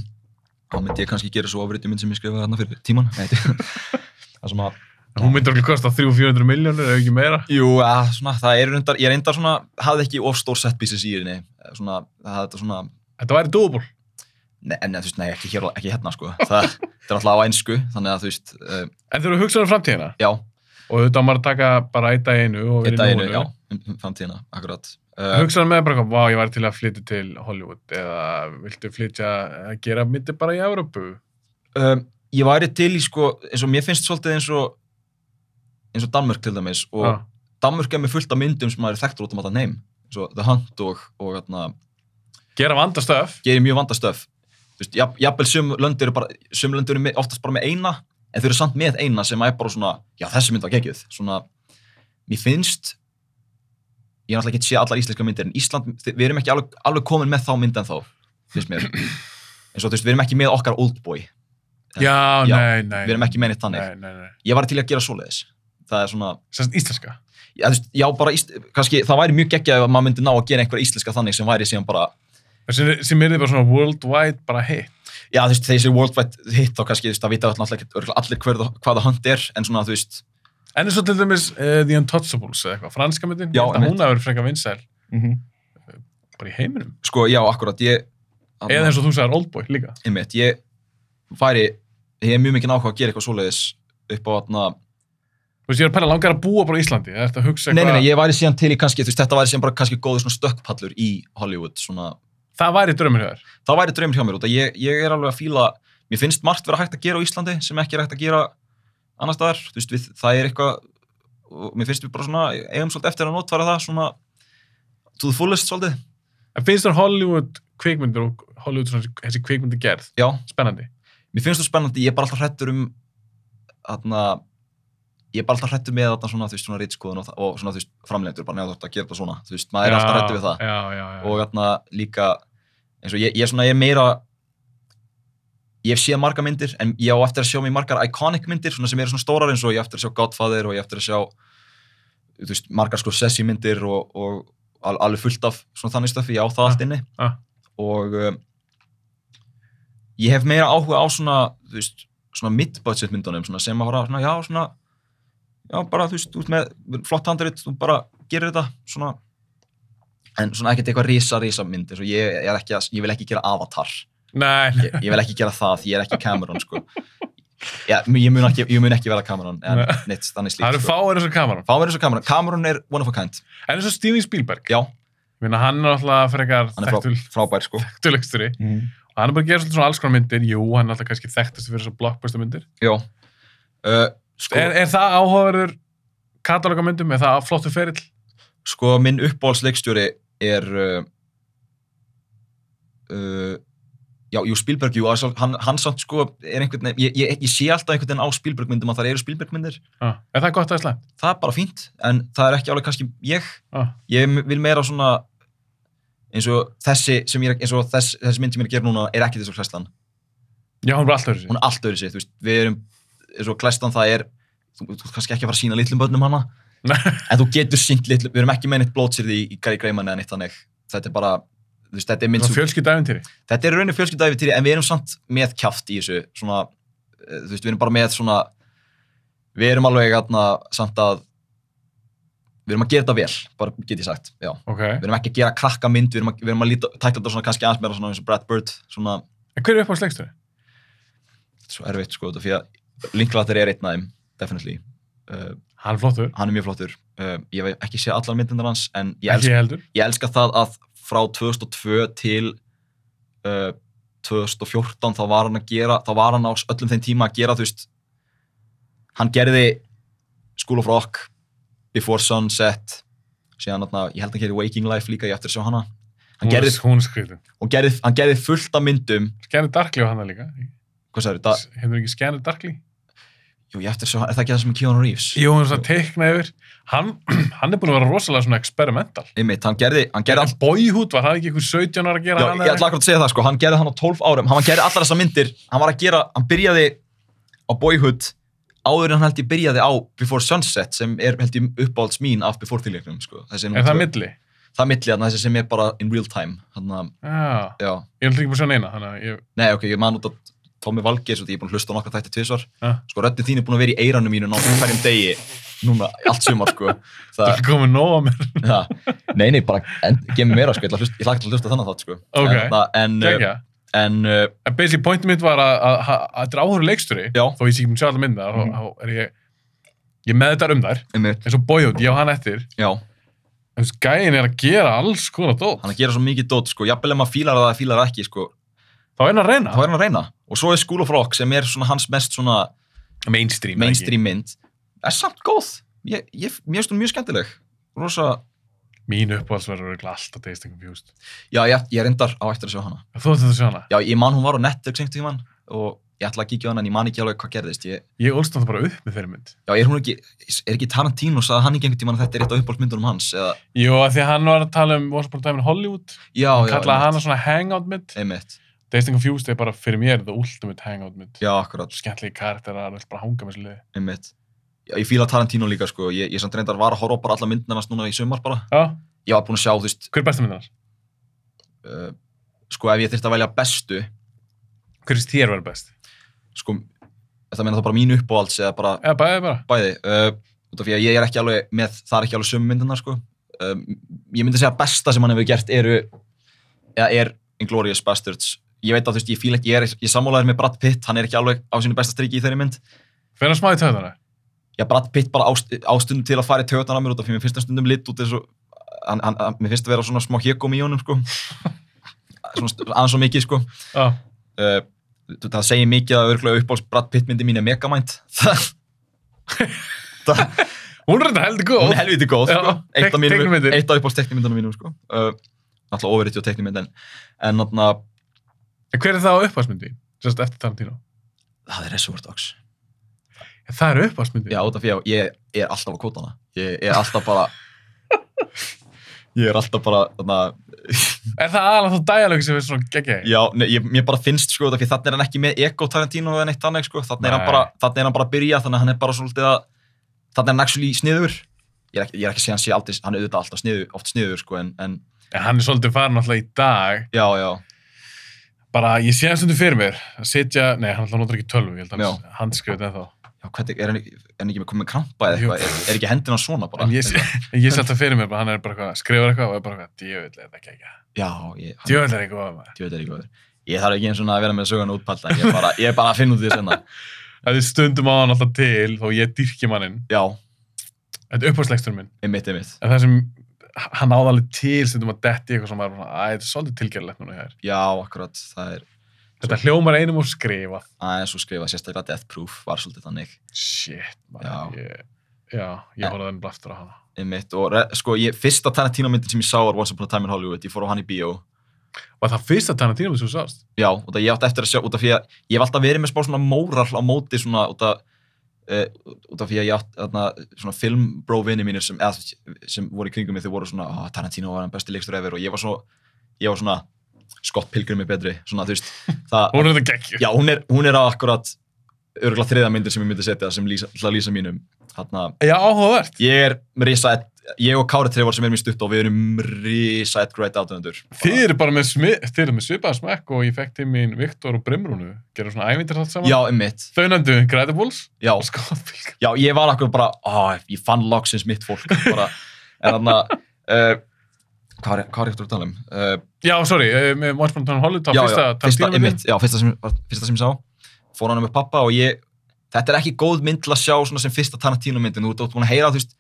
S2: þá myndi ég kannski gera svo afritu mynd sem ég skrifaði þarna fyrir tíman Nei, þetta- það sem að
S1: Hún myndir okkur kosta 300-400 miljónur ef ekki meira.
S2: Jú, að, svona, það er reyndar, ég reyndar svona, hafði ekki of stór set pieces í henni, svona, það er þetta svona,
S1: Þetta væri dóbul.
S2: ne, en þú veist, nei, ekki, hér, ekki hérna, sko, það, það er alltaf á einsku, þannig að þú veist, uh,
S1: En þegar þú hugsaður um framtíðina
S2: já,
S1: og auðvitað á maður að taka bara eitt dag í einu og
S2: eitt
S1: verið
S2: daginu, já, um, um framtíðina, akkurat. Uh,
S1: Hugsaður með bara, eitthvað, vá, ég væri til að flytja til Hollywood eða viltu flytja að gera myndir bara í Európu?
S2: um, ég væri til í, sko, eins og mér finnst svolítið eins og, eins og Danmörk til dæmis, og
S1: Já.
S2: Danmörk er með fullt af myndum sem maður er þekktur út um alltaf neym, eins og The Hunt og, og, hérna,
S1: Gera vandastöf?
S2: gerir mjög vandastöf Þú veist, jaf- jafnvel sum lönd eru bara sum lönd eru með- oftast bara með eina en þau eru samt með eina sem er bara svona já þessi mynd var geggjöð svona mér finnst ég er náttúrulega ekki sé allar íslenska myndir en Ísland við erum ekki alveg, alveg komin með þá mynd en þá finnst mér eins og þú veist við erum ekki með okkar oldboy
S1: Já,
S2: Já,
S1: nei, nei.
S2: við erum ekki með neitt þannig
S1: Nei, nei, nei.
S2: ég var til í að gera svoleiðis það er svona
S1: Sannst íslenska.
S2: já, þú veist, já bara íst, kannski það væri mjög geggjað ef maður myndi ná að gera einhverja íslenska þannig sem væri síðan bara
S1: Sem, sem er þið bara svona worldwide bara hit.
S2: já, þú veist, þessi worldwide hit þá kannski, þú veist, það vita öll náttúrulega ekki örugglega allir hver, hvaða hunt er, en svona, þú veist
S1: En eins og til dæmis uh, The Untouchables eða eitthvað, franska myndin,
S2: Já,
S1: ég held að
S2: einmitt.
S1: hún hafi verið frekar vinsæl Eh,
S3: Mhm.
S1: bara í heiminum.
S2: sko, já, akkurat, ég
S1: Eða eins og þú sagðar Oldboy líka.
S2: einmitt, ég væri ég er mjög mikið nákvæm að gera eitthvað svoleiðis upp á þarna,
S1: Þú veist, ég er að pæla langar að búa bara á Íslandi. Það ert að hugsa
S2: nei, nei, nei, ég væri síðan til í kannski, þú veist, þetta væri síðan bara kannski góður svona stökkpallur í Hollywood, svona
S1: Það væri draumur hjá þér.
S2: það væri draumur hjá mér út að ég, ég er alveg að fíla mér finnst margt vera hægt að gera á Íslandi sem ekki er hægt að gera annars staðar þú veist, við, það er eitthvað og mér finnst við bara svona, eigum svolítið eftir að notfæra það svona to the fullest svolítið,
S1: En finnst þér Hollywood kvikmyndir og Hollywood svona þessi kvikmyndi gerð
S2: já
S1: spennandi?
S2: mér finnst það spennandi, ég er bara alltaf hrættur um þarna ég er bara alltaf hrættur með þarna svona, þú veist, svona rítskoðun og, það- og svona, þú veist, framleitur, bara nefnir að gera þetta svona, þú veist, maður er alltaf hrættur við það
S1: Já, já, já.
S2: og þarna líka eins og ég, ég er svona, ég er meira ég hef séð marga myndir en ég á eftir að sjá mér margar iconic myndir svona sem eru svona stórar eins og ég á eftir að sjá Godfather og ég á eftir að sjá þú veist, margar sko sessi myndir og, og al, alveg fullt af svona þannig stöfi, ég á það
S1: Ah,
S2: allt inni
S1: ah.
S2: og um, ég hef meira áhuga á svona þú veist, svona mid-budget myndunum svona sem að fara, svona, já, svona já, bara, þú veist, út með flott handrit þú bara gerir þetta, svona en svona ekkert eitthvað risa, risa mynd eins og ég, ég, er ekki að, ég vil ekki gera avatar
S1: Nei,
S2: ég, ég vil ekki gera það, ég er ekki Cameron sko. Já, ég, mun ekki, ég mun ekki vera Cameron en
S1: Nei.
S2: neitt, þannig
S1: það
S2: slíkt
S1: eru
S2: sko.
S1: fáir eins og kameran.
S2: fá mér eins og Cameron, Cameron er one of a kind
S1: En eins og Steven Spielberg.
S2: já,
S1: Ég meina, hann er alltaf frekar
S2: hann er frá,
S1: þekktul-
S2: frábær sko.
S1: þekktulegstur í. Og hann er bara að gera svolítið svona alls konar myndir. Jú, hann er alltaf kannski þekktast fyrir þessar blockbuster myndir.
S2: já uh, sko,
S1: Er, er það áhugaverður katalóga myndum? Er það flottu ferill?
S2: sko minn uppbólsleikstjóri er uh, uh, já, jú, Spielberg, jú, að- hann, hann samt sko er einhvern veginn, ég, ég, ég sé alltaf einhvern veginn á Spielberg myndum að það eru Spielberg myndir
S1: Ah. Er það gott að slæmt?
S2: það er bara fínt, en það er ekki alveg kannski ég,
S1: Ah.
S2: ég m- vil meira svona eins og þessi sem ég er, eins og þess, þessi mynd sem ég er að gera núna er ekki þessu klæslan,
S1: Já, hún er bara alltaf þessi.
S2: hún er allt öðru sér, þú veist við erum, eins og klæslan það er þú, þú, þú ert kannski ekki að fara að sína litlum börnum hana
S1: Nei.
S2: en þú getur sínt litlum, við erum ekki með neitt blótsýrði í, í Gary Greyman eða neitt þannig þetta er bara, þú veist, þetta er mynd
S1: Svona
S2: sem
S1: fjölskyldæfintýri.
S2: þetta er raunin fjölskyldaði við týri en við erum samt með kjaft í þessu svona, eh, þú veist, við erum bara með svona við erum alveg atna, samt að við erum að gera þetta vel, bara get ég sagt já.
S1: Ok.
S2: við erum ekki að gera krakka mynd við erum að, við erum að líta, tækla þetta svona kannski aðeins meira svona eins og Brad Bird svona,
S1: En hver er upp á slegstöri?
S2: svo erfitt sko, þetta er fyrir að Linklater er einn af þeim, definitely uh,
S1: Hann er flottur.
S2: hann er mjög flottur uh, ég hef ekki séð allar myndindar hans en ég,
S1: Ekki
S2: els,
S1: ég heldur.
S2: ég elska það að frá 2002 til uh, 2014 þá var hann að gera, þá var hann á öllum þeim tíma að gera, þú veist hann gerði School of Rock Before Sunset síðan, atna, ég held hann gerði Waking Life líka, ég á eftir að sjá hana hann
S1: Hún er-
S2: gerði,
S1: Hún er skritin.
S2: hún gerði, hann gerði fullt af myndum
S1: Scanner Darkly á hana líka.
S2: hvað sagður,
S1: Da.
S2: það,
S1: Hefur ekki Scanner Darkly?
S2: jú, ég á eftir að sjá hana, er það ekki það sem er Keanu Reeves?
S1: Jú, hún er svona teikna yfir. Hann, hann er búin að vera rosalega svona experimental.
S2: einmitt, hann gerði, hann gerði
S1: En Boyhood var það ekki einhver 17 ára að gera
S2: Já,
S1: hana
S2: ég ætla akkur að segja það sko, hann gerði hann á 12 árum, hann gerði allar þessar myndir, hann var að gera, hann byrjaði á Boyhood áður en hann held ég byrjaði á Before Sunset sem er held ég uppáhalds mín af Before tilíknum sko. Þessi
S1: Er það
S2: náttúrulega-
S1: milli?
S2: Það er milli þarna, þessi sem er bara in real time, þannig að,
S1: Já.
S2: já,
S1: Ég er alltaf ekki búin að sjá neina, þannig að ég...
S2: nei ok, ég man út að Tommi Valgeir, svo því ég er búin að hlusta á nokkra þætti tvisvar
S1: Ja.
S2: sko röddin þín er búin að vera í eiranum mínu náttúrulega hverjum degi, núna allt sumar sko
S1: Það
S2: það,
S1: er komið nóg að mér.
S2: það, nei, nei, bara gemi meira sko, ég ætla að hlusta- ég hlakka til að hlusta á þennan þátt sko
S1: Ok.
S2: en, það- en, uh,
S1: Kekja.
S2: en uh,
S1: En basically pointið mitt var að- að að- að þetta er áhverju leiksturi.
S2: já,
S1: Þó ég sé ekki mér sjá allar mynda,
S2: Mhm.
S1: þá þá er ég, ég með þetta um þær.
S2: einmitt,
S1: eins og Boyhood, ég á hann eftir
S2: já
S1: en þessi gæin er að gera alls konar dót
S2: hann er að gera svo mikið dót sko, jafnvel ef maður fílar það eða fílar það ekki sko,
S1: þá er hann að
S2: þá
S1: reyna
S2: er hann að reyna og svo er School of Rock sem er svona hans mest svona
S1: mainstream,
S2: mainstream mynd er samt góð, ég, ég, mér finnst hún mjög skemmtileg rosa,
S1: ekki. mín uppáhaldsverður er alltaf Dazed and Confused
S2: já ég, ég reyndar á eftir að sjá hana
S1: En þú ætti að sjá hana
S2: já ég man hún var á Netflix einhvern tímann og ég ætla að kíkja á hana en ég man ekki alveg hvað gerðist ég,
S1: ég ólst hann bara upp með þeirri mynd
S2: já er hún ekki, er ekki Tarantino sagði hann ekki einhvern tímann að þetta er eitt af uppáhaldsmyndunum hans eða,
S1: jú, að því að hann var að tala um Once Upon a Time in Hollywood
S2: já,
S1: hann
S2: já,
S1: kallaði hana svona hangout mynd
S2: einmitt,
S1: Dazed and Confused er bara fyrir mér the ultimate hangout mynd
S2: já akkurat
S1: svo skemmtlegi karakterar, hann vil bara hanga með þessu liði
S2: einmitt, já, ég fíla Tarantino líka sko, ég, ég samt reyndar var að horfa á bara alla myndina hans núna í sumar bara,
S1: já,
S2: ég var búin að sjá þú veist
S1: hver er besta mynd hans?
S2: uh, sko ef ég þyrfti að velja bestu
S1: hver er þér verið best?
S2: sko, það meina þá bara mín uppáhalds eða bara
S1: eða bæði bara
S2: bæði uh, út af því að ég er ekki alveg með, það er ekki alveg sömu myndina sko um, ég myndi segja að besta sem hann hefur gert eru eða er Inglourious Bastards ég veit að þú veist, ég fíl ekki, ég er ég sammálaður með Brad Pitt, hann er ekki alveg á sínu besta striki í þeirri mynd
S1: fyrir hann smá í töðana
S2: já, Brad Pitt bara ást, ástundum til að fara í töðan á mér út af því mér finnst hann stundum lit út eins og hann, hann, hann, mér finnst að vera svona smá hégóm í honum sko svona st- aðeins og mikið sko
S1: já,
S2: uh, þú- það segir mikið að örgulega uppáhalds Brad Pitt myndi mín er megamind það, það
S1: hún er þetta heldur góð
S2: hún er helviti góð
S1: Já,
S2: sko. eitt af
S1: tek-
S2: mínum,
S1: teiknimyndir.
S2: eitt af uppáhalds teknimyndunum mínum sko. uh, alltaf ofurriti og teknimynd en, en atna,
S1: en hver er það á uppáhaldsmyndi? Sérst eftir Tarantino
S2: það er Reservoir Dogs
S1: það er uppáhaldsmyndi
S2: já, út af því að ég, ég er alltaf á kvotana ég, ég er alltaf bara ég er alltaf bara atna,
S1: Er það aðalega þá dæalög sem er svona geggjæg?
S2: já, nei, ég, mér bara finnst sko, út af því þannig er hann ekki með Ego Tarantino eða neitt þannig sko. þannig er, hann
S1: Nei.
S2: bara, þarna er hann bara að byrja þannig að hann er bara svolítið að þannig er hann actually sniður ég er ekki, ég er ekki að segja hann sé aldrei, hann er auðvitað alltaf sniður, oft sniður sko, en, en
S1: En hann er svolítið farin alltaf í dag.
S2: já, já,
S1: Bara ég sé hann stundu fyrir mér að sitja, nei hann alltaf notar ekki tölvu, ég held að hans handskriðið ennþá.
S2: já hvernig, er hann ekki, er hann ekki með komið krampa eða
S1: Jú.
S2: eitthvað, er, er ekki hendina svona bara?
S1: En ég sé, en ég sé alltaf fyrir mér, bara, hann er bara eitthvað, skrifar eitthvað og er bara eitthvað, djövill er þetta geggjæg.
S2: Já, ég, hann,
S1: Djövill er eitthvað maður.
S2: djöðu, er ekki góður. Ég þarf ekki eins og að vera með söguna útpallta, ég er bara, ég er bara að finna út hérna. því senna.
S1: Það er stundum á hann alltaf til þó ég dyrki manninn.
S2: Já,
S1: Þetta er uppáhaldsleikstur minn.
S2: einmitt, einmitt.
S1: En það sem hann náði alveg til stundum að detti í eitthvað sem maður er bara, "Æ, þetta er svolítið tilgerlegt núna hér.
S2: Já, akkurat, það er
S1: Þetta hljómar einum og skrifa.
S2: aðeins og skrifa, sérstaklega Death Proof var svolítið þannig.
S1: Shit, maður. Ég, já, ég
S2: En-
S1: horfði enn blaftur á hana.
S2: Einmitt, og re, sko, ég, fyrsta Tarantino myndin sem ég sá var Once Upon a Time in Hollywood, ég fór á hann í bíó.
S1: Var það fyrsta Tarantino sem þú sást?
S2: Já, og það ég átti eftir að sjá, út af því að ég hef alltaf verið með spá svona móral á móti svona, út af, uh, út af því að ég átti, þarna, svona filmbróvinni mínir sem, eða, sem voru í kringum mig, þau voru svona, oh, Tarantino var hann besti leikstur efer og ég var svo, ég var svona, Scott Pilgrim er betri, svona, þú veist, það,
S1: Hún er þetta geggjur.
S2: já, hún er, hún er á akkurat, örgulega þriða myndir sem ég myndi setja, sem lýsa, ætla að lýsa mínum, þarna,
S1: Já, áhugavert.
S2: ég er risa, ég og Kári Trevor sem er mér stutt og við erum risa Ed Great aðdöndur.
S1: Þið eru bara með, smi, þið eru með svipaða smekk og ég fekk til mín Viktor og Brimrúnu. Gerum svona ævindir þátt saman.
S2: Já, emmitt,
S1: Þau nefndu Incredibles
S2: já,
S1: og Scott Pilgrim.
S2: Já, ég var akkur bara, á, ég fann loksins mitt fólk, bara, en þarna, uh, hvað er, hvað er eftir að tala um? Uh,
S1: Já, sorry, eh, með Once Upon a Time in Hollywood, þá
S2: já,
S1: fyrsta
S2: já, fyrsta,
S1: Tarantino
S2: einmitt, já, fyrsta sem, var- fyrsta sem ég sá, fór hann með pappa og ég, þetta er ekki góð mynd til að sjá svona sem fyrsta Tarantino myndin, þú ert út búin að heyra, þú veist,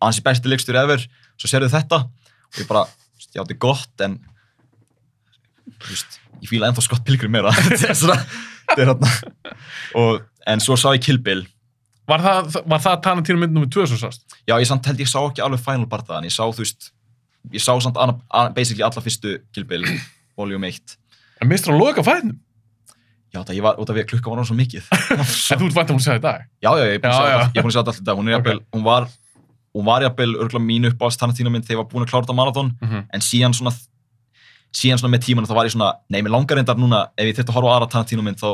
S2: hans er besti leikstur ever, svo sérðu þetta, og ég bara, þú veist, já, þetta er gott, en, þú veist, ég fíla ennþá Scott Pilgrim meira, þetta er svona, þetta er hérna, og, en svo sá ég Kill Bill,
S1: Var það, var það Tarantino mynd nummið 2 sem sást?
S2: Já, ég samt held ég sá ekki alveg Final Barta, en ég sá, þú veist, ég sá samt anna, anna, basically alla fyrstu Kill Bill, voljum 1.
S1: En mistur hann loka fæðinum.
S2: Já, það ég var, út af því að klukka var hann svo mikið.
S1: En þú ert vænt að hún segja í dag.
S2: já, já, ég er búin
S1: Já,
S2: að sjá
S1: já.
S2: þetta- ég er búin að sjá þetta alltaf í dag. Hún, er
S1: Ok.
S2: jafnvel, hún var, hún var jafnvel örgulega mín upp á Tarantino mynd þegar ég var búin að klára þetta marathon,
S1: Mm
S2: en síðan svona, síðan svona með tímanu þá var ég svona, nei, mér langar reyndar núna, ef ég þurfti að horfa á aðra Tarantino mynd þá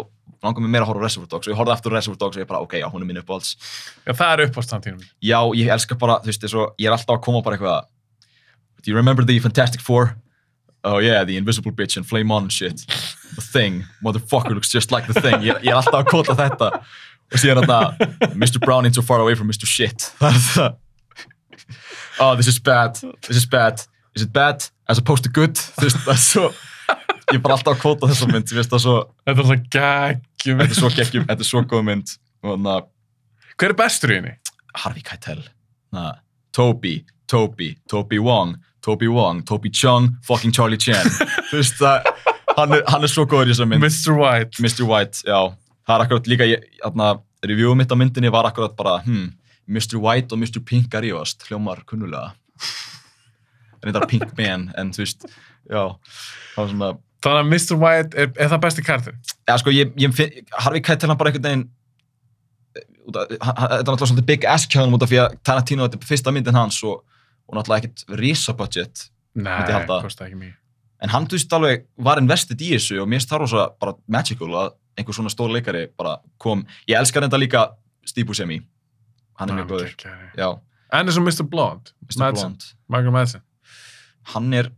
S2: langar mér meira að horfa á Reservoir Dogs og ég horfði aftur á Reservoir Dogs og ég bara, ok, já, hún er mín upp
S1: Já, það er uppást Tarantino mynd.
S2: já, ég elska bara, þú veist, eins og ég er alltaf að koma bara eitthvað Do you remember the Fantastic Four? oh yeah, the invisible bitch and flame on and shit the thing, motherfucker looks just like the thing ég, ég er alltaf að kota þetta og síðan þetta Mr. Brown ain't so far away from Mr. Shit það er það oh this is bad, this is bad is it bad as opposed to good þú veist það er svo ég er bara alltaf að kota þessa mynd, ég veist það er svo
S1: Þetta er alltaf geggjum.
S2: þetta er svo geggjum, þetta er svo góð mynd og þannig að
S1: Hver er bestur í henni?
S2: Harvey Keitel Na, Toby, Toby, Toby Wong Toby Wong, Toby Chung fucking Charlie Chan þú veist það, hann er, hann er svo góður í þessa mynd
S1: Mr. White.
S2: Mr. White, já það er akkurat líka, ég- þarna reviewum mitt á myndinni var akkurat bara, hmm Mr. White og Mr. Pink að rífast hljómar kunnulega reyndar Pink Man, en þú veist já, það var svona
S1: Þannig að Mr. White er, er það besti karakter.
S2: Já, sko, ég, ég finn, Harvey Keitel hann bara einhvern veginn eh, út af- hann- hann- þetta er náttúrulega svona big ass kjáðum út af því að Tarantino þetta er fyrsta myndin hans og, og náttúrulega ekkert risa budget
S1: Nei,
S2: Myndi halda.
S1: kostið ekki mikið.
S2: en hann þú veist alveg var invested í þessu og mér starf það bara magical að einhver svona stór leikari bara kom ég elskar þetta líka Steve Buscemi hann
S1: Ah,
S2: er mjög góður
S1: góður.
S2: já,
S1: En eins og Mr. Blonde.
S2: Mr.
S1: Madsen,
S2: Blond
S1: Michael Madsen.
S2: hann er,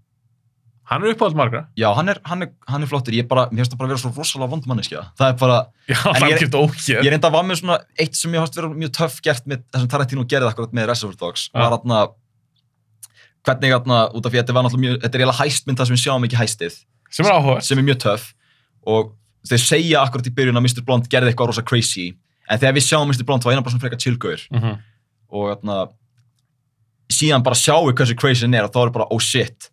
S1: Hann er uppáhald margra.
S2: já, hann er, hann er, hann er flottur ég bara, mér finnst það bara að vera svo rosalega vondmanneskja það er bara,
S1: Já,
S2: En
S1: það
S2: ég
S1: er
S2: er-
S1: ekki
S2: Ég
S1: ókjör.
S2: reynda að var með svona eitt sem ég hafst verið mjög töff gert með það sem Tarantino gerði akkurat með Reservoir Dogs
S1: Ja.
S2: var þarna hvernig þarna, út af því að þetta var náttúrulega mjög þetta er eiginlega hæstmynd þar sem við sjáum ekki hæstið
S1: Sem er áhugað.
S2: sem er mjög töff og þeir segja akkurat í byrjun að Mr. Blond gerði eitthvað rosa crazy en þegar við sjáum Mr. Blond var eina bara svona frekar chillgauður
S1: Mhm.
S2: og þarna síðan bara sjáum við hversu crazy hann er og þá er bara oh shit,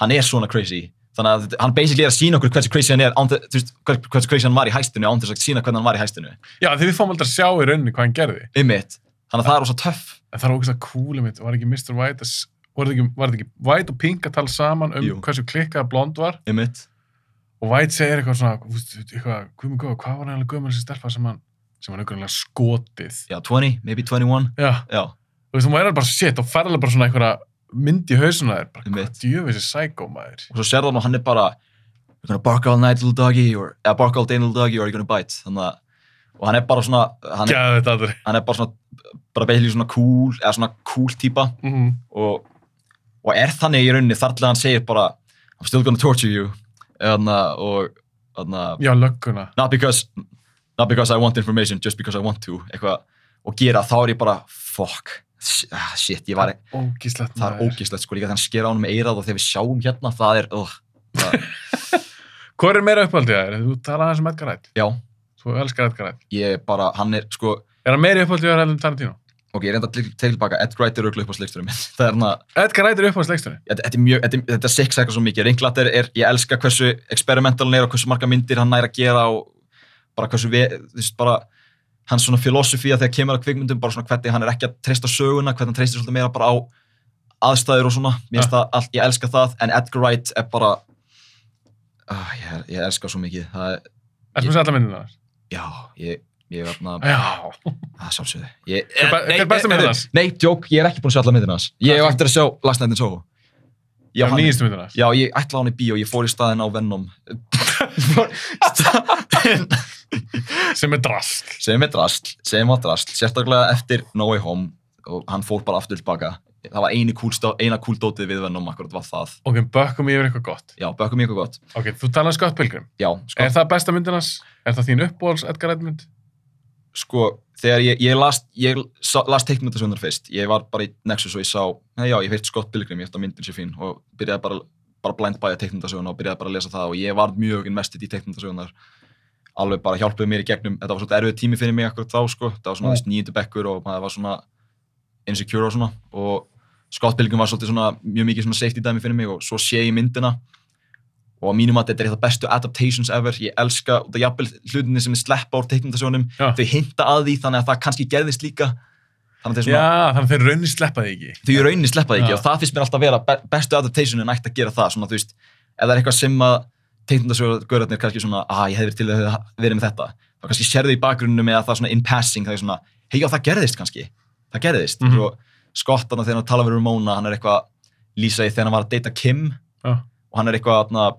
S2: hann er svona crazy þannig að þetta- hann basically er að sína okkur hversu crazy hann er án þess- þú veist, hvers- hversu crazy hann var í hæstinu án þess að sína hvernig hann var í hæstinu
S1: Já, því við fáum aldrei að sjá í rauninni hvað hann gerði.
S2: Einmitt. Þannig að það er rosa töff.
S1: En það er ógæst að kúli mitt, var ekki Mr. White að... s- Var þetta ekki, var þetta ekki White og Pink að tala saman um
S2: Jú.
S1: hversu klikkað Blond var
S2: Einmitt.
S1: og White segir eitthvað svona, þú veist, eitthvað, guðmur góð, hvað var hann alveg guðmur þessi stelpa sem hann, sem hann auðvitað skotið.
S2: Já, 20, maybe 21.
S1: Já,
S2: Já,
S1: þú veist, þú maður er bara shit og ferðilega bara svona einhverja mynd í hausuna þér, bara
S2: Einmitt.
S1: hvað djöfis er psycho maður.
S2: og svo sér það og hann er bara You're gonna bark all night little doggy or, eða bark all day little doggy or you're gonna bite. Þannig að, og hann er bara svona, hann er,
S1: Gæði þetta aldrei.
S2: hann er bara svona, bara beilíð svona cool, eða svona cool típa
S1: Mm.
S2: og, og er þannig í rauninni þar til að hann segir bara I'm still gonna torture you. Þannig að, og, þannig að,
S1: Já, lögguna.
S2: not because, not because I want information, just because I want to, eitthvað, og gera, þá er ég bara, fuck, ah, shit, ég var,
S1: Ógíslegt
S2: það er
S1: maður.
S2: ógeðslegt sko líka þegar hann sker á hann með eirað og þegar við sjáum hérna það er uh, það,
S1: Hvor er meira uppáhaldið þér? Þú talar aðeins um Edgar Wright.
S2: já,
S1: Þú elskar Edgar Wright.
S2: ég er bara, hann er sko
S1: Er hann meira uppáhaldið þér heldur en Tarantino?
S2: ok, ég reynda að til- tilbaka, Ed Wright er auðvitað upp á sleiksturum minn, það er hann að
S1: Edgar Wright er uppáhaldsleikstunni.
S2: þetta- þetta er mjög, þetta er- þetta seks eitthvað svo mikið Ringlat er, er, ég elska hversu experimentalin er og hversu marga myndir hann næra að gera og bara hversu við, þú veist, bara hans svona filosofi að þegar kemur að kvikmyndum bara svona hvernig hann er ekki að treysta söguna hvernig hann treystir svolítið meira bara á aðstæður og svona, mér finnst það, allt, ég elska það en Edgar Wright er bara uh, ég, ég elska svo mikið það er,
S1: Erstu með sér alla myndina þar?
S2: Já, ég, ég er þarna,
S1: Já.
S2: að sjálfsögðu. Ég, Eh,
S1: Hver be- hver er besta myndin hans?
S2: Nei, djók, ég er ekki búin að sjá alla myndin hans. Ég hef eftir að sjá Last Night in Soho. Já,
S1: Já,
S2: hann-
S1: nýjastu myndina þar.
S2: Já, ég ætlaði á hann í bíó, ég fór í staðinn á Venom. Staðinn-
S1: Sem er drask.
S2: sem er drasl, sem var drasl, sérstaklega eftir No Way Home og hann fór bara aftur tilbaka. Það var eini kúlstá, eina kúldótið við Venom, akkurat var það.
S1: Ok, bökkum yfir eitthvað gott.
S2: Já, bökum ég eitthvað gott.
S1: Ok, þú talar um Scott Pilgrim.
S2: Já, sko,
S1: Er það besta myndinans? Er það þín uppáhalds Edgar Wright mynd?
S2: sko þegar ég, ég las, ég sá, las teiknmyndasöndar fyrst, ég var bara í Nexus og ég sá, nei já, ég heirt Scott Pilgrim, ég held að myndin sé fín og byrjaði bara, bara blind bæja teiknmyndasöguna og byrjaði bara að lesa það og ég var mjög investið í teiknmyndasögunar alveg bara hjálpuði mér í gegnum, þetta var svolítið erfið tími fyrir mig akkur þá sko, það var svona
S1: Mm.
S2: mm. nýjöndu bekkur og maður var svona insecure og svona og Scott Pilgrim var svolítið svona mjög mikið svona safety dæmi fyrir mig og svo sé ég myndina og á mínum að þetta er eitt af bestu adaptations ever, ég elska og það er jafnvel hlutinni sem er sleppa úr teiknumtasjónum
S1: Já.
S2: þau hinta að því þannig að það kannski gerðist líka þannig að það er
S1: Já,
S2: svona,
S1: þannig að þeir raunin sleppa því ekki.
S2: þau í rauninni sleppa því ekki
S1: Já.
S2: og það finnst mér alltaf að vera be- bestu adaptationin ætti að gera það svona þú veist, ef það er eitthvað sem að teiknumtasjóðargörðarnir kannski svona að ég hefði verið til að hafa verið með þetta þá kannski sérðu í bakgrunnum eða það svona in passing það er svona, hei já það gerðist kannski það gerðist, mm
S1: Mhm.
S2: -hmm. skottana þegar hann tala við Ramona, hann er eitthvað að lýsa í þegar hann var að deyta Kim
S1: Já.
S2: og hann er eitthvað þarna,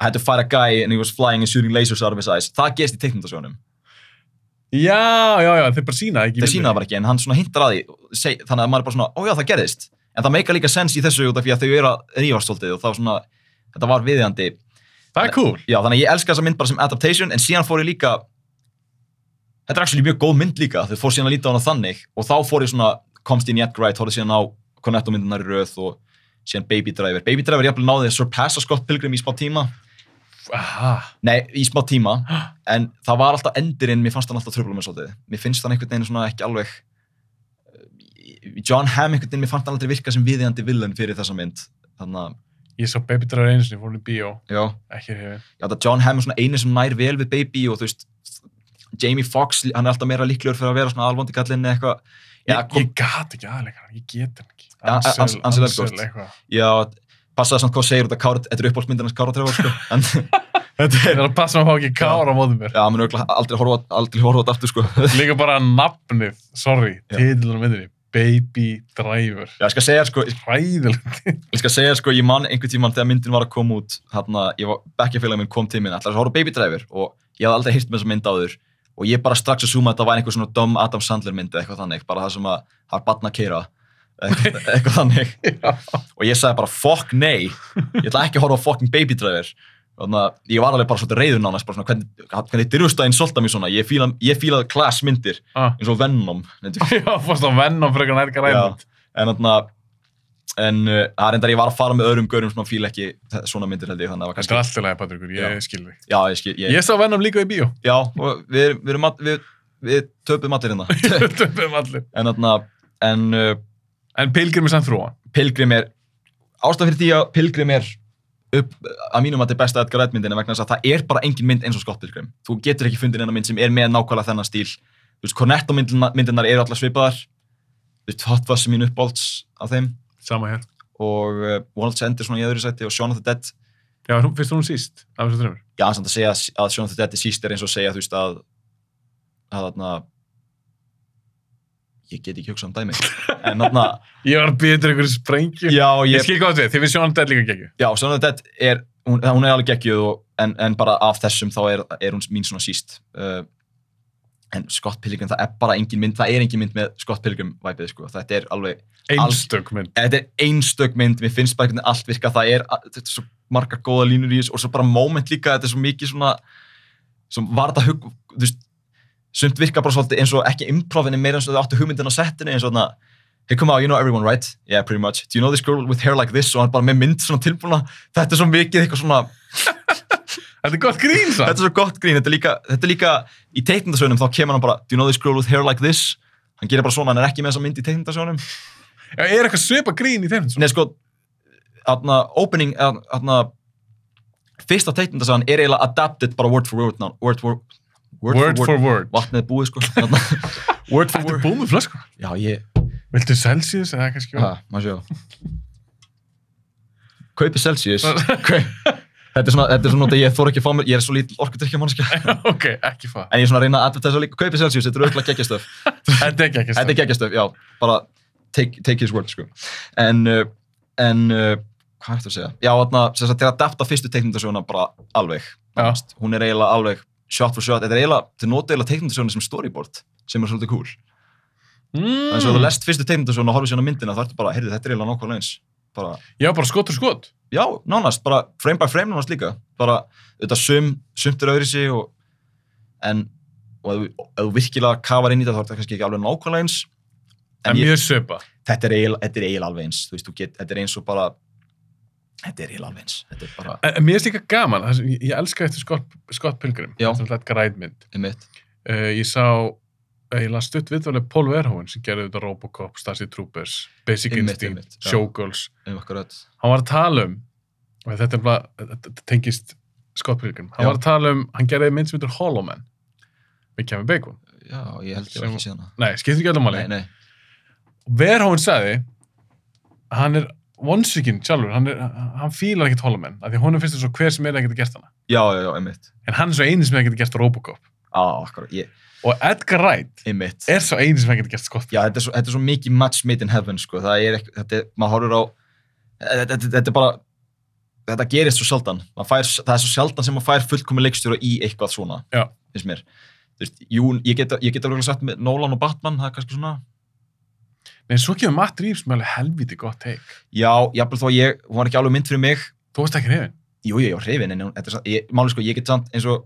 S2: I had to fight a guy and he was flying and shooting lasers out of his eyes það gerist í teiknumtasjónum
S1: Já, já, já, þeir bara sína það ekki.
S2: þeir sína það bara ekki en hann svona hintar að því seg, þannig að maður er bara svona, ó já það gerðist en það meika líka sens í þessu út af því að þau eru að rífast svolítið og það var svona þetta var viðjandi
S1: Það er cool.
S2: já, þannig að ég elska þessa mynd bara sem adaptation en síðan fór ég líka þetta er actually mjög góð mynd líka þau fór síðan að líta á hana þannig og þá fór ég svona komst inn í Edgrite, horfði síðan á Cornetto myndunar í röð og síðan Baby Driver Baby Driver jafnvel náði að surpassa Scott Pilgrim í smá tíma
S1: Aha.
S2: nei, í smá tíma en það var alltaf endurinn, mér fannst hann alltaf tröfla með svolítið mér finnst hann einhvern veginn svona ekki alveg eh, John Hamm einhvern veginn, mér fannst hann aldrei virka sem viðjandi villan fyrir þessa mynd þannig að,
S1: Ég sá Baby Driver einu sinni, fór hún í bíó,
S2: já,
S1: ekki hefur.
S2: já það John Hamm er svona einu sem nær vel við Baby og þú veist Jamie Foxx, hann er alltaf meira líklegur fyrir að vera svona alvondi kallinn eða eitthvað já,
S1: Ég,
S2: kom,
S1: ég gat ekki aðleika, ég get hann ekki.
S2: Ja,
S1: Ansel-
S2: Ansel- Ansel
S1: Ansel
S2: Elgort.
S1: eitthvað.
S2: já, passaði samt hvað þú segir út af Kára, þetta er uppáhaldsmyndarnas Kára Trevor sko, en þetta
S1: Ég
S2: er,
S1: þarf að passa mig að fá ekki kára á móðum mér.
S2: já, hann er örugglega aldrei horfa aldrei horfa á þetta aftur sko
S1: Líka bara nafnið, sorry,
S2: Já.
S1: titlunum myndinni, Baby Driver.
S2: já, ég skal segja sko,
S1: Ræðilegt.
S2: Ég skal segja, sko, ég man einhvern tíman þegar myndin var að koma út, hérna, ég var, bekkjafélag minn kom til minn, ætlaði að horfa á Baby Driver og ég hafði aldrei hýrt með þessa mynd áður og ég bara strax að súma að þetta var einhver svona dom Adam Sandler mynd eða eitthvað þannig, bara það sem að það er batna að keira, eitthvað, eitthvað þannig og ég sagði bara fuck nei, ég ætla ekki að horfa á fucking Baby Driver og þannig að ég var alveg bara svona reyður nánast, bara svona hvernig, hvernig dyrfustæðin solta mér svona, ég fíla, ég fíla class myndir
S1: Ah.
S2: eins og Venom, nefndu
S1: Já, fórst á Venom frekar nærka ræðilegt.
S2: en þarna en uh, það er enda ég var að fara með öðrum gaurum sem að fíla ekki þe- svona myndir held ég þannig að það var
S1: Þetta er
S2: kannski
S1: allt í lagi, Patrikur, ég
S2: Já.
S1: skil þig.
S2: já, ég skil, ég,
S1: Ég sá Venom líka í bíó.
S2: já, og við, erum- við erum all, við, við töpum allir hérna
S1: Töpum allir.
S2: en þarna en uh,
S1: En Pilgrim er samt þróan.
S2: Pilgrim er ástaf fyrir því að Pilgrim er upp, að mínum að þetta er besta Edgar Wright myndina vegna þess að það er bara engin mynd eins og Scott Pilgrim þú getur ekki fundin eina mynd sem er með nákvæmlega þennan stíl þú veist, Cornetto myndirnar myndirnar eru allar svipaðar þú veist, Hot Fuzz er mín uppbólts af þeim
S1: Sama hér.
S2: og uh, World's End er svona í öðru sæti og Shaun of the Dead
S1: Já, hún- finnst þú hún síst? Af þessum þreymur.
S2: já, en samt að segja að, að Shaun of the Dead er síst er eins og að segja þú veist að að þarna ég get ekki hugsað um dæmi en þarna,
S1: Ég var betur einhverju sprengju.
S2: já,
S1: Ég
S2: ég,
S1: skil gott við, þið finnst Sjónan Dead líka geggjum.
S2: já Shaun of the Dead er hún, hún er alveg geggjuð og, en, en bara af þessum þá er, er hún mín svona síst uh, en Scott Pilgrim það er bara engin mynd, það er engin mynd með Scott Pilgrim væpið sko, þetta er alveg
S1: Einstök mynd.
S2: þetta er einstök mynd, mér finnst bara hvernig allt virka, það er, þetta er svo margar góða línur í þessu og svo bara moment líka, þetta er svo mikið svona, sem var þetta hug, þú veist, sumt virka bara svolítið eins og ekki improvinni meira eins og þau áttu hugmyndin á settinu eins og þarna, hey come on, you know everyone, right? Yeah, pretty much. Do you know this girl with hair like this? Og hann bara með mynd svona tilbúna, þetta er svo mikið eitthvað svona,
S1: Þetta er gott grín
S2: þetta
S1: samt.
S2: er svo gott grín, þetta er líka, þetta er líka í teiknindasjónum þá kemur hann bara, do you know this girl with hair like this? Hann gerir bara svona, hann er ekki með þessa mynd í teiknindasjónum.
S1: Já, er eitthvað svipa grín í þeim? Svona.
S2: Nei, sko, aðna, opening, aðna, fyrsta teiknindasagan er eiginlega adapted bara word for word, ná, word, for word,
S1: Word for word.
S2: vatnið er búið, sko, aðna, word
S1: Þetta
S2: for
S1: er
S2: word.
S1: búmið flösku.
S2: Já, ég,
S1: Viltu Celsius eða kannski?
S2: ha, maður sjá. Kaupi Celsius, kaup. Þetta er svona, þetta er svona, þetta ég þór ekki að fá mér, ég er svo lítil orkutrykkja mannskja.
S1: ok, ekki fá.
S2: En ég er svona að reyna að advertisa líka, kaupi Celsius, þetta er auðvitað geggjastöf.
S1: Þetta er ekki ekki.
S2: Þetta er geggjastöf, já, bara take, take his word, sko. En, uh, en uh, hvað ertu að segja? Já, þarna, sem sagt, til að adapta fyrstu teiknindasöguna bara alveg.
S1: Já.
S2: Hún er eiginlega alveg shot for shot. Þetta er eiginlega, þau nota eiginlega teiknindasöguna sem storyboard, sem er svolítið cool. Mm. En svo ef þú
S1: Mm.
S2: lest fyrstu teiknindasöguna og horfir síðan á myndina, þá ertu bara, heyrðu, þetta er eiginlega nokkvæmlega eins. Bara,
S1: Já, bara skot og skot.
S2: já, nánast, bara frame by frame nánast líka. Bara, þetta sum, sumt er öðri sig og, en, og ef þú- ef þú virkilega kafar inn í þetta, þá er þetta kannski ekki alveg nákvæmlega eins.
S1: En mjög svipa.
S2: þetta er eiginlega þetta er eiginlega alveg eins þú veist, þú get, þetta er eins og bara þetta er eiginlega alveg eins þetta er bara,
S1: En en mér finnst líka gaman, það sem- ég, ég elska eftir Scott, Scott Pilgrim,
S2: Já.
S1: sem þetta græðmynd.
S2: einmitt
S1: Uh, ég sá, uh, ég las stutt viðvalið Paul Verhoeven sem gerði þetta Robocop, Starship Troopers, Basic
S2: Einmitt,
S1: Instinct,
S2: einmitt, já.
S1: Showgirls.
S2: um okkar öll
S1: Hann var að tala um, og þetta er bara, þetta tengist Scott Pilgrim, hann
S2: Já.
S1: var að tala um, hann gerði mynd sem heitir Hollow Man, með Kevin Bacon.
S2: já, ég held ég
S1: Sem-
S2: var ekki síðan
S1: Nei, skiptir ekki öllum máli.
S2: nei, nei,
S1: Verhoeven sagði, hann er vonsvikinn sjálfur, hann, er, hann fílar ekkert Hollow Man, af því honum finnst það svo hver sem er ekkert að gert hana.
S2: já, já, já, einmitt
S1: En hann er svo eini sem er ekkert að gert Robocop.
S2: á, okkar, ég,
S1: Og Edgar Wright
S2: einmitt
S1: er svo eini sem hefði gert skott.
S2: já, þetta er, svo, þetta er svo mikið match made in heaven sko, það er ekki, þetta er, maður horfur á þetta, þetta, þetta er bara þetta gerist svo sjaldan Maður fær, það er svo sjaldan sem maður fær fullkomi leikstjóra í eitthvað svona
S1: Já.
S2: finnst mér Þú veist, jú, ég get, ég get alveg sagt með Nolan og Batman, það er kannski svona
S1: Nei, svo kemur Matt Reeves með alveg helviti gott teik.
S2: já, jafnvel þó að ég, hún var ekki alveg mynd fyrir mig
S1: Þú veist ekki hrifin.
S2: jú, jú, jú, hrifin, en hún- þetta er samt- ég- málið sko, ég get samt eins og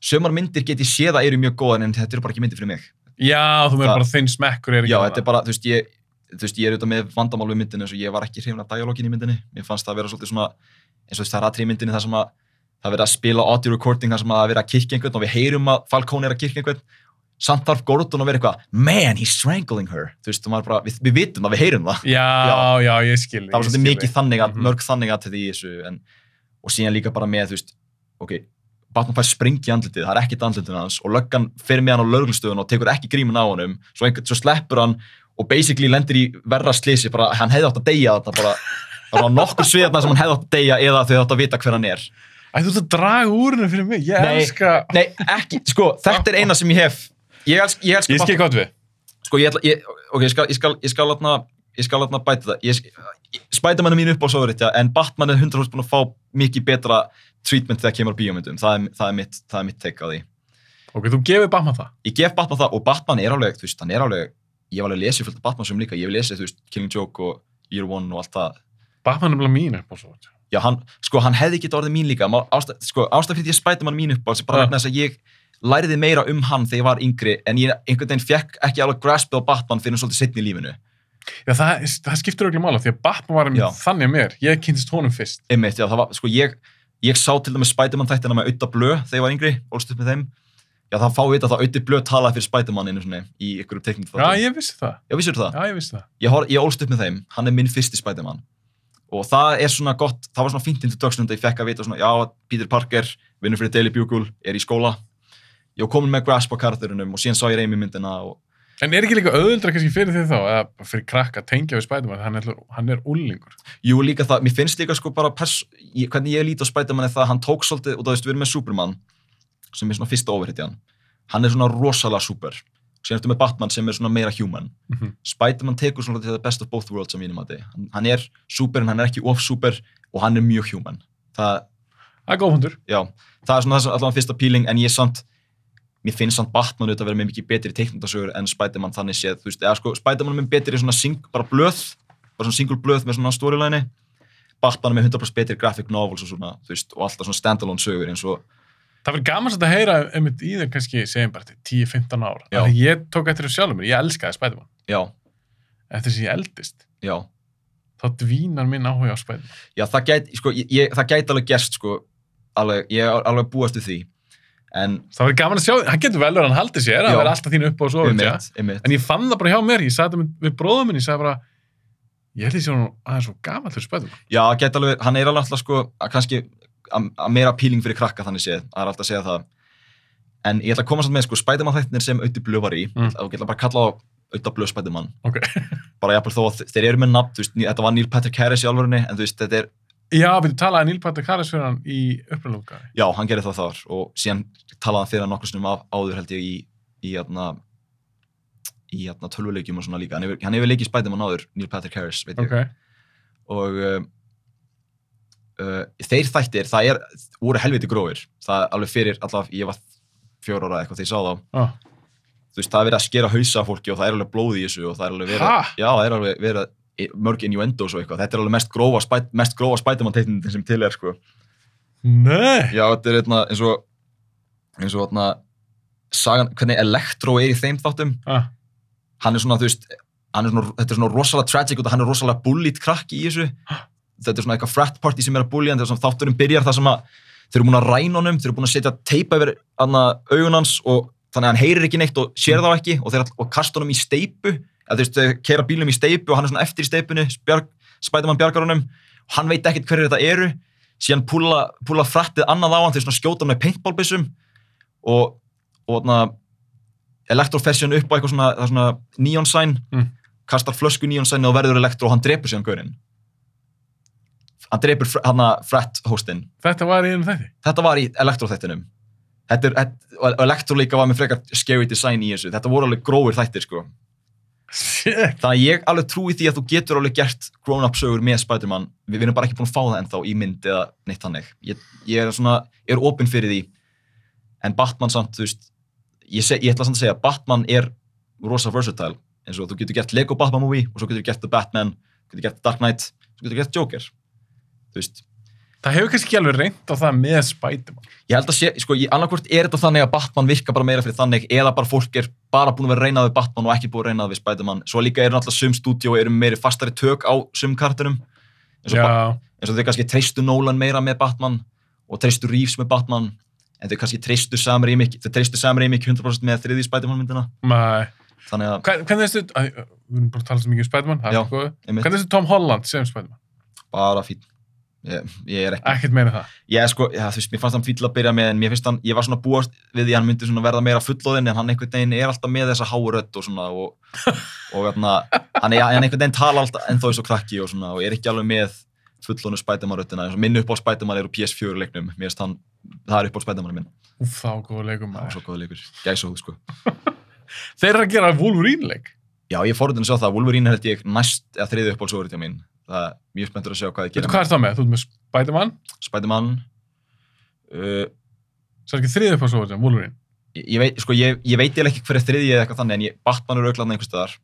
S2: sömar myndir get ég séð að eru mjög góðar en þetta eru bara ekki myndir fyrir mig.
S1: Já, þú verður
S2: Það-
S1: bara þinn smekkur er ekki
S2: Já,
S1: þarna.
S2: þetta er bara, þú veist, ég, þú veist, ég er auðvitað með vandamál við myndinu eins og ég var ekki hrifin af dialógin í myndinu. Mér fannst það að vera svolítið svona, eins og þú veist, það er atrið í myndinu þar sem að það er verið að spila audio recording þar sem að það er verið að kirkja einhvern og við heyrum að Falcone er að kirkja einhvern. Samt þarf Gordon að vera eitthvað, man, he's strangling her. Þú veist, og maður bara, við, við vitum það, við heyrum það.
S1: Já, já, ég skil
S2: Það var
S1: ég
S2: svolítið
S1: skil
S2: mikið þannig að,
S1: Mhm.
S2: mörg þannig að í þessu. En, og síðan líka bara með, þú veist, ok, Batman fær springi í andlitið, það er ekkert andlitið hans og löggan fer með hann á löglustöðun og tekur ekki grímin á honum, svo, einhvern, svo sleppur hann og basically lendir í verra slisi bara, hann hefði átt að deyja þetta bara, bara á nokkur sviðarna sem hann hefði átt að deyja eða þau átt að vita hver hann er
S1: Æ, þú ert að draga úr henni fyrir mig Ég
S2: Nei.
S1: elska
S2: Nei, ekki, sko, þetta er eina sem ég hef Ég elsk, ég elsk
S1: Ég skil hvað við
S2: Sko, ég ætla, ég, ok, ég skal, ég skal, ég skal atna, ég skal atna bæta það. Ég, sk- Spiderman er mín upp á sofurritja, en Batman er 100% búin að fá mikið betra treatment þegar kemur á bíómyndum. Það er, það er mitt, það er mitt take á því.
S1: Ok, þú gefur Batman það
S2: Ég gef Batman það og Batman er alveg, þú veist, hann er alveg, ég hef alveg lesið fullt af Batman sem líka, ég hef lesið, þú veist, Killing Joke og Year One og allt það.
S1: Batman er bara mín upp á svo
S2: Já, hann, sko, hann hefði ekki orðið mín líka. Má- Ástæð, sko, ástæð fyrir því að Spiderman mín upp á þessi bara
S1: Já.
S2: vegna þess að ég læriði meira um hann þegar ég var yngri, en ég einhvern veginn fekk ekki alveg graspið á Batman fyrir svolítið setni í lífinu.
S1: Já, það, það skiptir auðvitað mála Því að Batman var
S2: Já.
S1: einmitt þannig að mér Ég kynntist honum fyrst
S2: Einmitt, já, það var, sko, ég, ég sá til dæmis Spiderman þættina með Utta Blö þegar ég var yngri, ólst upp með þeim. Já, það fá við að það Utti Blö talaði fyrir Spiderman einu svona í ykkur teiknum
S1: Já, ég vissi það
S2: Já, vissir það?
S1: Já, ég vissi það
S2: Ég, hor, ég ólst upp með þeim, hann er minn fyrsti Spiderman. Og það er svona gott, það var svona fínt introduction þegar ég fekk að vita svona, já, Peter Parker, vinnur fyrir Daily Bugle, er í skóla. Ég var komin með grasp á karakterunum og síðan sá ég reymi myndina og
S1: En er ekki líka auðvitað kannski fyrir því þá Eða bara fyrir krakka að tengja við Spiderman Hann er, hann er úlingur
S2: Jú, líka það, mér finnst líka sko bara pers, ég, hvernig ég lít á Spiderman er það að hann tók svolítið, og það veist, við erum með Superman sem er svona fyrsta overhættjan hann er svona rosalega super síðan ertu með Batman sem er svona meira human
S1: Mhm.
S2: Spiderman tekur svona til the best of both worlds á mínum að hann, hann er super en hann er ekki of super og hann er mjög human það,
S1: Það er góð hundur
S2: já, það er svona það sem allavega fyrsta píling en ég samt, mér finnst samt Batman auðvitað að vera með mikið betri teiknundasögur en Spiderman þannig séð, þú veist, eða sko Spiderman er með betri svona sing, bara blöð, bara svona single blöð með svona storyline Batman er með 100% betri graphic novels og svona, þú veist, og alltaf svona standalone sögur eins og,
S1: Það verður gaman svolítið að heyra einmitt í þeim kannski segjum bara til 10-15 ár
S2: Já.
S1: Af því Ég tók eftir þessu sjálfur mér, ég elskaði Spiderman
S2: já,
S1: Eftir þess að ég eldist
S2: já
S1: þá dvínar minn áhuga á Spiderman
S2: já, það gæti, sko, ég, ég, það gæti alveg gerst, sko alveg, ég er alveg búast við því en,
S1: Það verður gaman að sjá, hann getur vel verið að hann haldi sér að
S2: Já.
S1: vera alltaf þín upp á svo
S2: einmitt, einmitt
S1: en ég fann það bara hjá mér, ég sagði þetta með- við bróðum minn, ég sagði bara ég held ég sé hann aðeins svo gaman til Spiderman
S2: Já, það gæti alveg, hann er alveg alltaf sko að kannski að að meira píling fyrir krakka þannig séð, það er alltaf að segja það en ég ætla að koma samt með sko Spiderman þættinir sem Ötti Blöð var í,
S1: Mm.
S2: mm. og ég ætla bara að kalla á Ötta Blöð Spiderman
S1: Ok.
S2: bara jafnvel þó að þe- þeir eru með nafn, þú veist, ný- þetta var Neil Patrick Harris í alvörunni, en þú veist, þetta er,
S1: Já, við talaði Neil Patrick Harris fyrir hann í upplunlunga
S2: já, hann gerir það þar og síðan talaði hann fyrir hann nokkur sinnum af, áður held ég í, í atna, í atna tölvuleikjum og svona líka, hann hefur, hann hefur leikið Spiderman áður Neil Patrick Harris, veit ég
S1: Ok,
S2: og uh, uh, þeir þættir, það er voru helviti grófir, það er alveg fyrir alltaf, ég var fjóra ára eða eitthvað þegar ég sá þá
S1: ah.
S2: þú veist, það er verið að skera hausa af fólki og það er alveg blóð í þessu og það er alveg verið,
S1: Ha?
S2: já, það er alveg verið að- í- mörg innuendos og eitthvað, þetta er alveg mest grófa, spæ, mest grófa spætumann teitnindin sem til er sko.
S1: Nei
S2: já, þetta er einna, eins og eins og þarna sagan, hvernig Electro er í þeim þáttum
S1: ah.
S2: hann er svona, þú veist, hann er svona, þetta er svona rosalega tragic og hann er rosalega bullied krakki í þessu. Þetta er svona eitthvað frat party sem er að bullya hann, þegar svona þátturinn byrjar þar sem að þeir eru búin að ræna honum, þeir eru búin að setja teipa yfir anna, augun hans og þannig að hann heyrir ekki neitt og sér þá ekki og þeir all- og kasta honum í steipu, eða þú veist, þeir keira bílum í steipu og hann er svona eftir í steipunni, bjarg, spætumann bjargar honum og hann veit ekkert hverju þetta eru, síðan púla, púla frattið annað á hann, þeir svona skjóta hann með paintballbissum og, og na, elektrofessjun upp á eitthvað svona, það er svona neon sign,
S1: Mm.
S2: kastar flösku neon sign og verður elektro og hann drepur síðan gaurinn. Hann drepur fr- hann að frat hostinn.
S1: Þetta var í einu þætti
S2: Þetta var í elektroþættinum. Þetta er, þetta- og elektro líka var með frekar scary design í þessu. Þetta voru alveg grófir þættir sko.
S1: Shit
S2: Þannig að ég alveg trúi því að þú getur alveg gert grown-up sögur með Spider-Man. Við, við erum bara ekki búin að fá það ennþá í mynd eða neitt þannig. Ég, ég er svona, ég er opinn fyrir því. En Batman samt, þú veist, ég, seg, ég ætla samt að segja, Batman er rosa versatile. En svo þú getur gert Lego Batman movie og svo getur þú gert The Batman, þú getur gert The Dark Knight, svo getur þú gert Joker. Þú veist,
S1: Það hefur kannski ekki alveg reynd á það með Spiderman.
S2: Ég held að sé, sko, ég- annarkvort er þetta þannig að Batman virka bara meira fyrir þannig eða bara fólk er bara búin að vera reynað við Batman og ekki búin að vera reynað við Spider-Man. Svo líka eru náttúrulega sum stúdíó eru meiri fastari tök á sum kartunum. Eins og,
S1: Já,
S2: Ba- eins og þau kannski treystu Nolan meira með Batman og treystu Reeves með Batman en þau kannski treystu Sam Raimi, þau treystu Sam Raimi ekki 100% með þriði Spider-Man myndina.
S1: með...
S2: Þannig að,
S1: Hvernig hvernig veistu... Æ, Við erum bara að tala svo mikið um Spiderman, það
S2: Já.
S1: er svo góð.
S2: einmitt,
S1: Hvernig veistu Tom Holland sem Spiderman?
S2: bara fín. Ég, ég er ekki
S1: Ekkert meina það.
S2: Ég sko, já, þú veist, mér fannst hann fíl að byrja með en mér finnst hann, ég var svona búast við því að hann myndi svona verða meira fullóðinn en hann einhvern veginn er alltaf með þessa hárödd og svona og, og þarna, hann, er, hann einhvern veginn tala alltaf ennþá eins og krakki og svona og er ekki alveg með fullónu spætumaröddina eins og minn upp á spætumann er á PS4 leiknum, mér finnst hann, það er upp á spætumann minn,
S1: Úf, þá góð leikum
S2: það var
S1: maður.
S2: svo góð leikur, gæsa húð sko.
S1: Þeir eru að gera Wolverine-leik.
S2: Já, ég fór út að sjá það, Wolverine held ég næst eða þriði upp á sóritjá mín, það er mjög spenntur að sjá hvað þið
S1: Veitu
S2: gera
S1: hvað er það með? Þú ert með Spiderman,
S2: með Spider-Man, uh,
S1: svo er ekki þriðið upp á svo Wolverine.
S2: ég, ég veit, sko, ég, ég veit eiginlega ekki hver er þriðji eða eitthvað þannig, en ég, Batman eru auklaðna einhvers staðar.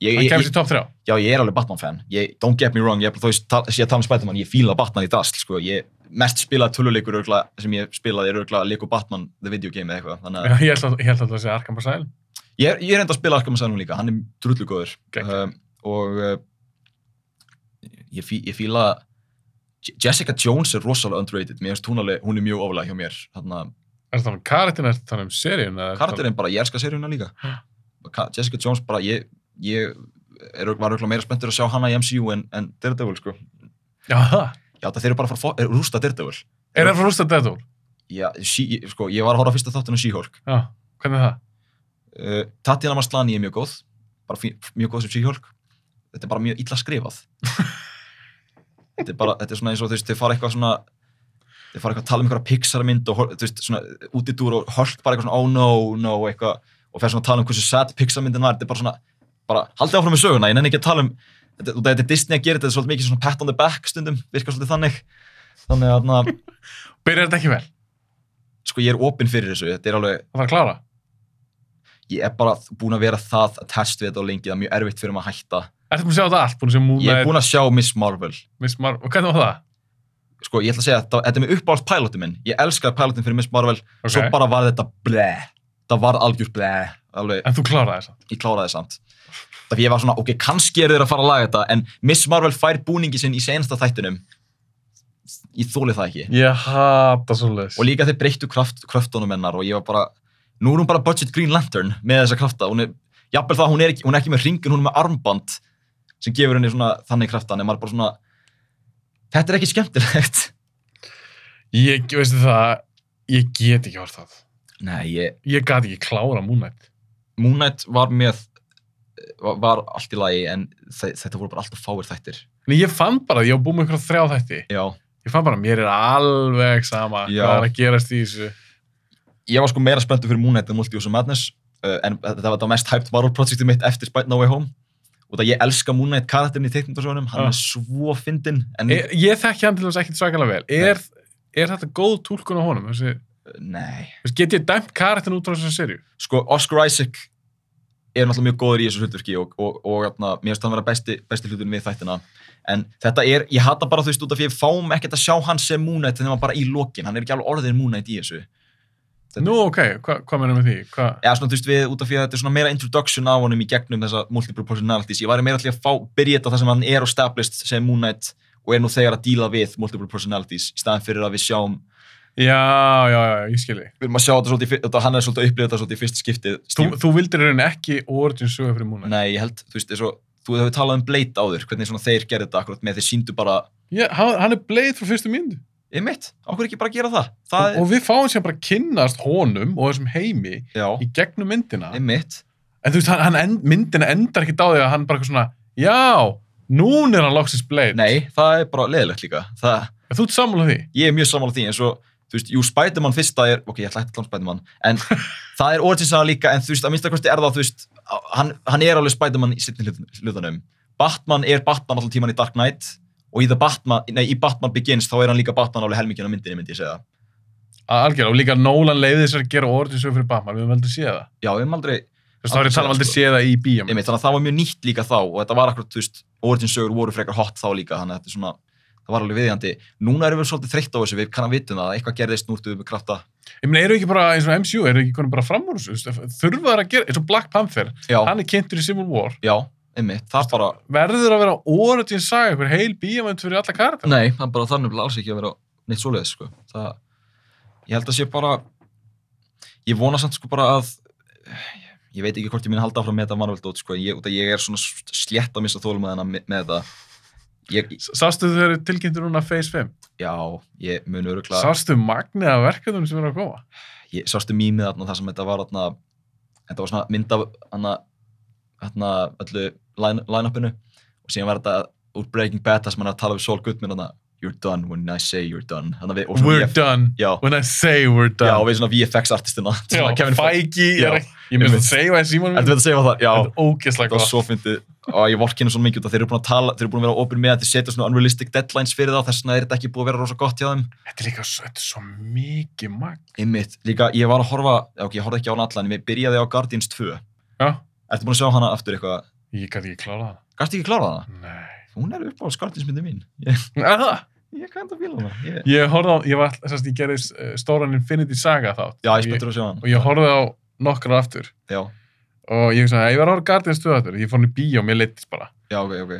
S2: Ég,
S1: Hann
S2: ég,
S1: kemst
S2: ég,
S1: í top 3.
S2: já, ég er alveg Batman-fan. Ég- Don't get me wrong, ég er bara þó að sé að tala um Spiderman, ég fíla Batman í dasl, sko. Ég, mest spilaði töluleikur auklað, sem ég spilaði er auklað Lego Batman The Video Game eða eitthvað. Þannig að
S1: Ég held að- ég held að það sé Arkham Asylum.
S2: ég, er- ég er enda að spila Arkham Asylum líka, hann er drullu góður.
S1: Geggjað.
S2: Um, og uh, ég, fí, ég fíla, Je- Jessica Jones er rosalega underrated, mér finnst hún alveg, hún er mjög ofalega hjá mér. Þannig að
S1: Er það um karatinn, er það um seríun? eða ertu að tala um-
S2: karakterinn bara, ég elska seríuna líka
S1: Ha.
S2: Ka- Jessica Jones bara, ég, ég er, var auðvitað meira spenntur að sjá hana í MCU en, en Daredevil sko
S1: Já, það.
S2: já þetta þeir eru bara að fara að fá- er, rústa Daredevil
S1: Er það frá Rústa Deadpool?
S2: já, sí, ég- sko, ég var að horfa á fyrsta þáttun á She-Hulk
S1: Já, hvernig er það?
S2: uh, Tatjana Maslani er mjög góð bara fí, mjög góð sem She-Hulk þetta er bara mjög illa skrifað þetta er bara, þetta er svona eins og þú veist, þeir fara eitthvað svona þeir fara eitthvað að tala um einhverja Pixar-mynd og hor- þú veist, svona út í dúr og Hulk bara eitthvað svona oh no, no, eitthvað og fer svona að tala um hversu sad Pixar-myndin var, þetta er bara svona bara haldið áfram með söguna, ég nenni ekki að tala um þetta, út af þetta er Disney að gera þetta, þetta er svolítið mikið svona pat on the back stundum, virkar svolítið þannig þannig að, na,
S1: Byrjar þetta ekki vel?
S2: sko, ég er opinn fyrir þessu, þetta er alveg
S1: Það var að klára?
S2: ég er bara búin að vera það attached við þetta og lengi, það er mjög erfitt fyrir mig að hætta
S1: Ertu búin að sjá þetta allt? Búin að sjá Moon
S2: ég er
S1: Knight,
S2: búin að sjá Miss Marvel
S1: Miss Marvel, og hvernig var það?
S2: sko, ég ætla að segja, þetta, þetta er með uppáhalds pilotin minn ég elskaði pilotin fyrir Miss Marvel
S1: Ok.
S2: svo bara var þetta ble það var algjör ble alveg,
S1: En þú kláraði þess að?
S2: ég kláraði samt það fyrir ég var svona, ok, kannski eru þeir að fara að laga þetta en Miss Marvel fær búningi sinn í senasta þættinum ég þóli það ekki
S1: Ég hata svo leiðis.
S2: og líka þeir breyttu kraft, kraftunum hennar og ég var bara, nú er hún bara budget Green Lantern með þessa krafta, hún er jafnvel það, að hún er ekki, hún er ekki með ringun, hún er með armband sem gefur henni svona þannig kraftan en maður bara svona, þetta er ekki skemmtilegt
S1: Ég, veistu það, ég get ekki hort það.
S2: Nei, ég,
S1: Ég gat ekki klára Moon Knight.
S2: Moon Knight var með var, var allt í lagi en þe- þetta voru bara alltaf fáir þættir
S1: En ég fann bara, að ég var búin með ykkur þrjá þætti.
S2: Já,
S1: Ég fann bara, mér er alveg sama
S2: Já.
S1: hvað er að gerast í þessu.
S2: ég var sko meira spenntur fyrir Moon Knight en Multiverse of Madness uh, en þetta var þetta mest hyped Marvel projektið mitt eftir Spider-No Way Home og það ég elska Moon Knight karakterin í teiknundarsjónum, hann
S1: Ah.
S2: er svo fyndinn en
S1: Ég, ég þekki hann til þess ekkert svakalega vel. Er, er þetta góð túlkun á honum? Þessi,
S2: eh, Nei.
S1: þessi, get ég dæmt karatinn út frá þessar serju?
S2: Sko, Oscar Isaac er náttúrulega mjög góður í þessu hlutverki og, og, og atna, mér finnst hann vera besti, besti hluturinn við þættina. En þetta er, ég hata bara þú veist út af því að við fáum ekkert að sjá hann sem Moon Knight þegar hann bara í lokin. Hann er ekki alveg orðin Moon Knight í þessu. Þetta-
S1: Nú, ok, hva, hvað meina með því? Hva?
S2: Eða svona, þú veist, við út af því að þetta er svona meira introduction á honum í gegnum þessa multiple personalities. Ég væri meira til að fá, byrja þetta þar sem hann er established sem Moon Knight og er nú þegar að díla við multiple personalities í staðan fyrir að við sjáum,
S1: Já, já, já, ég skilji.
S2: við erum að sjá þetta svolítið, í fyr- þetta, hann er svolítið að upplifa þetta svolítið í fyrsta skiptið.
S1: Þú,
S2: Steve-
S1: þú vildir í rauninni ekki origin sögur fyrir Moon Knight.
S2: Nei, ég held, þú veist, eins og þú hefur talað um Blade áður, hvernig svona þeir gerðu þetta akkurat með þeir síndu bara,
S1: Já, hann, hann er bleið frá fyrstu myndu.
S2: ég mitt, okkur ekki bara gera það.
S1: Og,
S2: Það
S1: og við fáum sér bara að kynnast honum og þessum heimi
S2: já,
S1: í gegnum myndina.
S2: ég mitt.
S1: En þú veist, hann, hann end, myndina endar ekki á því að hann bara eitthvað svona, já, núna er hann loksins bleið.
S2: Nei, það er bara leðilegt líka. Það,
S1: En Þú ert sammála því.
S2: ég er mjög sammála því, eins og, þú veist, jú, Spiderman fyrsta er, ok, ég ætla ekki að klána Spiderman, en það er originsaga líka, en þú veist, að minnstakosti er það, þú veist, á- hann, hann er alveg Spiderman í sittin hlutunum. Batman er Batman alltaf tíman í Dark Knight og í, The Batman, nei, í Batman Begins þá er hann líka Batman alveg helmingin á myndinni, myndi ég segja.
S1: Að algjörlega, og líka Nolan leiði þessar að gera origin sögur fyrir Batman, við höfum aldrei séð það.
S2: Já, við höfum aldrei,
S1: Þú veist, þá er ég að tala um aldrei séð það í bíjum.
S2: Einmitt, þannig að það var mjög nýtt líka þá og þetta var akkurat, þú veist, origin sögur voru frekar hot þá líka þannig að þetta er svona, það það var alveg viðjandi. Núna erum við svolítið þreytt á þessu, við kannan vitum það, eitthvað gerðist núttu við með krafta.
S1: Ég meina, eru ekki bara eins og MCU, eru ekki konum bara fram úr þessu? þú veist, Þurfa þær að gera, eins og Black Panther,
S2: Já,
S1: hann er kynntur í Civil War.
S2: já, einmitt, það er bara,
S1: Verður að vera origin saga, einhver heil bíamönd fyrir alla karakter?
S2: nei, það er bara þannig alls ekki að vera neitt svoleiðis, sko. Það, ég held að sé bara, ég vona samt sko bara að, ég veit ekki hvort ég minn halda áfram með þetta Marvel dót, sko, en ég, út að ég er svona slétt að missa þólum að með, með þetta. Ég,
S1: Sástu þau eru tilkynntur núna Phase 5?
S2: já, ég mun öruglega...
S1: Sástu magnið af verkefnum sem eru að koma?
S2: ég sástu mýmið þarna þar sem þetta var þarna, þetta var svona mynd af hana, hana öllu line- line-upinu og síðan var þetta úr Breaking Bad þar sem hann er að tala við Saul Goodman hana, you're done when I say you're done hana, við, og svona
S1: We're
S2: VF
S1: done.
S2: já,
S1: When I say we're
S2: já, og
S1: done.
S2: við svona VFX artistina
S1: Já,
S2: svona Kevin Feige
S1: Feige,
S2: Já,
S1: er ekki, ég myndi
S2: einmitt.
S1: að segja hvað Simon
S2: Ertu
S1: myndi.
S2: veit að segja það? Já,
S1: Þetta er ógeðslega
S2: þetta var
S1: gott.
S2: svo fyndið og ég vorkinu svona mikið út að þeir eru búin að tala, þeir eru búin að vera opinn með að þeir setja svona unrealistic deadlines fyrir það þess vegna er þetta ekki búið að vera rosa gott hjá þeim
S1: Þetta er líka svo, þetta er svo mikið magn.
S2: Einmitt, líka ég var að horfa, já, ok, ég horfði ekki á hann allan, en ég byrjaði á Guardians 2
S1: Já,
S2: Ertu búin að sjá hana aftur eitthvað?
S1: ég gæti ekki klára það.
S2: Gast ekki klárað hana?
S1: Nei.
S2: Hún er upp á skartinsmyndi mín. Ég,
S1: Er það?
S2: ég kann það fíla hana. Ég,
S1: Ég horfði á, ég var, sérst, ég gerði eh, stóran Infinity Saga þátt.
S2: já, ég er
S1: ég,
S2: spenntur að sjá hana.
S1: og ég horfði á nokkra aftur.
S2: Já,
S1: Og ég hugsaði, ég var að horfa á Guardians 2 aftur. Ég fór hann í bíó, mér leittist bara.
S2: já, ok, ok.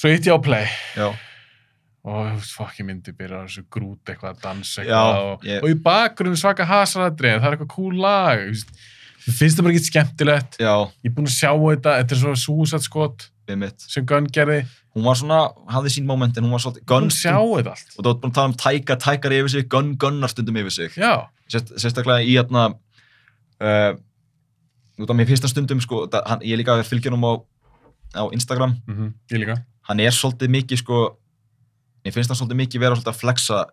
S1: Svo hitt ég á play.
S2: Já,
S1: og fokki myndi byrja á þessu grút eitthvað að dansa eitthvað
S2: Já,
S1: og,
S2: ég-
S1: og í bakgrunni svaka hasaradrið það er eitthvað cool lag þú veist. Mér finnst það bara ekki skemmtilegt
S2: já,
S1: ég er búinn að sjá þetta, þetta er svona súsat skot
S2: við mitt.
S1: sem Gunn gerði
S2: Hún var svona, hafði sín moment en hún var svolítið
S1: Gunn
S2: gunn.
S1: sjá þetta allt
S2: Og þú ert búin að tala um tæka, tækar yfir sig, gunn, gunnar stundum yfir sig.
S1: já,
S2: Sérst, sérstaklega í hérna, uh, út af mér finnst hann stundum, sko, það, hann, ég er líka að fylgja hann á, á Instagram.
S1: mm ég líka
S2: Hann er svolítið mikið, sko, mér finnst hann svolítið mikið vera svolítið að flexa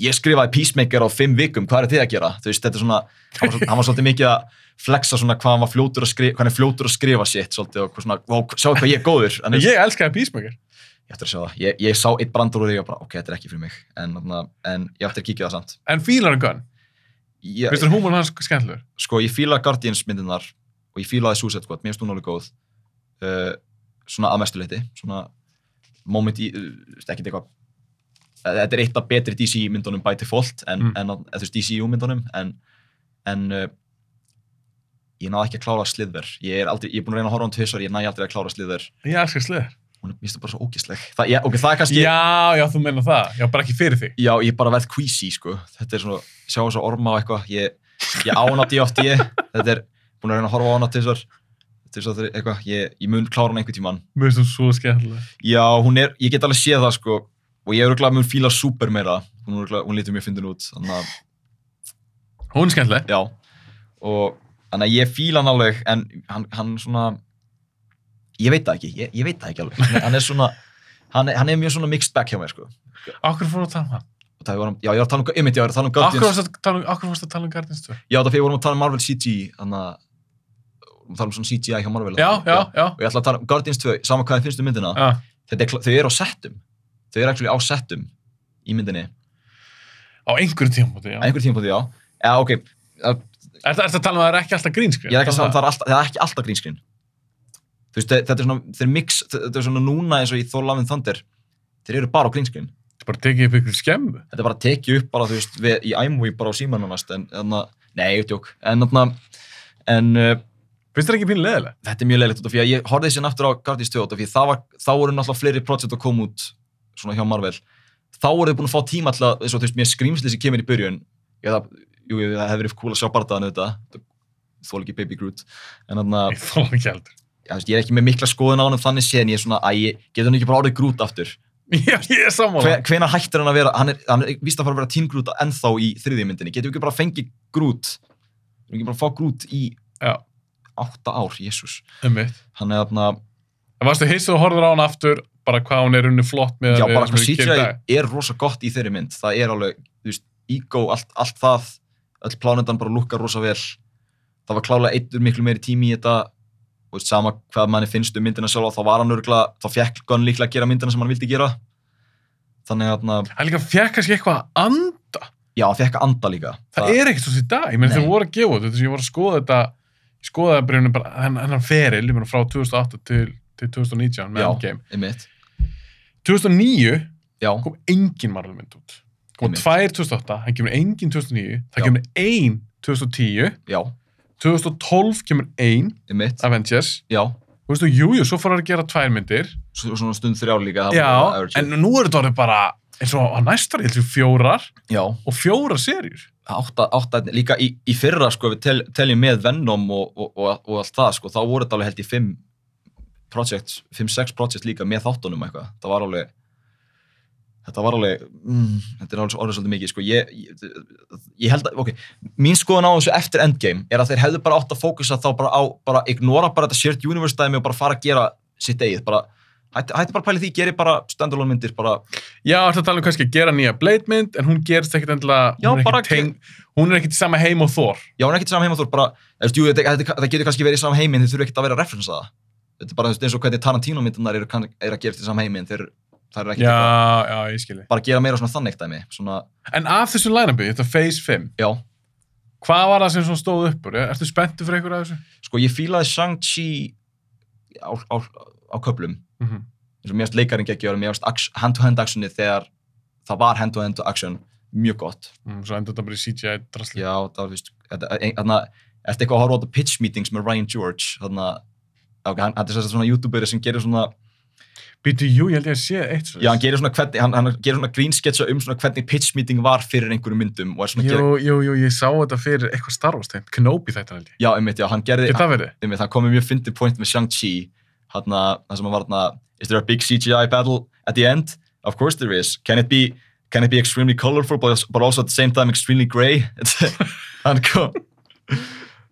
S2: ég skrifaði Peacemaker á fimm vikum, hvað er þið að gera? Þú veist, þetta er svona, hann var, svol- hann var svolítið mikið að flexa svona hvað hann var fljótur að skrifa, hvað hann er fljótur að skrifa sitt svolítið og hvað svona, vá, sjá hvað ég er góður. En
S1: ég elskaði Peacemaker
S2: ég ætti að sjá það, ég, ég sá eitt brandur og ég var bara, ok, þetta er ekki fyrir mig, en, þarna- en ég ætti að kíkja það samt.
S1: en fílar hann Gunn,
S2: Ég,
S1: finnst þér húmónu hans skemmtilegur
S2: sko, ég fíla Guardians myndirnar og ég fílaði Suicide Squad, mér finnst hún alveg góð, uh, svona að mestu leyti, svona moment í, uh, ekkert eitthvað, eh, þetta er eitt af betri DC myndunum by default, en,
S1: Mm.
S2: en, en þú veist DCU myndunum, en, en uh, ég náði ekki að klára Slither, ég er aldrei, ég er búin að reyna að horfa hún tvisar, ég næ aldrei að klára Slither,
S1: ég elskaði Slyður
S2: hún er, mér finnst það bara svo ógæsleg, það, ég, ok, það er kannski,
S1: já, já, þú meina það, já, bara ekki fyrir þig
S2: Já, ég er bara verð queasy, sko. Þetta er svona, sjá þess að orma á eitthvað. Ég, ég ánátti ég átti ég. Þetta er, búin að reyna að horfa á hana til þessar, til þessar eitthvað. Ég, ég mun klára hana einhvern tímann.
S1: mér finnst það svo skemmtileg
S2: Já, hún er, ég get alveg séð það, sko. Og ég er örgulega mun fíla super meira. Hún, er örugglega- hún lítur mjög fyndin út, þannig að,
S1: hún er skemmtileg,
S2: já. Og, þannig að ég fíla hann alveg, en hann, hann svona, ég veit það ekki, ég, ég veit það ekki alveg. Hann er svona, hann er, hann er mjög svona mixed back hjá mér, sko.
S1: okkur fór að tala um hann
S2: Og það var, já, ég var að tala um, einmitt, ég var að tala um
S1: okkur
S2: Guardians.
S1: fórst að tala um- af hverju fórstu að tala um Guardians 2
S2: Já, það fyrir vorum að tala um Marvel CGI, þannig að vorum að tala um svona CGI hjá Marvel.
S1: já, já, já,
S2: Og ég ætla að tala um Guardians 2, sama hvað þið finnst um myndina.
S1: já.
S2: Þetta er, kla- þau eru á settum. Þau eru actually á settum í myndinni.
S1: á einhverjum tímabóti, já
S2: Á einhverjum tímapunkti, já. Já, ok.
S1: Er þetta að tala um að um það er ekki alltaf grínskrin?
S2: Ég er ekki að segja að það er, alltaf, það er ekki alltaf grínskrin. Þú veist, þe- þetta er svona, þeir mix, þetta er svona núna eins og í Thor Love and Thunder. Þeir eru bara á grínskrin.
S1: Þetta er bara að tekið upp ykkur skemmu.
S2: Þetta er bara að tekið upp bara, þú veist, við, í iMovie bara á símananast, en, en, nei, ég tjók. En, en, en uh,
S1: Finnst þér ekki pínu leðilega?
S2: þetta er mjög leiðilegt út af því að ég horfði síðan aftur á Guardians 2 út af því að það var, þá voru náttúrulega fleiri projekt að koma út svona hjá Marvel þá voru þau búin að fá tíma alltaf eins og þú veist mér skrýmsli sem kemur í byrjun ég það, jú, jú, það hefur verið cool að sjá bardaðan auðvitað þól ekki Baby Groot en þannig að
S1: Ég þóla ekki heldur.
S2: já, þú veist, ég er ekki með mikla skoðun á hann þannig séðan ég er svona æ, getur hann ekki bara orðið Groot aftur
S1: Já, ég er sammála.
S2: Hve, hvenar hættir hann að vera hann er, hann er víst að fara að vera Team Groot ennþá í þriðju myndinni getur við ekki bara að fengi Groot við ekki bara að fá Groot í
S1: Já.
S2: átta ár, jésús
S1: Um mitt.
S2: hann er þarna
S1: En varstu hissið og horfður á hann aftur, bara hvað hún er unni flott með
S2: Já,
S1: við
S2: bara sko,
S1: sem
S2: hvað
S1: við gerum í dag?
S2: CGI er rosa gott í þeirri mynd. Það er alveg, þú veist, ego, allt, allt það, öll plánundan bara lukkar rosa vel. Það var klálega eittur miklu meiri tími í þetta og veist, sama hvað manni finnst um myndina sjálf þá var hann örgulega, þá fekk Gunn líklega að gera myndina sem hann vildi gera. Þannig að, þarna-
S1: Hann líka fekk kannski eitthvað að anda.
S2: já, hann fekk að anda líka.
S1: Það er ekkert svo í dag. Ég meina
S2: Nei.
S1: þeir voru að gefa út, þetta. sem Ég voru að skoða þetta, ég skoðaði bara, henni bara henn- hennan feril, ég meina frá 2008 til, til 2019 með
S2: Já.
S1: Endgame.
S2: einmitt.
S1: 2009
S2: Já,
S1: kom engin Marvel mynd út. Kom
S2: Einmitt.
S1: tvær 2008, það kemur engin 2009, það
S2: Já.
S1: kemur ein 2010,
S2: já,
S1: 2012 kemur ein
S2: mitt,
S1: Avengers,
S2: já.
S1: þú veistu, jú, jú, svo fór hann að gera tvær myndir.
S2: Svo, svona stund þrjá líka. það var
S1: Já,
S2: average.
S1: en nú er þetta orðið bara, eins og á næstar, ég til fjórar
S2: Já,
S1: og fjórar serjur.
S2: átta, átta, líka í, í fyrra, sko, ef við tel, teljum með Venom og, og, og, og allt það, sko, þá voru þetta alveg held í fimm projects, fimm-sex projects líka með þáttunum eitthvað. Það var alveg, þetta var alveg, mm, þetta er alveg orðið svolítið mikið, sko, ég, ég, ég held að, ok, mín skoðun á þessu eftir Endgame er að þeir hefðu bara átt að fókusa þá bara á, bara ignora bara þetta shared universe dæmi og bara fara að gera sitt eigið, bara, hætti, hætti bara að pæli því, geri bara standalone myndir, bara,
S1: Já, þetta tala um kannski að gera nýja Blade mynd, en hún gerist ekkit endilega,
S2: Já,
S1: hún er
S2: bara
S1: ekkit, teng, hún er ekkit í sama heim og þor.
S2: Já, hún er ekkert saman heima, þú er bara, eftir, jú, þetta, þetta, þetta getur kannski verið í saman heimi en þið þurfum ekkert að vera að referensa það. Þetta er bara þú veist, eins og hvernig Tarantino myndunar eru, kann- eru að gera eftir saman heimi en þeir, það
S1: Já,
S2: er ekkert eitthvað-
S1: já, ég skilji.
S2: bara að gera meira svona þannig dæmi, svona,
S1: En af þessu line-upi, þetta Phase 5,
S2: já.
S1: hvað var það sem svona stóð uppur? Ertu spenntu fyrir einhverju af þessu?
S2: Sko, ég fílaði Shang-Chi á, á, á köplum,
S1: Mm
S2: eins og mér finnst leikarinn geggjör, mér finnst ax- hand-to-hand actioni þegar það var hand-to-hand action mjög gott.
S1: Mm, svo endur þetta bara í CGI drasli.
S2: Já, það var, þú veist, e, þarna, ertu eitthvað að horfa á þetta pitch meetings með Ryan George, þarna, ok, hann, hann er sem sagt svona youtuberi sem gerir svona,
S1: Býtu, jú, ég held ég að sé eitt svo.
S2: Já, hann gerir svona, hvernig, hann, hann gerir svona grínsketsa um svona hvernig pitch meeting var fyrir einhverjum myndum og er svona að gera,
S1: Jú, jú, jú, ég sá þetta fyrir eitthvað Star Wars tegn, Kenobi þetta held ég.
S2: já, einmitt, já, hann gerði,
S1: Getur það verið?
S2: einmitt, hann kom með mjög fyndið point með Shang-Chi, hann það sem hann var hann is there a big CGI battle at the end? Of course there is. Can it be, can it be extremely colorful but, als- but also at the same time extremely grey? hann kom,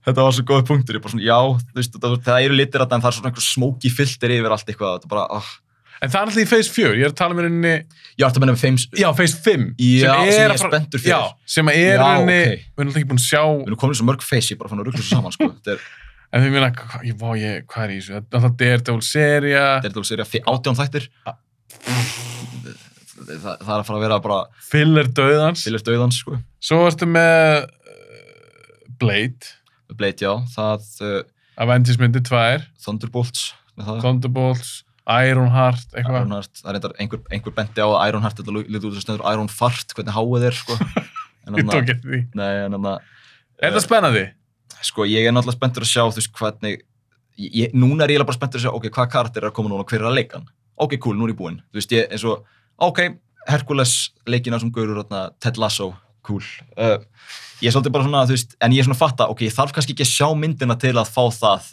S2: þetta var svo góð punktur, ég bara svona, já, þú veist, það, það eru litir að það en það er svona einhver smóki filter yfir allt eitthvað, þetta er bara, ah,
S1: En það er alltaf í Phase 4, ég er að tala með henni,
S2: já, þetta meina með feims,
S1: já, Phase 5.
S2: Já, sem ég
S1: að
S2: er
S1: fara-
S2: spenntur fyrir.
S1: Já, sem að er
S2: Já,
S1: henni,
S2: ok.
S1: við erum alltaf ekki búin að sjá,
S2: við erum komin í svo mörg face, ég er bara fann að ruggla svo saman, sko, þetta er,
S1: en við minna, hva, ég, vá, ég, hvað er í þessu? Það er alltaf Daredevil seria,
S2: Daredevil serið að átján þættir
S1: Ah.
S2: það, það er að fara að vera bara
S1: filler döðans,
S2: Fyllir döðans sko
S1: svo ertu með uh, Blade,
S2: Blade já, það uh,
S1: Avengers myndi 2,
S2: Thunderbolts með það
S1: Thunderbolts, Ironheart, eitthvað.
S2: Ironheart, það er reyndar einhver, einhver bendi á að Ironheart þetta lítið út sem stendur Iron Fart, hvernig háið er sko en
S1: Ég tók
S2: annað,
S1: eftir því.
S2: nei, en annað
S1: Er
S2: Eh.
S1: það spennandi?
S2: sko ég er náttúrulega spenntur að sjá þú veist hvernig ég, ég- núna er ég eiginlega bara spenntur að sjá ok, hvaða karakter er að koma núna og hver er að leika hann ok, cool, nú er ég búinn, þú veist ég eins og ok, Hercules leikina sem gaurur þarna, Ted Lasso, cool uh, ég er svolítið bara svona, þú veist en ég er svona að fatta, ok, ég þarf kannski ekki að sjá myndina til að fá það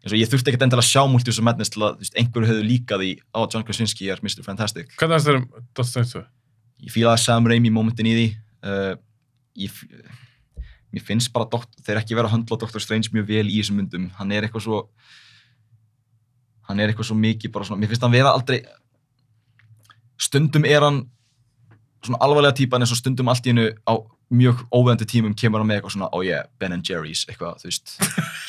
S2: eins og ég þurfti ekkert endilega að sjá Multiverse of Madness til að þú veist, einhverju hefðu líkað í á, John Krasinski er Mr. Fantastic
S1: Hvernig er það um Doctor Strange 2?
S2: ég fílaði Sam Raimi momentin í því uh, ég, f- mér finnst bara dokt, þeir ekki vera að höndla Dr. Strange mjög vel í þessum myndum hann er eitthvað svo hann er eitthvað svo mikið bara svona, mér finnst hann vera aldrei stundum er hann svona alvarlega típan eins og stundum allt í hennu á mjög óveðandi tímum kemur hann með eitthvað svona, oh yeah, Ben and Jerry's eitthvað, þú veist,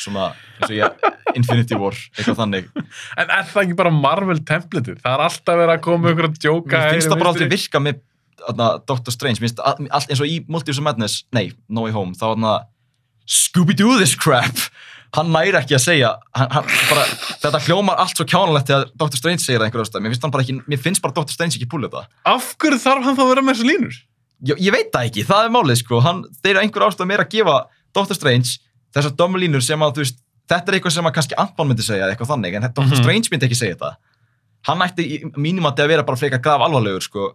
S2: svona eins og ég, Infinity War, eitthvað þannig
S1: En er það ekki bara Marvel templateið? Það er alltaf verið að koma með ykkur að djóka.
S2: Mér finnst
S1: hægri,
S2: það bara
S1: vinstri.
S2: aldrei virka með atna, Doctor Strange, mér finnst all- allt eins og í Multiverse of Madness, nei, No Way Home, þá var hann Scooby-Doo this crap, hann næri ekki að segja, hann, hann, bara, þetta hljómar allt svo kjánulegt þegar Doctor Strange segir það einhverja ástæð, mér finnst, hann bara ekki, mér finnst bara Doctor Strange ekki púlið það.
S1: Af hverju þarf hann þá að vera með þessu línur?
S2: Ég, ég veit það ekki, það er málið sko, hann, þeir eru einhverja ástæð meira að gefa Doctor Strange þessar dömu línur sem að, þú veist, þetta er eitthvað sem að kannski Ant-Man myndi segja eða eitthvað þannig, en Doctor
S1: Mhm.
S2: Strange myndi ekki segja þetta. Hann ætti í mínum að vera bara fleika graf alvarlegur sko,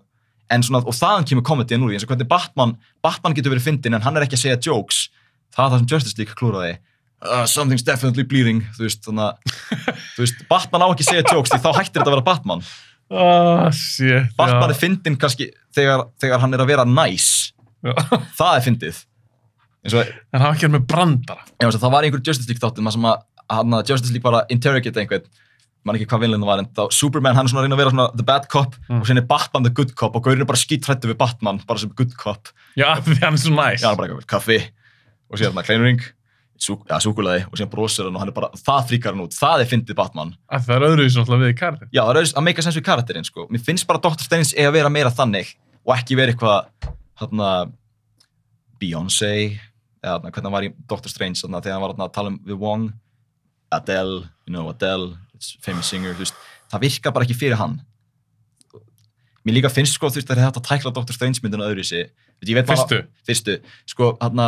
S2: en svona, og þaðan kemur komediðin úr því, eins og hvernig Batman, Batman getur verið fyndin en hann er ekki að segja jokes, það er það sem Justice League klúraði. Uh, something's definitely bleeding, þú veist, þannig að, þú veist, Batman á ekki að segja jokes því þá hættir þetta að vera Batman.
S1: Ah, shit.
S2: Batman
S1: já.
S2: er fyndin kannski þegar, þegar hann er að vera nice,
S1: Já.
S2: það er fyndið. Eins og
S1: En hann ekki er með brandara.
S2: Já, þess að það var einhver Justice League þáttum sem að hann að Justice League var að interrogate einhvern mann ekki hvað vinlega það var en þá Superman hann er svona að reyna að vera svona the bad cop
S1: Mm.
S2: og sen er Batman the good cop og gaurinn er bara skítrættu við Batman bara sem good cop
S1: Já, af því hann er svo næs.
S2: já hann er bara eitthvað kaffi og síðan hann kleinuring sú, ja, súkulaði og síðan brosir hann og hann er bara það fríkar hann út það er fyndið Batman
S1: Af því Það er öðruvísi náttúrulega við í karðin.
S2: já það er auðvitað að meika sens við karakterinn sko mér finnst bara Dr. Steins eiga að vera meira þannig og ekki vera eitthvað hérna Beyoncé eða hérna hvernig hann var í Dr. Strange þarna þegar hann var þarna að tala um við Wong Adele, you know Adele it's a famous singer þú veist það virka bara ekki fyrir hann mér líka finnst sko þú veist að þetta að tækla Dr. Strange myndina öðru sig ég veit maður,
S1: Fyrstu,
S2: fyrstu sko hann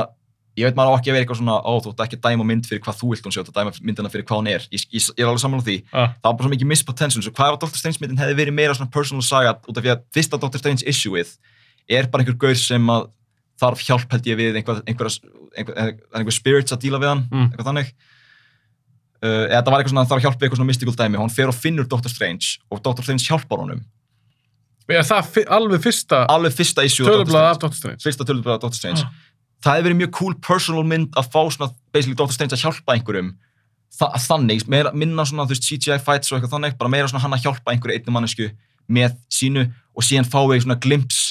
S2: ég veit maður á ekki að vera eitthvað svona ó þú ert ekki að dæma mynd fyrir hvað þú vilt hún sé þú ert að dæma myndina fyrir hvað hún er ég, ég, ég er alveg sammála því
S1: ah,
S2: það var bara svo mikið mispotential svo hvað ef að Dr. Strange myndin hefði verið meira svona personal saga út af því að fyrsta Dr. Strange issue-ið er bara einhver gaur sem að þarf hjálp held ég við einhver, einhver, einhver, einhver, einhver spirits að díla við hann
S1: Mm.
S2: eitthvað þannig uh, eða það var eitthvað svona að þarf að hjálpa við eitthvað svona mystical dæmi hann fer og finnur Dr. Strange og Dr. Strange hjálpar honum
S1: er það fi- alveg fyrsta
S2: alveg fyrsta issue af Dr.
S1: tölublað af
S2: Strange
S1: Dr. Strange?
S2: fyrsta tölublaða Dr. Strange
S1: Ah.
S2: það hefði verið mjög cool personal mynd að fá svona basically Dr. Strange að hjálpa einhverjum Þa, þannig, meira, minna svona þú veist, CGI fights og eitthvað þannig, bara meira svona hann að hjálpa einhverju einni mannesku með sínu og síðan fái svona glimps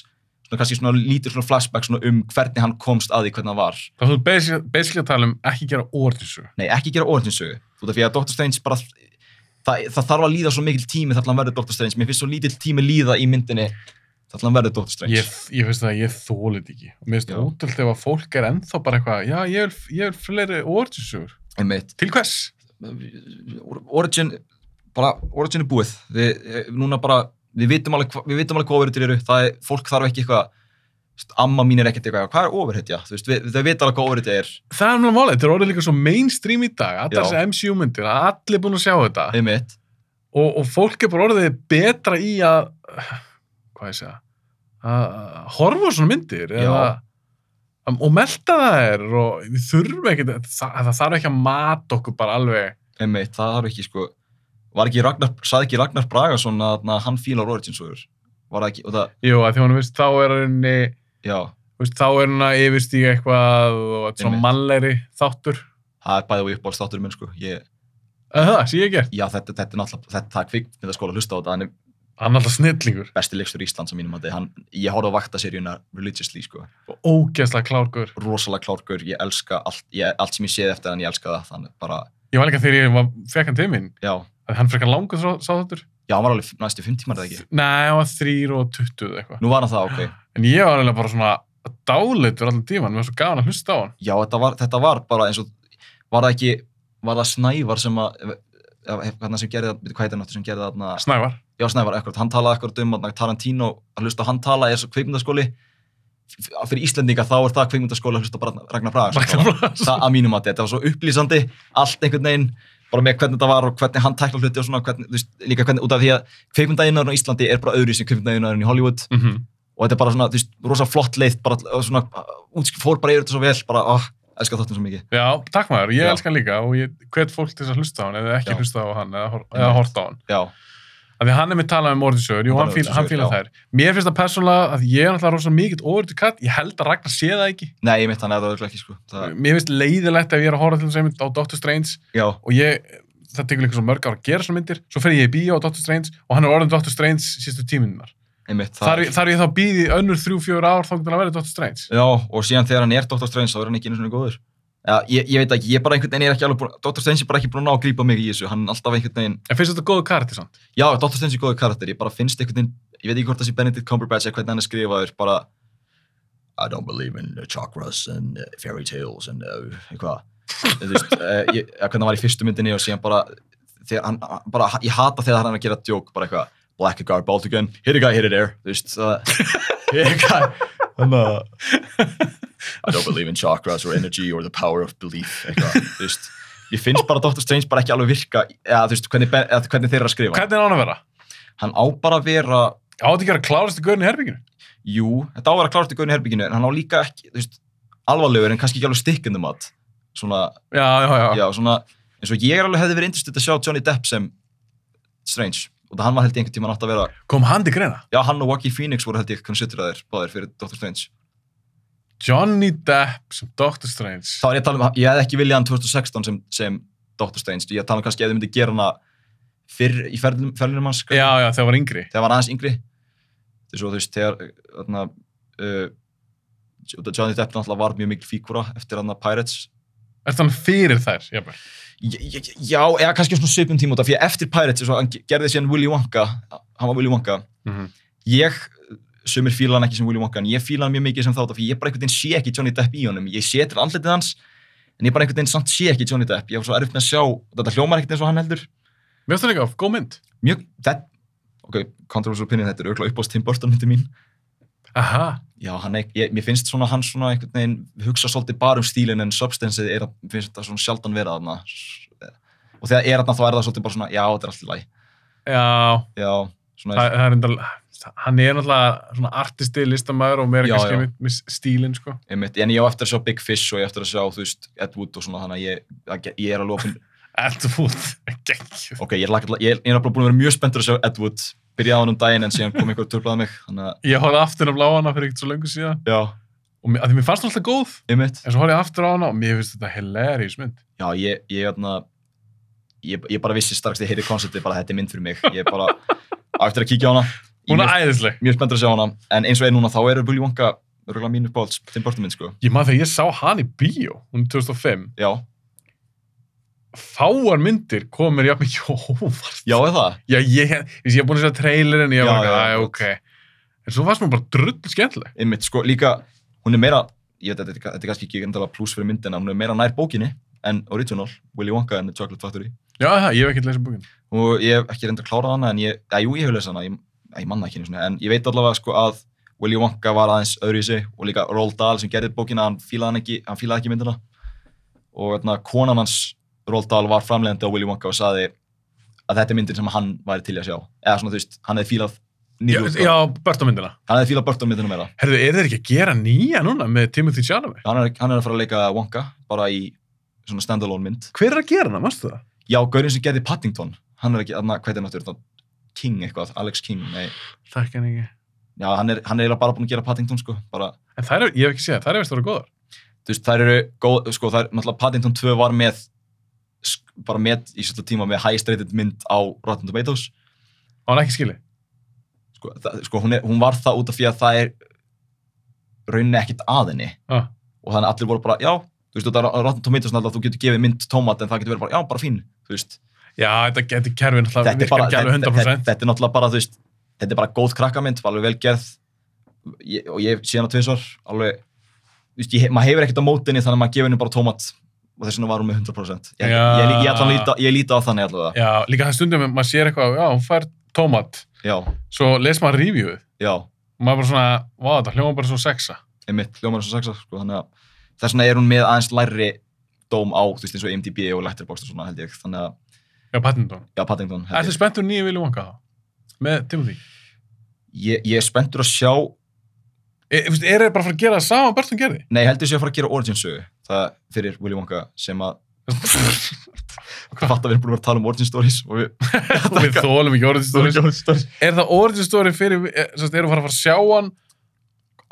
S2: svona kannski svona lítur svona flashback svona um hvernig hann komst að því hvernig hann var
S1: Það þú basically basically að tala um ekki gera orðinsu.
S2: nei, ekki gera orðinsögu, þú veit að Dr. Strange bara það, það þarf að líða svo mikil tími þar til hann verður Dr. Strange, mér finnst svo lítill tími líða í myndinni þar til hann verður Dr. Strange
S1: Ég, ég finnst það að ég þólið ekki. Og mér finnst
S2: Já.
S1: útöld ef að fólk er ennþá bara eitthvað, já, ég vil, ég vil fleiri orðinsugur.
S2: einmitt
S1: Til hvers?
S2: Origin bara, Origin er búið við, eh, núna bara, við vitum alveg, hva- við vitum alveg hvað overhættir eru, það er, fólk þarf ekki eitthvað þú veist, amma mín er ekkert eitthvað, hvað er overhætt já, þú veist, við, þau vita alveg hvað overhætt er
S1: Það er náttúrulega málið, þetta er orðið líka svo mainstream í dag, allar
S2: Já.
S1: þessi MCU-myndir, að allir búin að sjá þetta
S2: einmitt,
S1: og, og fólk er bara orðið betra í að, hvað ég segja, að að horfa á svona myndir
S2: Já.
S1: eða, um, og melta þær og við þurfum ekki, það, það þarf ekki að mata okkur bara alveg.
S2: einmitt, það þarf ekki sko, var ekki Ragnar saði ekki Ragnar Bragason að na, hann fílar Origin sögur, var það ekki og það,
S1: Jú, að því hún veist, þá er henni,
S2: já,
S1: veist, þá er henni að yfirstíga eitthvað og þetta er svona
S2: Einmitt.
S1: mannlegri þáttur.
S2: það er bæðið og uppáhaldstáttur minn sko, ég,
S1: Að það, sé ég ekki.
S2: já, þetta, þetta er náttúrulega þetta, það er kvikmynd að skóla að hlusta á þetta, hann er
S1: Hann er alltaf snillingur
S2: besti leikstur Íslands á mínum að hann, ég horfði á vaktaseríuna religiously sko
S1: og ógeðslega klárgur.
S2: rosalega klárgur, ég elska allt, ég, allt sem ég séð eftir hann, ég elska það, þannig bara,
S1: Ég var líka þegar ég var, fekk hann til mín,
S2: já,
S1: að hann frekar langur sá, sá þáttur.
S2: já, hann var alveg næstu fimm tímar eða ekki.
S1: Nei, hann var þrýr og tuttuð eitthvað.
S2: Nú var hann það, ok.
S1: En ég var alveg bara svona dálitur allan tíman, mér var svo gaman að hlusta á hann.
S2: Já, þetta var, þetta var bara eins og, var það ekki, var það Snævar sem að, hann hérna sem gerði, það- veitu hvað heitir hann aftur sem gerði það, þarna-
S1: Snævar.
S2: já, Snævar, ekkert, hann talaði ekkert um þarna Tarantino, að hlusta á hann tala er svo kveikmyndaskóli, F- fyrir Íslendinga þá er það kveikmyndaskóli að hlusta bara Ragnar Braga. sko.
S1: Ragnar Blas.
S2: það að mínum að þetta var svo upplýsandi allt einhvern veginn, bara með hvernig þetta var og hvernig hann tækla hluti og svona hvernig, þú veist, líka hvernig, út af því að kveikmyndaðinarinn á Íslandi er bara öðru sem kveikmyndaðinarinn í Hollywood
S1: Mhm.
S2: og þetta er bara svona, þú veist, rosa flott leið bara og svona, útskip fór bara yfir þetta svo vel bara, ah, elska þáttum svo mikið
S1: Já, takk maður, ég
S2: Já.
S1: elska hann líka og ég hvet fólk til þess að hlusta á hann eða ekki
S2: Já.
S1: hlusta á hann eða, hor
S2: Einmitt.
S1: eða horta á hann.
S2: já,
S1: Af því hann er með talað um orðinsögur, jú, hann,
S2: Hann talar um
S1: fíl, hann fíla þær.
S2: orðinsögur,
S1: Mér finnst það persónulega að ég er náttúrulega rosa mikill orðið katt, ég held að Ragnar sé það ekki.
S2: nei, ég mitt hann eða örugglega ekki, sko það,
S1: Mér finnst leiðilegt ef ég er að horfa til þess að mynd á Doctor Strange
S2: já,
S1: og ég, það tekur líka svo mörg ára að gera svona myndir, svo fer ég í bíó á Doctor Strange og hann er orðin Doctor Strange sístu tíminnar.
S2: einmitt
S1: Þar, þar ég þá býði önnur þrjú, fjögur ár þá getur hann að vera Doctor Strange.
S2: já, og síðan þegar hann er Dr. Strange þá er hann ekki einu svona góður já, ég, ég veit ekki, ég er bara einhvern veginn, ég er ekki alveg búin Dr. Strange er bara ekki búin að ná að grípa mig í þessu hann er alltaf einhvern veginn
S1: En finnst þetta góðu karakter samt?
S2: Já, Dr. Strange er góður karakter, ég bara finnst einhvern veginn, ég veit ekki hvort það sé Benedict Cumberbatch eða hvernig hann er skrifaður, bara I don't believe in uh, chakras and uh, fairy tales and uh, eitthvað þú veist, uh, ég, ja, hvernig hann var í fyrstu myndinni og síðan bara, þegar hann, hann- bara ég hata þegar hann er að gera djók, bara eitthvað Black a guy, bald again, hit a guy, hit it there þú veist, uh, hit a guy Þannig að I don't believe in chakras or energy or the power of belief eitthvað, þú veist Ég finnst bara Dr. Strange bara ekki alveg virka eða þú veist, hvernig, Ben- eða hvernig þeir eru að skrifa hann
S1: Hvernig er hann að vera?
S2: hann á bara að vera
S1: Á þetta ekki að vera klárast í gaurin í herbygginu?
S2: jú, þetta á að vera klárt í gauðinu herbygginu en hann á líka ekki, þú veist, alvarlegur en kannski ekki alveg stikkundum að svona,
S1: Já, já, já.
S2: já, svona eins og ég er alveg hefði verið interstuð að sjá Johnny Depp sem Strange, og það hann var held ég einhvern tíma nátt að vera,
S1: Kom hann til greina?
S2: já, hann og Joaquin Phoenix voru held ég consideraðir báðir fyrir Dr. Strange
S1: Johnny Depp sem Doctor Strange.
S2: þá er ég að tala um, ég hefði ekki viljað hann 2016 sem, sem Dr. Strange, ég er að tala um kannski ef þið myndi gera hana fyrr í ferlinum, ferlinum hans kannski.
S1: já, já, þegar hann var yngri.
S2: þegar hann var aðeins yngri þess að þú veist, þegar þarna, uh, Johnny Depp náttúrulega var mjög mikil fíkura eftir hann Pirates
S1: Er hann fyrir þær? jafnvel?
S2: J- j- já, eða kannski svona svipum tíma út af því að eftir Pirates, þess að hann gerði síðan Willy Wonka hann var Willy Wonka
S1: Mhm.
S2: ég, sumir fíla hann ekki sem Willy Wonka en ég fíla hann mjög mikið sem þá, út af því ég bara einhvern veginn sé ekki Johnny Depp í honum, ég sé til andlitið hans en ég bara einhvern veginn samt sé ekki Johnny Depp ég var svo erfitt með að sjá, þetta hljómar ekkert eins og hann heldur
S1: Mér finnst það líka góð mynd.
S2: mjög, þetta, ok, controversial opinion, þetta er auðvitað uppáðst Tim Burton myndi mín.
S1: Aha,
S2: Já, hann, er- ég, mér finnst svona hann svona einhvern veginn hugsa svolítið bara um stílinn en substanceið er að, mér finnst þetta svona sjaldan vera þarna. Og þegar er þarna þá er það svolítið bara svona, já, þetta er allt í lagi.
S1: já,
S2: Já, svona,
S1: það, það er enda, hann er náttúrulega svona artisti, listamæður og meira
S2: Já,
S1: kannski
S2: já.
S1: einmitt með stílinn, sko.
S2: einmitt, en ég á eftir að sjá Big Fish og ég á eftir að sjá, þú veist, Ed Wood og svona, þannig að ég, það ge- ég er alveg að finna,
S1: Eldfúð, geggjur.
S2: ok, ég er, lagt, ég er, ég er alveg búin að vera mjög spenntur að sjá Ed Wood, byrjaði á hann um daginn en síðan kom einhver turblað mig, þannig að,
S1: Ég horfði aftur á bláana fyrir ekkert svo löngu síðan
S2: já,
S1: og mér, að því mér fannst hún alltaf góð,
S2: einmitt,
S1: en svo horfði ég aftur á hana og mér finnst þetta hilarious mynd.
S2: já, ég, ég, þarna, ég, ég bara vissi strax, ég heyri konceptið bara, þetta er mynd fyrir mig, ég bara, á eftir að kíkja á hana, Ég
S1: Hún
S2: mjög-
S1: er æðisleg.
S2: mjög spenntur að sjá hana, en eins og er núna, þá eru Bully Wonka, röglega mínu bóls, Tim Burton minn, sko,
S1: Ég maður þegar ég sá hann í bíó, hún er 2005,
S2: já,
S1: fáar myndir komir jafn mikið óvart.
S2: já, er það,
S1: Já, ég, ég, ég er búin að segja trailerinn, ég
S2: Já,
S1: var
S2: já,
S1: ekki,
S2: gott.
S1: ok. En svo varst mér bara drull skemmtileg.
S2: einmitt, sko, líka, hún er meira, ég veit, þetta, er- þetta er kannski ekki endala pluss fyrir myndina, hún er meira nær bókinni, en original, Willy Wonka and the Chocolate Factory
S1: Já, það, ég hef ekkert lesið bókin.
S2: og ég hef ekki reynda að klára hana en ég, að jú, ég hef lesað hana, ég, að ég manna ekki einu sinni, en ég veit allavega sko að Willy Wonka var aðeins öðru í sig og líka Roald Dahl sem gerði bókina, hann fílaði hann ekki, hann fílaði ekki myndina og þarna konan hans Roald Dahl var framlegandi á Willy Wonka og saði að þetta er myndin sem hann væri til í að sjá eða svona þú veist, hann hefði fílað
S1: Já,
S2: nýrjútt,
S1: já börnamyndina.
S2: hann hefði fílað Burton myndina meira
S1: Herðu, er þeir ekki að gera nýja núna með Timothy Chalamet?
S2: hann er, hann er að fara að leika Wonka bara í svona standalone mynd
S1: Hver er að gera hana, mannstu það?
S2: já, gaurinn sem gerði Paddington, hann er ekki, þarna, hvað er þetta náttúrulega, King eitthvað, Alex King, nei
S1: Takk en ekki.
S2: Já, hann er, hann er eiginlega bara búinn að gera Paddington, sko. Bara,
S1: En þær, er- ég hef ekki séð það, þær er veist að vera góðar.
S2: þú veist, þær eru góð, sko, þær, náttúrulega Paddington 2 var með, sk- bara með í svolítið tíma með highest rated mynd á Rotten Tomatoes.
S1: Og hann ekki skilið.
S2: Sko, það, sko hún, er, hún var það út af því að það er rauninni ekkert að henni.
S1: Ah.
S2: Og þannig að allir voru bara, já, þú veist, þú veist, á Rotten Tomatoes náttúrulega, þú getur gefið mynd tómat en það getur verið bara, já, bara fín, þú veist.
S1: Já, þetta getur kerfin alltaf,
S2: þetta er bara,
S1: virkar ekki alveg
S2: þetta, þetta,
S1: 100%.
S2: þetta er náttúrulega bara, þú veist, þetta er bara góð krakkamynd, var alveg velgerð ég, og ég sé hana tvisvar, alveg, þú veist, ég, maður hefur ekkert á mótinni þannig að maður gefur henni bara tómat og þess vegna var hún með 100%. Ég, ég,
S1: Já.
S2: ég, ég, allan líta, ég líta á þannig allavega.
S1: Já, líka það stundum að maður sér eitthvað, já, hún fær tómat,
S2: Já,
S1: svo les maður reviewið.
S2: já,
S1: Og maður bara svona, vá, þetta hljóma bara svo sexa.
S2: einmitt, hljómar eins og sexa, sko, þannig að þess vegna er hún með aðeins læri dóm á, þú veist, eins og E IMDb og Letterboxd og svona, held ég, þannig að,
S1: Já, Paddington.
S2: já, Paddington, held
S1: Ertu
S2: ég.
S1: spenntur nýju vilju vanga þá? Með Timothy?
S2: Ég, ég er spenntur að sjá,
S1: E, þú veist, er það bara að fara að gera það sama Burton gerði?
S2: nei, heldur ég sé að fara að gera origin sögu, það fyrir Willy Wonka sem að Hvað fatt að við erum búin að vera að tala um origin stories og við...
S1: Við þólum ekki orðin story.
S2: origin stories.
S1: Er það origin story fyrir, eh, er, er það að fara að fara að sjá hann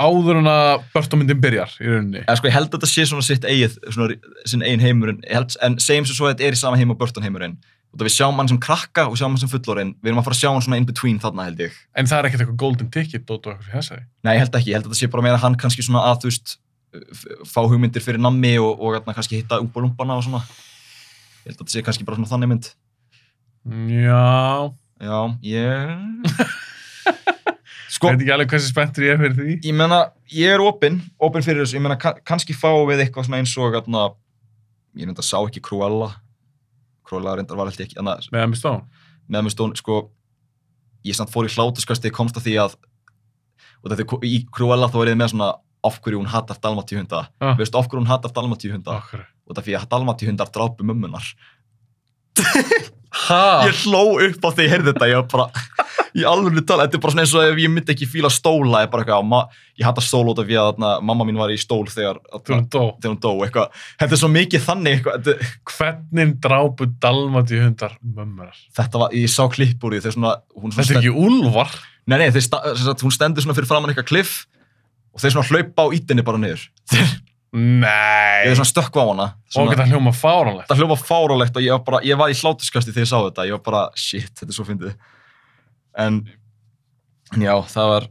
S1: áður en að Burton myndin byrjar í rauninni?
S2: En sko, ég held að þetta sé svona sitt eigið, svona sinn eigin heimurinn, Ég held, en segjum sem svo að þetta er í sama heim og Burton heimurinn. Og það við sjáum hann sem krakka og sjáum hann sem fullorinn, við erum að fara að sjá hann svona in between þarna held ég.
S1: En það er ekkert eitthvað golden ticket dót og eitthvað fyrir þessari.
S2: Nei, ég held ekki, ég held að þetta sé bara meira hann kannski svona að, þú veist, f- fá hugmyndir fyrir nammi og, og þarna kannski hitta umbalumpana og svona. Ég held að þetta sé kannski bara svona þannig mynd.
S1: Já,
S2: Já, ég...
S1: ég
S2: Sko,
S1: veit ekki alveg hversu spenntur ég er fyrir því.
S2: ég meina, ég er opinn, opinn fyrir þessu, ég meina, ka- kannski fá við eitthvað svona eins og, atna, ég reynda sá ekki Cruella, Cruella reyndar var alltaf ekki, en
S1: Með Emma Stone.
S2: með með stón, sko, ég samt fór í hlátuskast þegar komst að því að, og þetta er ko- í Cruella þá er ég með svona, af hverju hún hatar dalmatíuhunda,
S1: Ah.
S2: ah. veistu, af hverju hún hatar dalmatíuhunda, ah.
S1: Okkur.
S2: og það fyrir að dalmatíuhundar drápu mömmunar.
S1: Ha?
S2: Ég hló upp á því ég heyrði þetta, ég var bara, í alveg tala, þetta er bara svona eins og ef ég myndi ekki fíla stóla, ég bara eitthvað, ma- ég hata stól út af því að atna, mamma mín var í stól þegar,
S1: Þú
S2: atna,
S1: erum dó.
S2: þegar hún dó eitthvað. Þetta er svo mikið þannig eitthvað. Þetta,
S1: Hvernig drápu dalmati hundar mömmar?
S2: þetta var, ég sá klipp úr því þegar svona, hún svona
S1: Þetta er ekki úlvar.
S2: nei, nei, þeir, sta- sem sagt, hún stendur svona fyrir framann eitthvað kliff og þeir svona hlaupa á ítinni bara niður. Ég
S1: Nei.
S2: er svona stökkva á hana.
S1: Og
S2: Svona,
S1: þetta hljóma fáránlegt.
S2: þetta hljóma fárálegt og ég var bara, ég var í hlátuskasti þegar ég sá þetta. Ég var bara, shit, þetta er svo fyndið. En, en já, það var,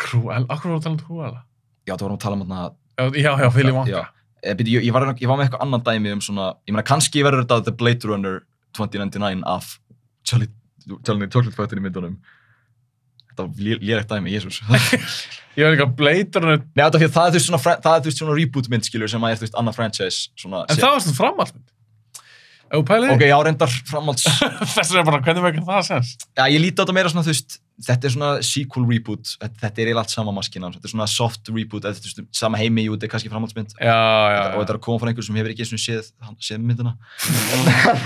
S1: Krúel, okkur voru að tala um Krúela?
S2: já, það vorum að tala um þarna,
S1: Já, já, Willy
S2: Já.
S1: Wonka.
S2: eh, byrju, ég, ég, var, ég var með eitthvað annan dæmi um svona, ég meina, kannski verður þetta The Blade Runner 2099 af Charlie, Charlie Chocolate Factory myndunum. Þetta var lé- lélegt dæmi, jésus.
S1: Ég var líka bleitur en
S2: Nei, þetta er því að það er þú veist svona, fre- það er þú veist svona reboot mynd, skilur, sem að er þú veist annað franchise, svona...
S1: En það var svona framallmynd. Ef þú pælið
S2: Ok, já, reyndar framhalds.
S1: Þess er bara, hvernig veikur það sens?
S2: Já, ég líti á þetta meira svona, þú veist, þetta er svona sequel reboot, þetta þetta er eiginlega allt sama maskinan, þetta er svona soft reboot, þetta er svona sama heimi, jú, þetta er kannski framhaldsmynd.
S1: Já, já,
S2: Og þetta
S1: já.
S2: er að koma frá einhverjum sem hefur ekki einu sinni séð, hann- séð myndina.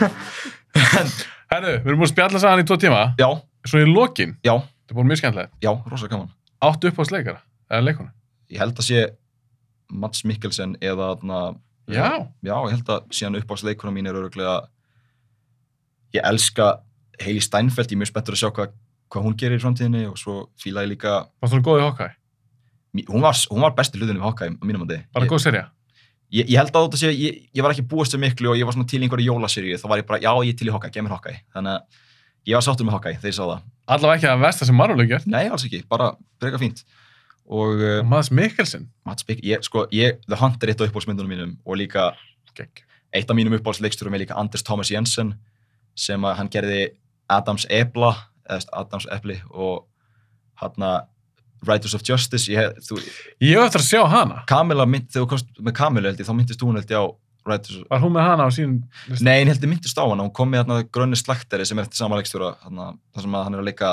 S1: Herru, við erum búin að spjalla saman í tvo tíma.
S2: Já,
S1: Svo í lokin,
S2: já,
S1: þetta er búin mjög skemmtilegt.
S2: já, rosa gaman.
S1: Áttu upp á sleikara, eða leikuna.
S2: Ég held að sé Mats Mikkelsen eða, þarna,
S1: Já.
S2: já, ég held að síðan uppáhaldsleikuna mín er öruglega, ég elska Hailey Steinfeld, ég er mjög spettur að sjá hvað, hvað hún gerir í framtíðinni og svo fíla ég líka
S1: Varst þú góð í Hawkeye?
S2: Mí- hún var, hún var besti hlutunum í Hawkeye á mínum andi.
S1: Bara
S2: Ég,
S1: góð serja?
S2: ég, ég held að þetta sé, ég, ég var ekki búist við miklu og ég var svona til í einhverju jólaseríu, þá var ég bara, já, ég er til í Hawkeye, gef mér Hawkeye. Þannig að ég var sáttur með Hawkeye þegar ég sá það.
S1: Allavega ekki að versta sem Marvel hefur gert.
S2: Nei, alls ekki, bara breyka fínt. Og uh,
S1: Og Mads Mikkelsen.
S2: Mats Bik, ég, sko, ég, The Hunt er eitt af uppbólsmyndunum mínum og líka
S1: Gekk.
S2: eitt af mínum uppbólsleiksturum er líka Anders Thomas Jensen sem að hann gerði Adams Ebla, eða þú veist, Adams Ebli og hann Writers of Justice, ég, hef- þú,
S1: Ég hef eftir að sjá hana.
S2: Kamila mynd, þegar þú komst með Kamilu held ég, þá myndist hún held ég á Writers of...
S1: Var hún með hana á sínum... lista?
S2: Nei, en held ég myndist á hana, hún kom með þarna grönni slakteri sem er eftir sama leikstjóra, þarna, þar sem að hann er að leika,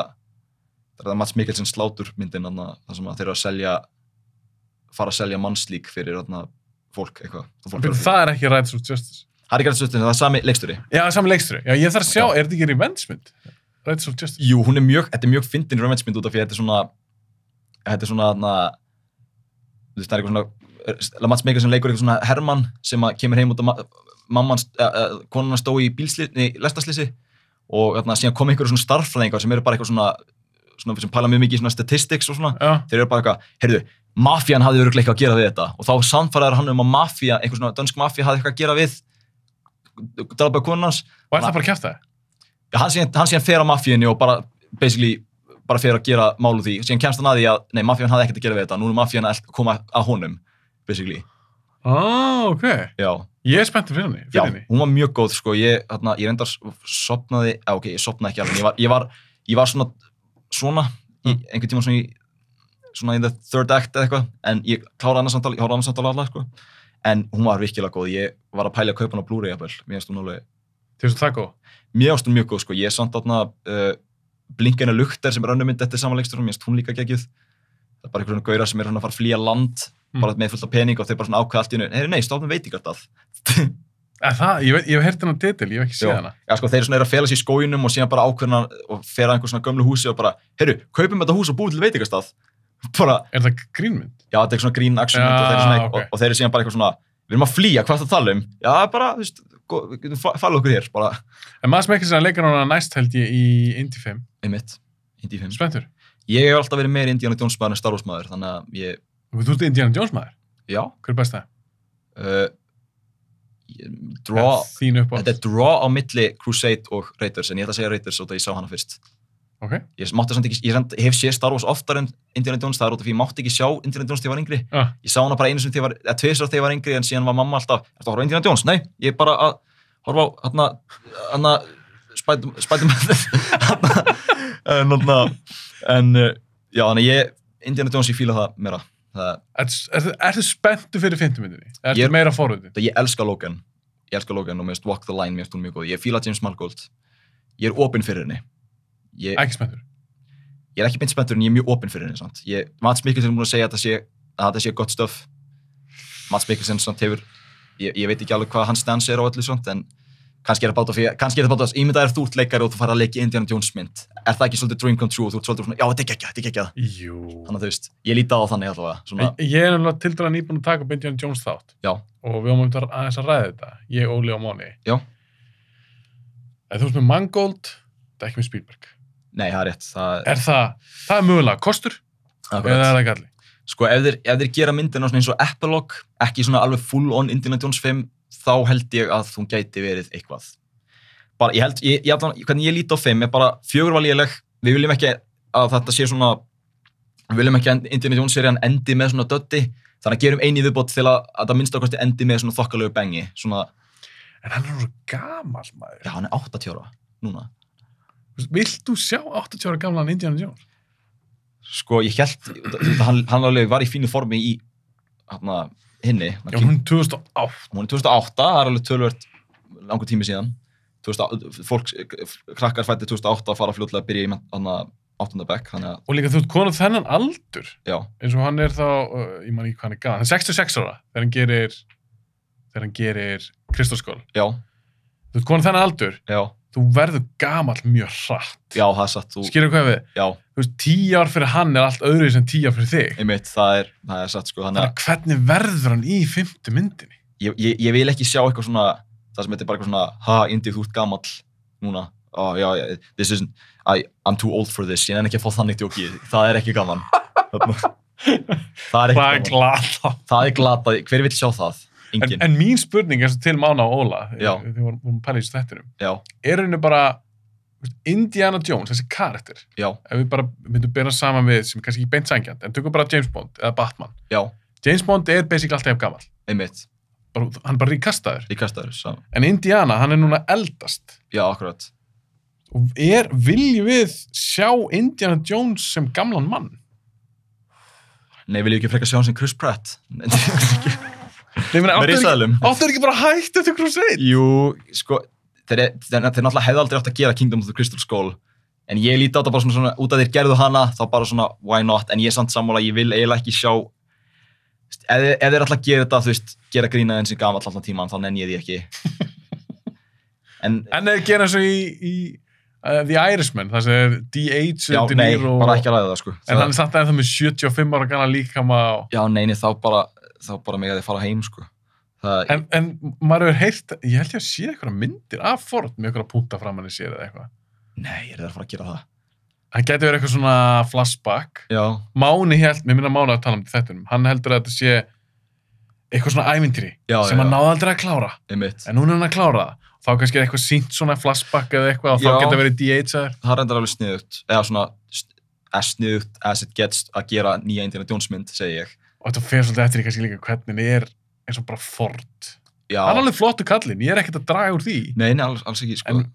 S2: það er það Mats Mikkelsen slátur myndin, þarna, þar sem að þeir eru að selja, fara að selja mannslík fyrir þarna, fólk eitthvað. og fólk
S1: Fyrir
S2: er að-
S1: Það er ekki Riders of Justice.
S2: Harry Grant Sutton, það er sami leikstjóri.
S1: Já, sami leikstri. Já, ég þarf að sjá,
S2: Já.
S1: er þetta ekki revengemynd? Riders of Justice.
S2: Jú, hún er mjög, þetta er mjög fyndin römminsmynd út af því að þetta er svona, þetta er svona, þarna, þú veist, það er eitthvað svona, Mats Mikkelsen leikur eitthvað svona Hermann sem að kemur heim út af ma mamman, uh, konan hans stói í bílsliðni, lestaslýsi og þarna síðan kom einhverju svona starffræðingar sem eru bara eitthvað svona, svona sem pæla mjög mikið í svona statistics og svona,
S1: Já.
S2: þeir eru bara eitthvað, heyrðu, mafían hafði örugglega eitthvað að gera við þetta og þá samfæraður hann um að mafía, einhver svona dönsk mafía hafði eitthvað að gera við, drapa konan hans
S1: Og er það bara að kæfta það?
S2: Já, hann síðan, hann síðan fer á mafíunni og bara basically bara fer að gera mál úr því síðan kemst hann að því að, nei, mafíun hafði ekkert að gera við þetta nú er mafíun að koma að honum basically,
S1: Á, ok.
S2: já,
S1: Ég er spenntið fyrir henni.
S2: já
S1: Fyrir henni.
S2: hún var mjög góð, sko, ég, þarna, ég reyndar sopnaði, já, ok, ég sopnaði ekki alveg en ég var, ég var, ég var svona svona, í,
S1: Mm.
S2: einhvern tíma svona í svona in the third act eða eitthvað en ég kláraði annars samtala, ég horfði annars samtala allar, sko en hún var virkilega góð, ég var að pæla að kaupa hann á Blu-ray jafnvel, mér finnst hún alveg
S1: Til þess að það góð.
S2: mér ást hún mjög góð sko, ég er samt þarna uh, blinkina lukter sem er önnum mynd eftir samanleiksturum, mér finnst hún líka geggjuð það er bara einhverjum gauðra sem er hann að fara að flýja land
S1: Mm.
S2: bara með fullt af pening og þeir bara svona ákveða allt í hennu heyri nei, stofnum veitingartað já,
S1: Er það, ég, veit- ég hef heyrt hennar titil, ég hef ekki séð
S2: Já.
S1: hana.
S2: sko, þeir svona eru að fela sér í skóginum og síðan bara ákveðna og fera einhver svona gömlu húsi og bara heyri, kaupum þetta hús og búum til veitingartað bara,
S1: Er það grínmynd?
S2: já, þetta er svona grín action mynd
S1: Já,
S2: og, þeir eru svona,
S1: ok.
S2: og, og þeir eru síðan bara eitthvað svona við erum að flýja, hvað það tala um já, bara, þú veist, gó- við getum fa- falið okkur hér bara,
S1: En maður smekkir sér að leika núna næst held ég í Indy 5.
S2: einmitt, Indie film.
S1: Spenntur.
S2: Ég hef alltaf verið meir Indiana Jones maður en Star Wars maður, þannig að ég,
S1: Og Þú ert Indiana Jones maður.
S2: já,
S1: Hver er besta?
S2: uh, ég, draw,
S1: Þín upp á.
S2: þetta er draw á milli Crusade og Raiders, en ég ætla að segja Raiders og það ég sá hana fyrst.
S1: Ok.
S2: Ég, mátti samt ekki, ég samt, hef séð Star Wars oftar en Indiana Jones, það er út af því ég mátti ekki sjá Indiana Jones þegar ég var yngri.
S1: Ah.
S2: Ég sá hana bara einu sem þegar ég var, eða tvisar þegar ég var yngri, en síðan var mamma alltaf, ertu að horfa á Indiana Jones? Nei, ég er bara að horfa á, hann að, hann að, spætum að þetta, en, eh, þarna, en, uh, já, þannig að ég, Indiana Jones, ég fíla það meira. Það,
S1: Er, er, ertu spenntu fyrir 50 myndinni? Ertu
S2: Ég
S1: ég...
S2: er-
S1: meira forvöldin?
S2: Það ég elska Logan. Ég elska Logan og mér finnst Walk the Line, mér finnst hún mjög góð. Ég fíla James Mangold. Ég er opinn fyrir henni. Ég,
S1: Ekki spenntur.
S2: ég er ekki beint spenntur en ég er mjög opinn fyrir henni. Sant? Ég, Mats Mikkelsen er múin að segja að þetta sé, að þetta sé gott stöf. Mats Mikkelsen sant, hefur, ég, ég veit ekki alveg hvað hans stans er á öllu sant, en kannski er það báta fyrir, kannski er það báta fyrir, ímyndaðir þú ert leikari og þú fara að leika í Indiana Jones mynd. Er það ekki svolítið dream come true og þú ert svolítið svona, já þetta er ekki þetta er ekki
S1: Jú.
S2: Þannig að þú veist, ég líti á það þannig allavega. Svona,
S1: Ég ég er náttúrulega til dæla nýbúin að taka upp Indiana Jones þátt.
S2: já,
S1: Og við ámum að aðeins að ræða þetta. Ég, Óli og Móni.
S2: Já.
S1: En þú veist með Mangold, þetta er ekki með Spielberg.
S2: nei, það er rétt. Það,
S1: Er það, það er mögulega kostur?
S2: akkurat.
S1: Eða er það galli?
S2: Sko, ef þeir, ef þeir gera myndina svona eins og epilog, ekki svona alveg full on Indiana Jones 5, þá held ég að hún gæti verið eitthvað. Bara, ég held, ég, ég, allan- hvernig ég líti á 5 er bara, fjögur var léleg, við viljum ekki að þetta sé svona, við viljum ekki að Indiana Jones serían endi með svona dötti, þannig að gerum einu viðbót til að, að það minnst ákvæmst endi með svona þokkalegu bengi, svona,
S1: En hann er svo gamal maður.
S2: já, hann er 80 ára núna.
S1: Vilt þú sjá 80 ára gamlan Indiana Jones?
S2: Sko, ég held, hann, hann alveg var í fínu formi í, hérna, hinni,
S1: Já, hún er 2008.
S2: hún er 2008, það er alveg tölvört langur tími síðan. 2000, fólk, krakkar fættið 2008 að fara fljótlega að byrja í mennt- þarna 8. bekk, þannig að,
S1: Og líka þú ert konar þennan aldur,
S2: já,
S1: eins og hann er þá, uh, ég man ekki hvað hann er gæðan, hann er 66 ára þegar hann gerir, þegar hann gerir Kristóskól.
S2: já,
S1: Þú ert konar þennan aldur,
S2: já,
S1: þú verður gamall mjög hratt.
S2: já, það er satt, þú,
S1: Skilur hvað ég við?
S2: já,
S1: Þú veist, tíu ár fyrir hann er allt öðru sem tíu ár fyrir þig.
S2: einmitt, það er, það er satt, sko, þannig að
S1: Þannig að hvernig verður hann í fymtu myndinni?
S2: ég, ég, ég vil ekki sjá eitthvað svona það sem þetta er bara eitthvað svona ha, Indi, þú ert gamall núna oh, já, já, this isn't, I, I'm too old for this ég nenni ekki að fá þannig djókið, það er ekki gaman það er ekki
S1: Það er
S2: gaman
S1: glata.
S2: það er glatað, hver vil sjá það?
S1: En,
S2: enginn,
S1: en mín spurning er svo til Mána og Óla, eh,
S2: Já.
S1: þegar við vorum vorum að pæla í stættinum,
S2: já,
S1: er henni bara þú veist, Indiana Jones, þessi karakter,
S2: já,
S1: ef við bara myndum byrja saman við, sem er kannski ekki beint sangjant, en tökum bara James Bond eða Batman.
S2: já,
S1: James Bond er basically alltaf jafn gamall,
S2: einmitt
S1: bara, hann er bara ríkastaður.
S2: líka stæður, sam-
S1: En Indiana, hann er núna eldast.
S2: já, akkurat
S1: Og er, viljum við sjá Indiana Jones sem gamlan mann?
S2: nei, vil ég ekki frekar sjá hann sem Chris Pratt
S1: Nei, meni,
S2: með
S1: áttu, ekki,
S2: risaðalum
S1: áttu þeir ekki bara að hætta til Crusade?
S2: Jú, sko, þeir, þeir, þeir náttúrulega hefði aldrei átt að gera Kingdom of the Crystal Skull en ég líti á þetta bara svona, svona út að þeir gerðu hana þá bara svona, why not, en ég er samt sammála ég vil eiginlega ekki sjá þú veist, ef, þeir- ef þeir alltaf gera þetta, þú veist, gera grína eins og gamall allan tíman, þá nenni ég því ekki en,
S1: En eða gera svo í, í uh, The Irishman, það sem er D.H.
S2: já, nei, bara ekki að ræða það, sko
S1: En
S2: það,
S1: hann er samt aðeins með 75 ára gana líkama og...
S2: já, neini, þá bara, þá bara mig að þeir fara heim, sko það,
S1: En, en maður hefur heyrt, ég held ég að sé eitthvað myndir af Ford með eitthvað púnta fram hann í sér eða eitthvað.
S2: nei, er þeir að fara að gera það
S1: Hann gæti verið eitthvað svona flashback.
S2: já,
S1: Máni held, mér minna Máni að tala um þetta, hann heldur að þetta sé eitthvað svona ævintýri
S2: Já,
S1: sem
S2: já,
S1: hann
S2: já.
S1: náði aldrei að klára.
S2: einmitt
S1: En núna er hann að klára það. Þá kannski er eitthvað sínt svona flashback eða eitthvað og þá
S2: Já.
S1: geta verið DH-aður.
S2: það er reyndar alveg sniðugt eða svona st- as sniðugt as it gets að gera nýja Indiana Jones mynd, segi ég
S1: Og þetta fer svolítið eftir í kannski líka hvernig er eins og bara Ford.
S2: Já,
S1: Hann er alveg flottu kallinn, ég er ekkert að draga úr því.
S2: nei, nei, alls, alls ekki sko.
S1: En-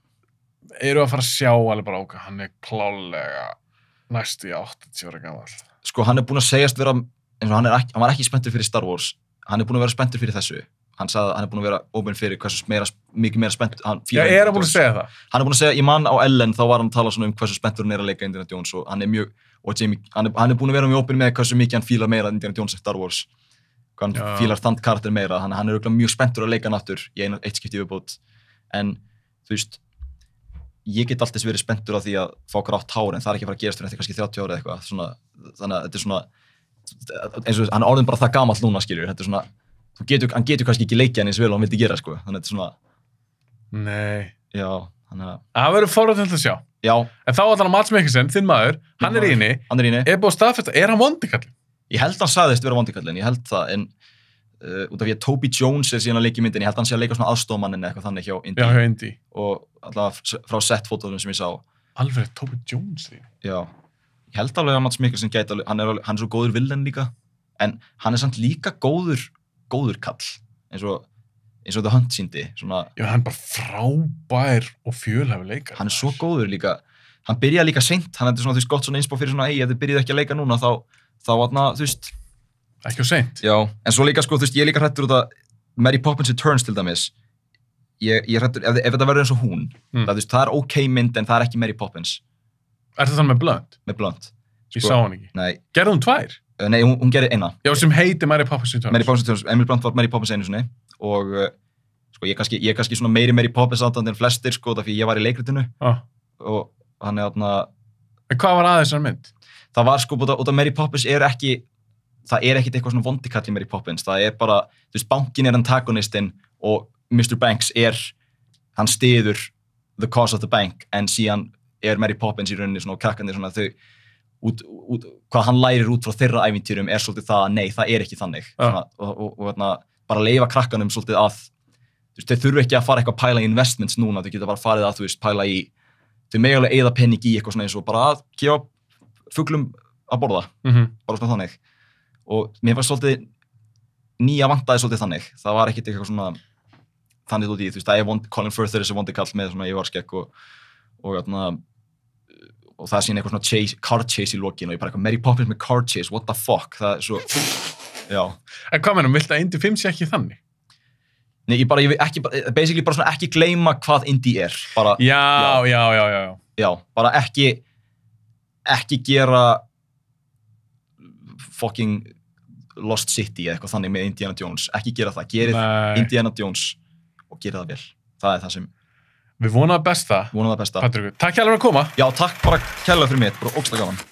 S1: eru að fara að sjá alveg bara okkar, hann er klálega næstu í 80 ára gammal.
S2: sko, hann er búinn að segjast vera eins og hann, er ekki, hann var ekki spenntur fyrir Star Wars hann er búinn að vera spenntur fyrir þessu hann sagði að hann er búinn að vera opinn fyrir hversu meira, mikið meira spennt hann,
S1: Já,
S2: fílar
S1: ég er
S2: Indiana
S1: að búin að
S2: Jones.
S1: segja það.
S2: hann er búinn að segja, ég mann á Ellen þá var hann að tala svona um hversu spenntur hann er að leika Indiana Jones og hann er mjög, og Jamie, hann er, hann er búinn að vera mjög opinn með hversu mikið hann fílar meira Indiana Jones en Star Wars hvað hann
S1: Já.
S2: fílar þann karakter meira þannig að hann er örugglega mjög spenntur að leika hann aftur í einu, eitt skipti viðbót en þú veist ég get alltaf verið spenntur af því að fá grátt hár en það er ekki að fara að gerast fyrir eftir kannski 30 ára eða eitthvað svona, þannig að þetta er svona eins og hann er orðin bara það gamall núna skilur þetta er svona, þú getur, hann getur kannski ekki leikja hann eins vel og hann vildi gera sko þannig að þetta er svona,
S1: Nei.
S2: já, þannig að
S1: Það verður forðan til að sjá.
S2: já,
S1: En þá allan að Mats Mikkelsen, þinn maður, hann er í henni,
S2: hann er íni
S1: er búin að staðfesta, er hann vondi kallinn?
S2: ég held hann sagðist vera vondikallin, ég held það en uh, út af því að Toby Jones er síðan að leika í myndin, ég held hann sé að leika svona aðstofmannin eitthvað þannig hjá
S1: Já,
S2: Indy
S1: hjá Indy.
S2: og allavega frá set fótóðum sem ég sá
S1: Alfred Toby Jones því.
S2: já, ég held alveg að Mats Mikkelsen gæti alveg, hann er, alveg, hann er svo góður villan líka en hann er samt líka góður góður kall, eins og eins og The Hunt síndi, svona
S1: Já, hann er bara frábær og fjölhæfi leikar.
S2: hann er svo góður líka hann byrjaði líka seint, hann er svona þú veist gott svona einspá fyrir svona, ei, ef þið byrjið ekki að leika núna þá, þá atna, þú veist,
S1: Ekki á seint.
S2: Já, en svo líka sko, þú veist, ég er líka hrættur út að Mary Poppins Returns til dæmis ég, ég er hrættur, ef, ef þetta verður eins og hún
S1: Mm.
S2: það, þú veist, það er ok mynd en það er ekki Mary Poppins
S1: Er það þannig með blönd?
S2: með blönd,
S1: Ég
S2: Sko.
S1: sá hann ekki.
S2: nei,
S1: Gerði hún tvær?
S2: eh, nei hún, hún gerir eina
S1: Já, sem heiti Mary Poppins Returns.
S2: Mary Poppins Returns, Emily Blunt var Mary Poppins einu sinni og eh, sko, ég er kannski, ég er kannski svona meiri Mary Poppins aðdandi en flestir sko, það fyrir ég var í leikritinu
S1: Ah.
S2: og hann er þarna
S1: En hvað var aðeins hann mynd?
S2: það var sko, út af- út af Mary Poppins er ekki það er ekkit eitthvað svona vondikall í Mary Poppins það er bara, þú veist, bankin er antagonistinn og Mr. Banks er hann stiður the cause of the bank en síðan er Mary Poppins í rauninni svona og krakkandi svona þau út, út, hvað hann lærir út frá þeirra ævintýrum er svolítið það að nei, það er ekki þannig
S1: Ja.
S2: svona, og, og, og, og bara leifa krakkanum svolítið að þú veist, þau þurfu ekki að fara eitthvað að pæla í investments núna, þau geta bara farið að þú veist, pæla í þau mega alveg eigða pening í eitthvað svona eins og bara að gefa fuglum að borða,
S1: Mm
S2: bara svona þannig og mér fannst svolítið nýja vantaði svolítið þannig, það var ekkit eitthvað svona þannig út í, þú veist, það er vond, Colin Firth er þessi vondi kall með svona yfarskekk og og, atna, og það sín eitthvað svona chase, car chase í lokin og ég bara eitthvað Mary Poppins með car chase, what the fuck það er svo, já
S1: En hvað mennum, vilt að Indy 5 sé ekki þannig?
S2: Nei, ég bara, ég vil ekki, basically bara svona ekki gleyma hvað indie er. Bara,
S1: Já, já, já, já. já.
S2: já, bara ekki, ekki gera fucking Lost City eða eitthvað þannig með Indiana Jones. Ekki gera það, gerið
S1: Nei,
S2: Indiana Jones og gera það vel. Það er það sem
S1: við vonaðum best það,
S2: vonum það besta.
S1: Patrik. Takk hjá að koma.
S2: Já, takk bara kærlega fyrir mig, þetta er bara ógsta gaman.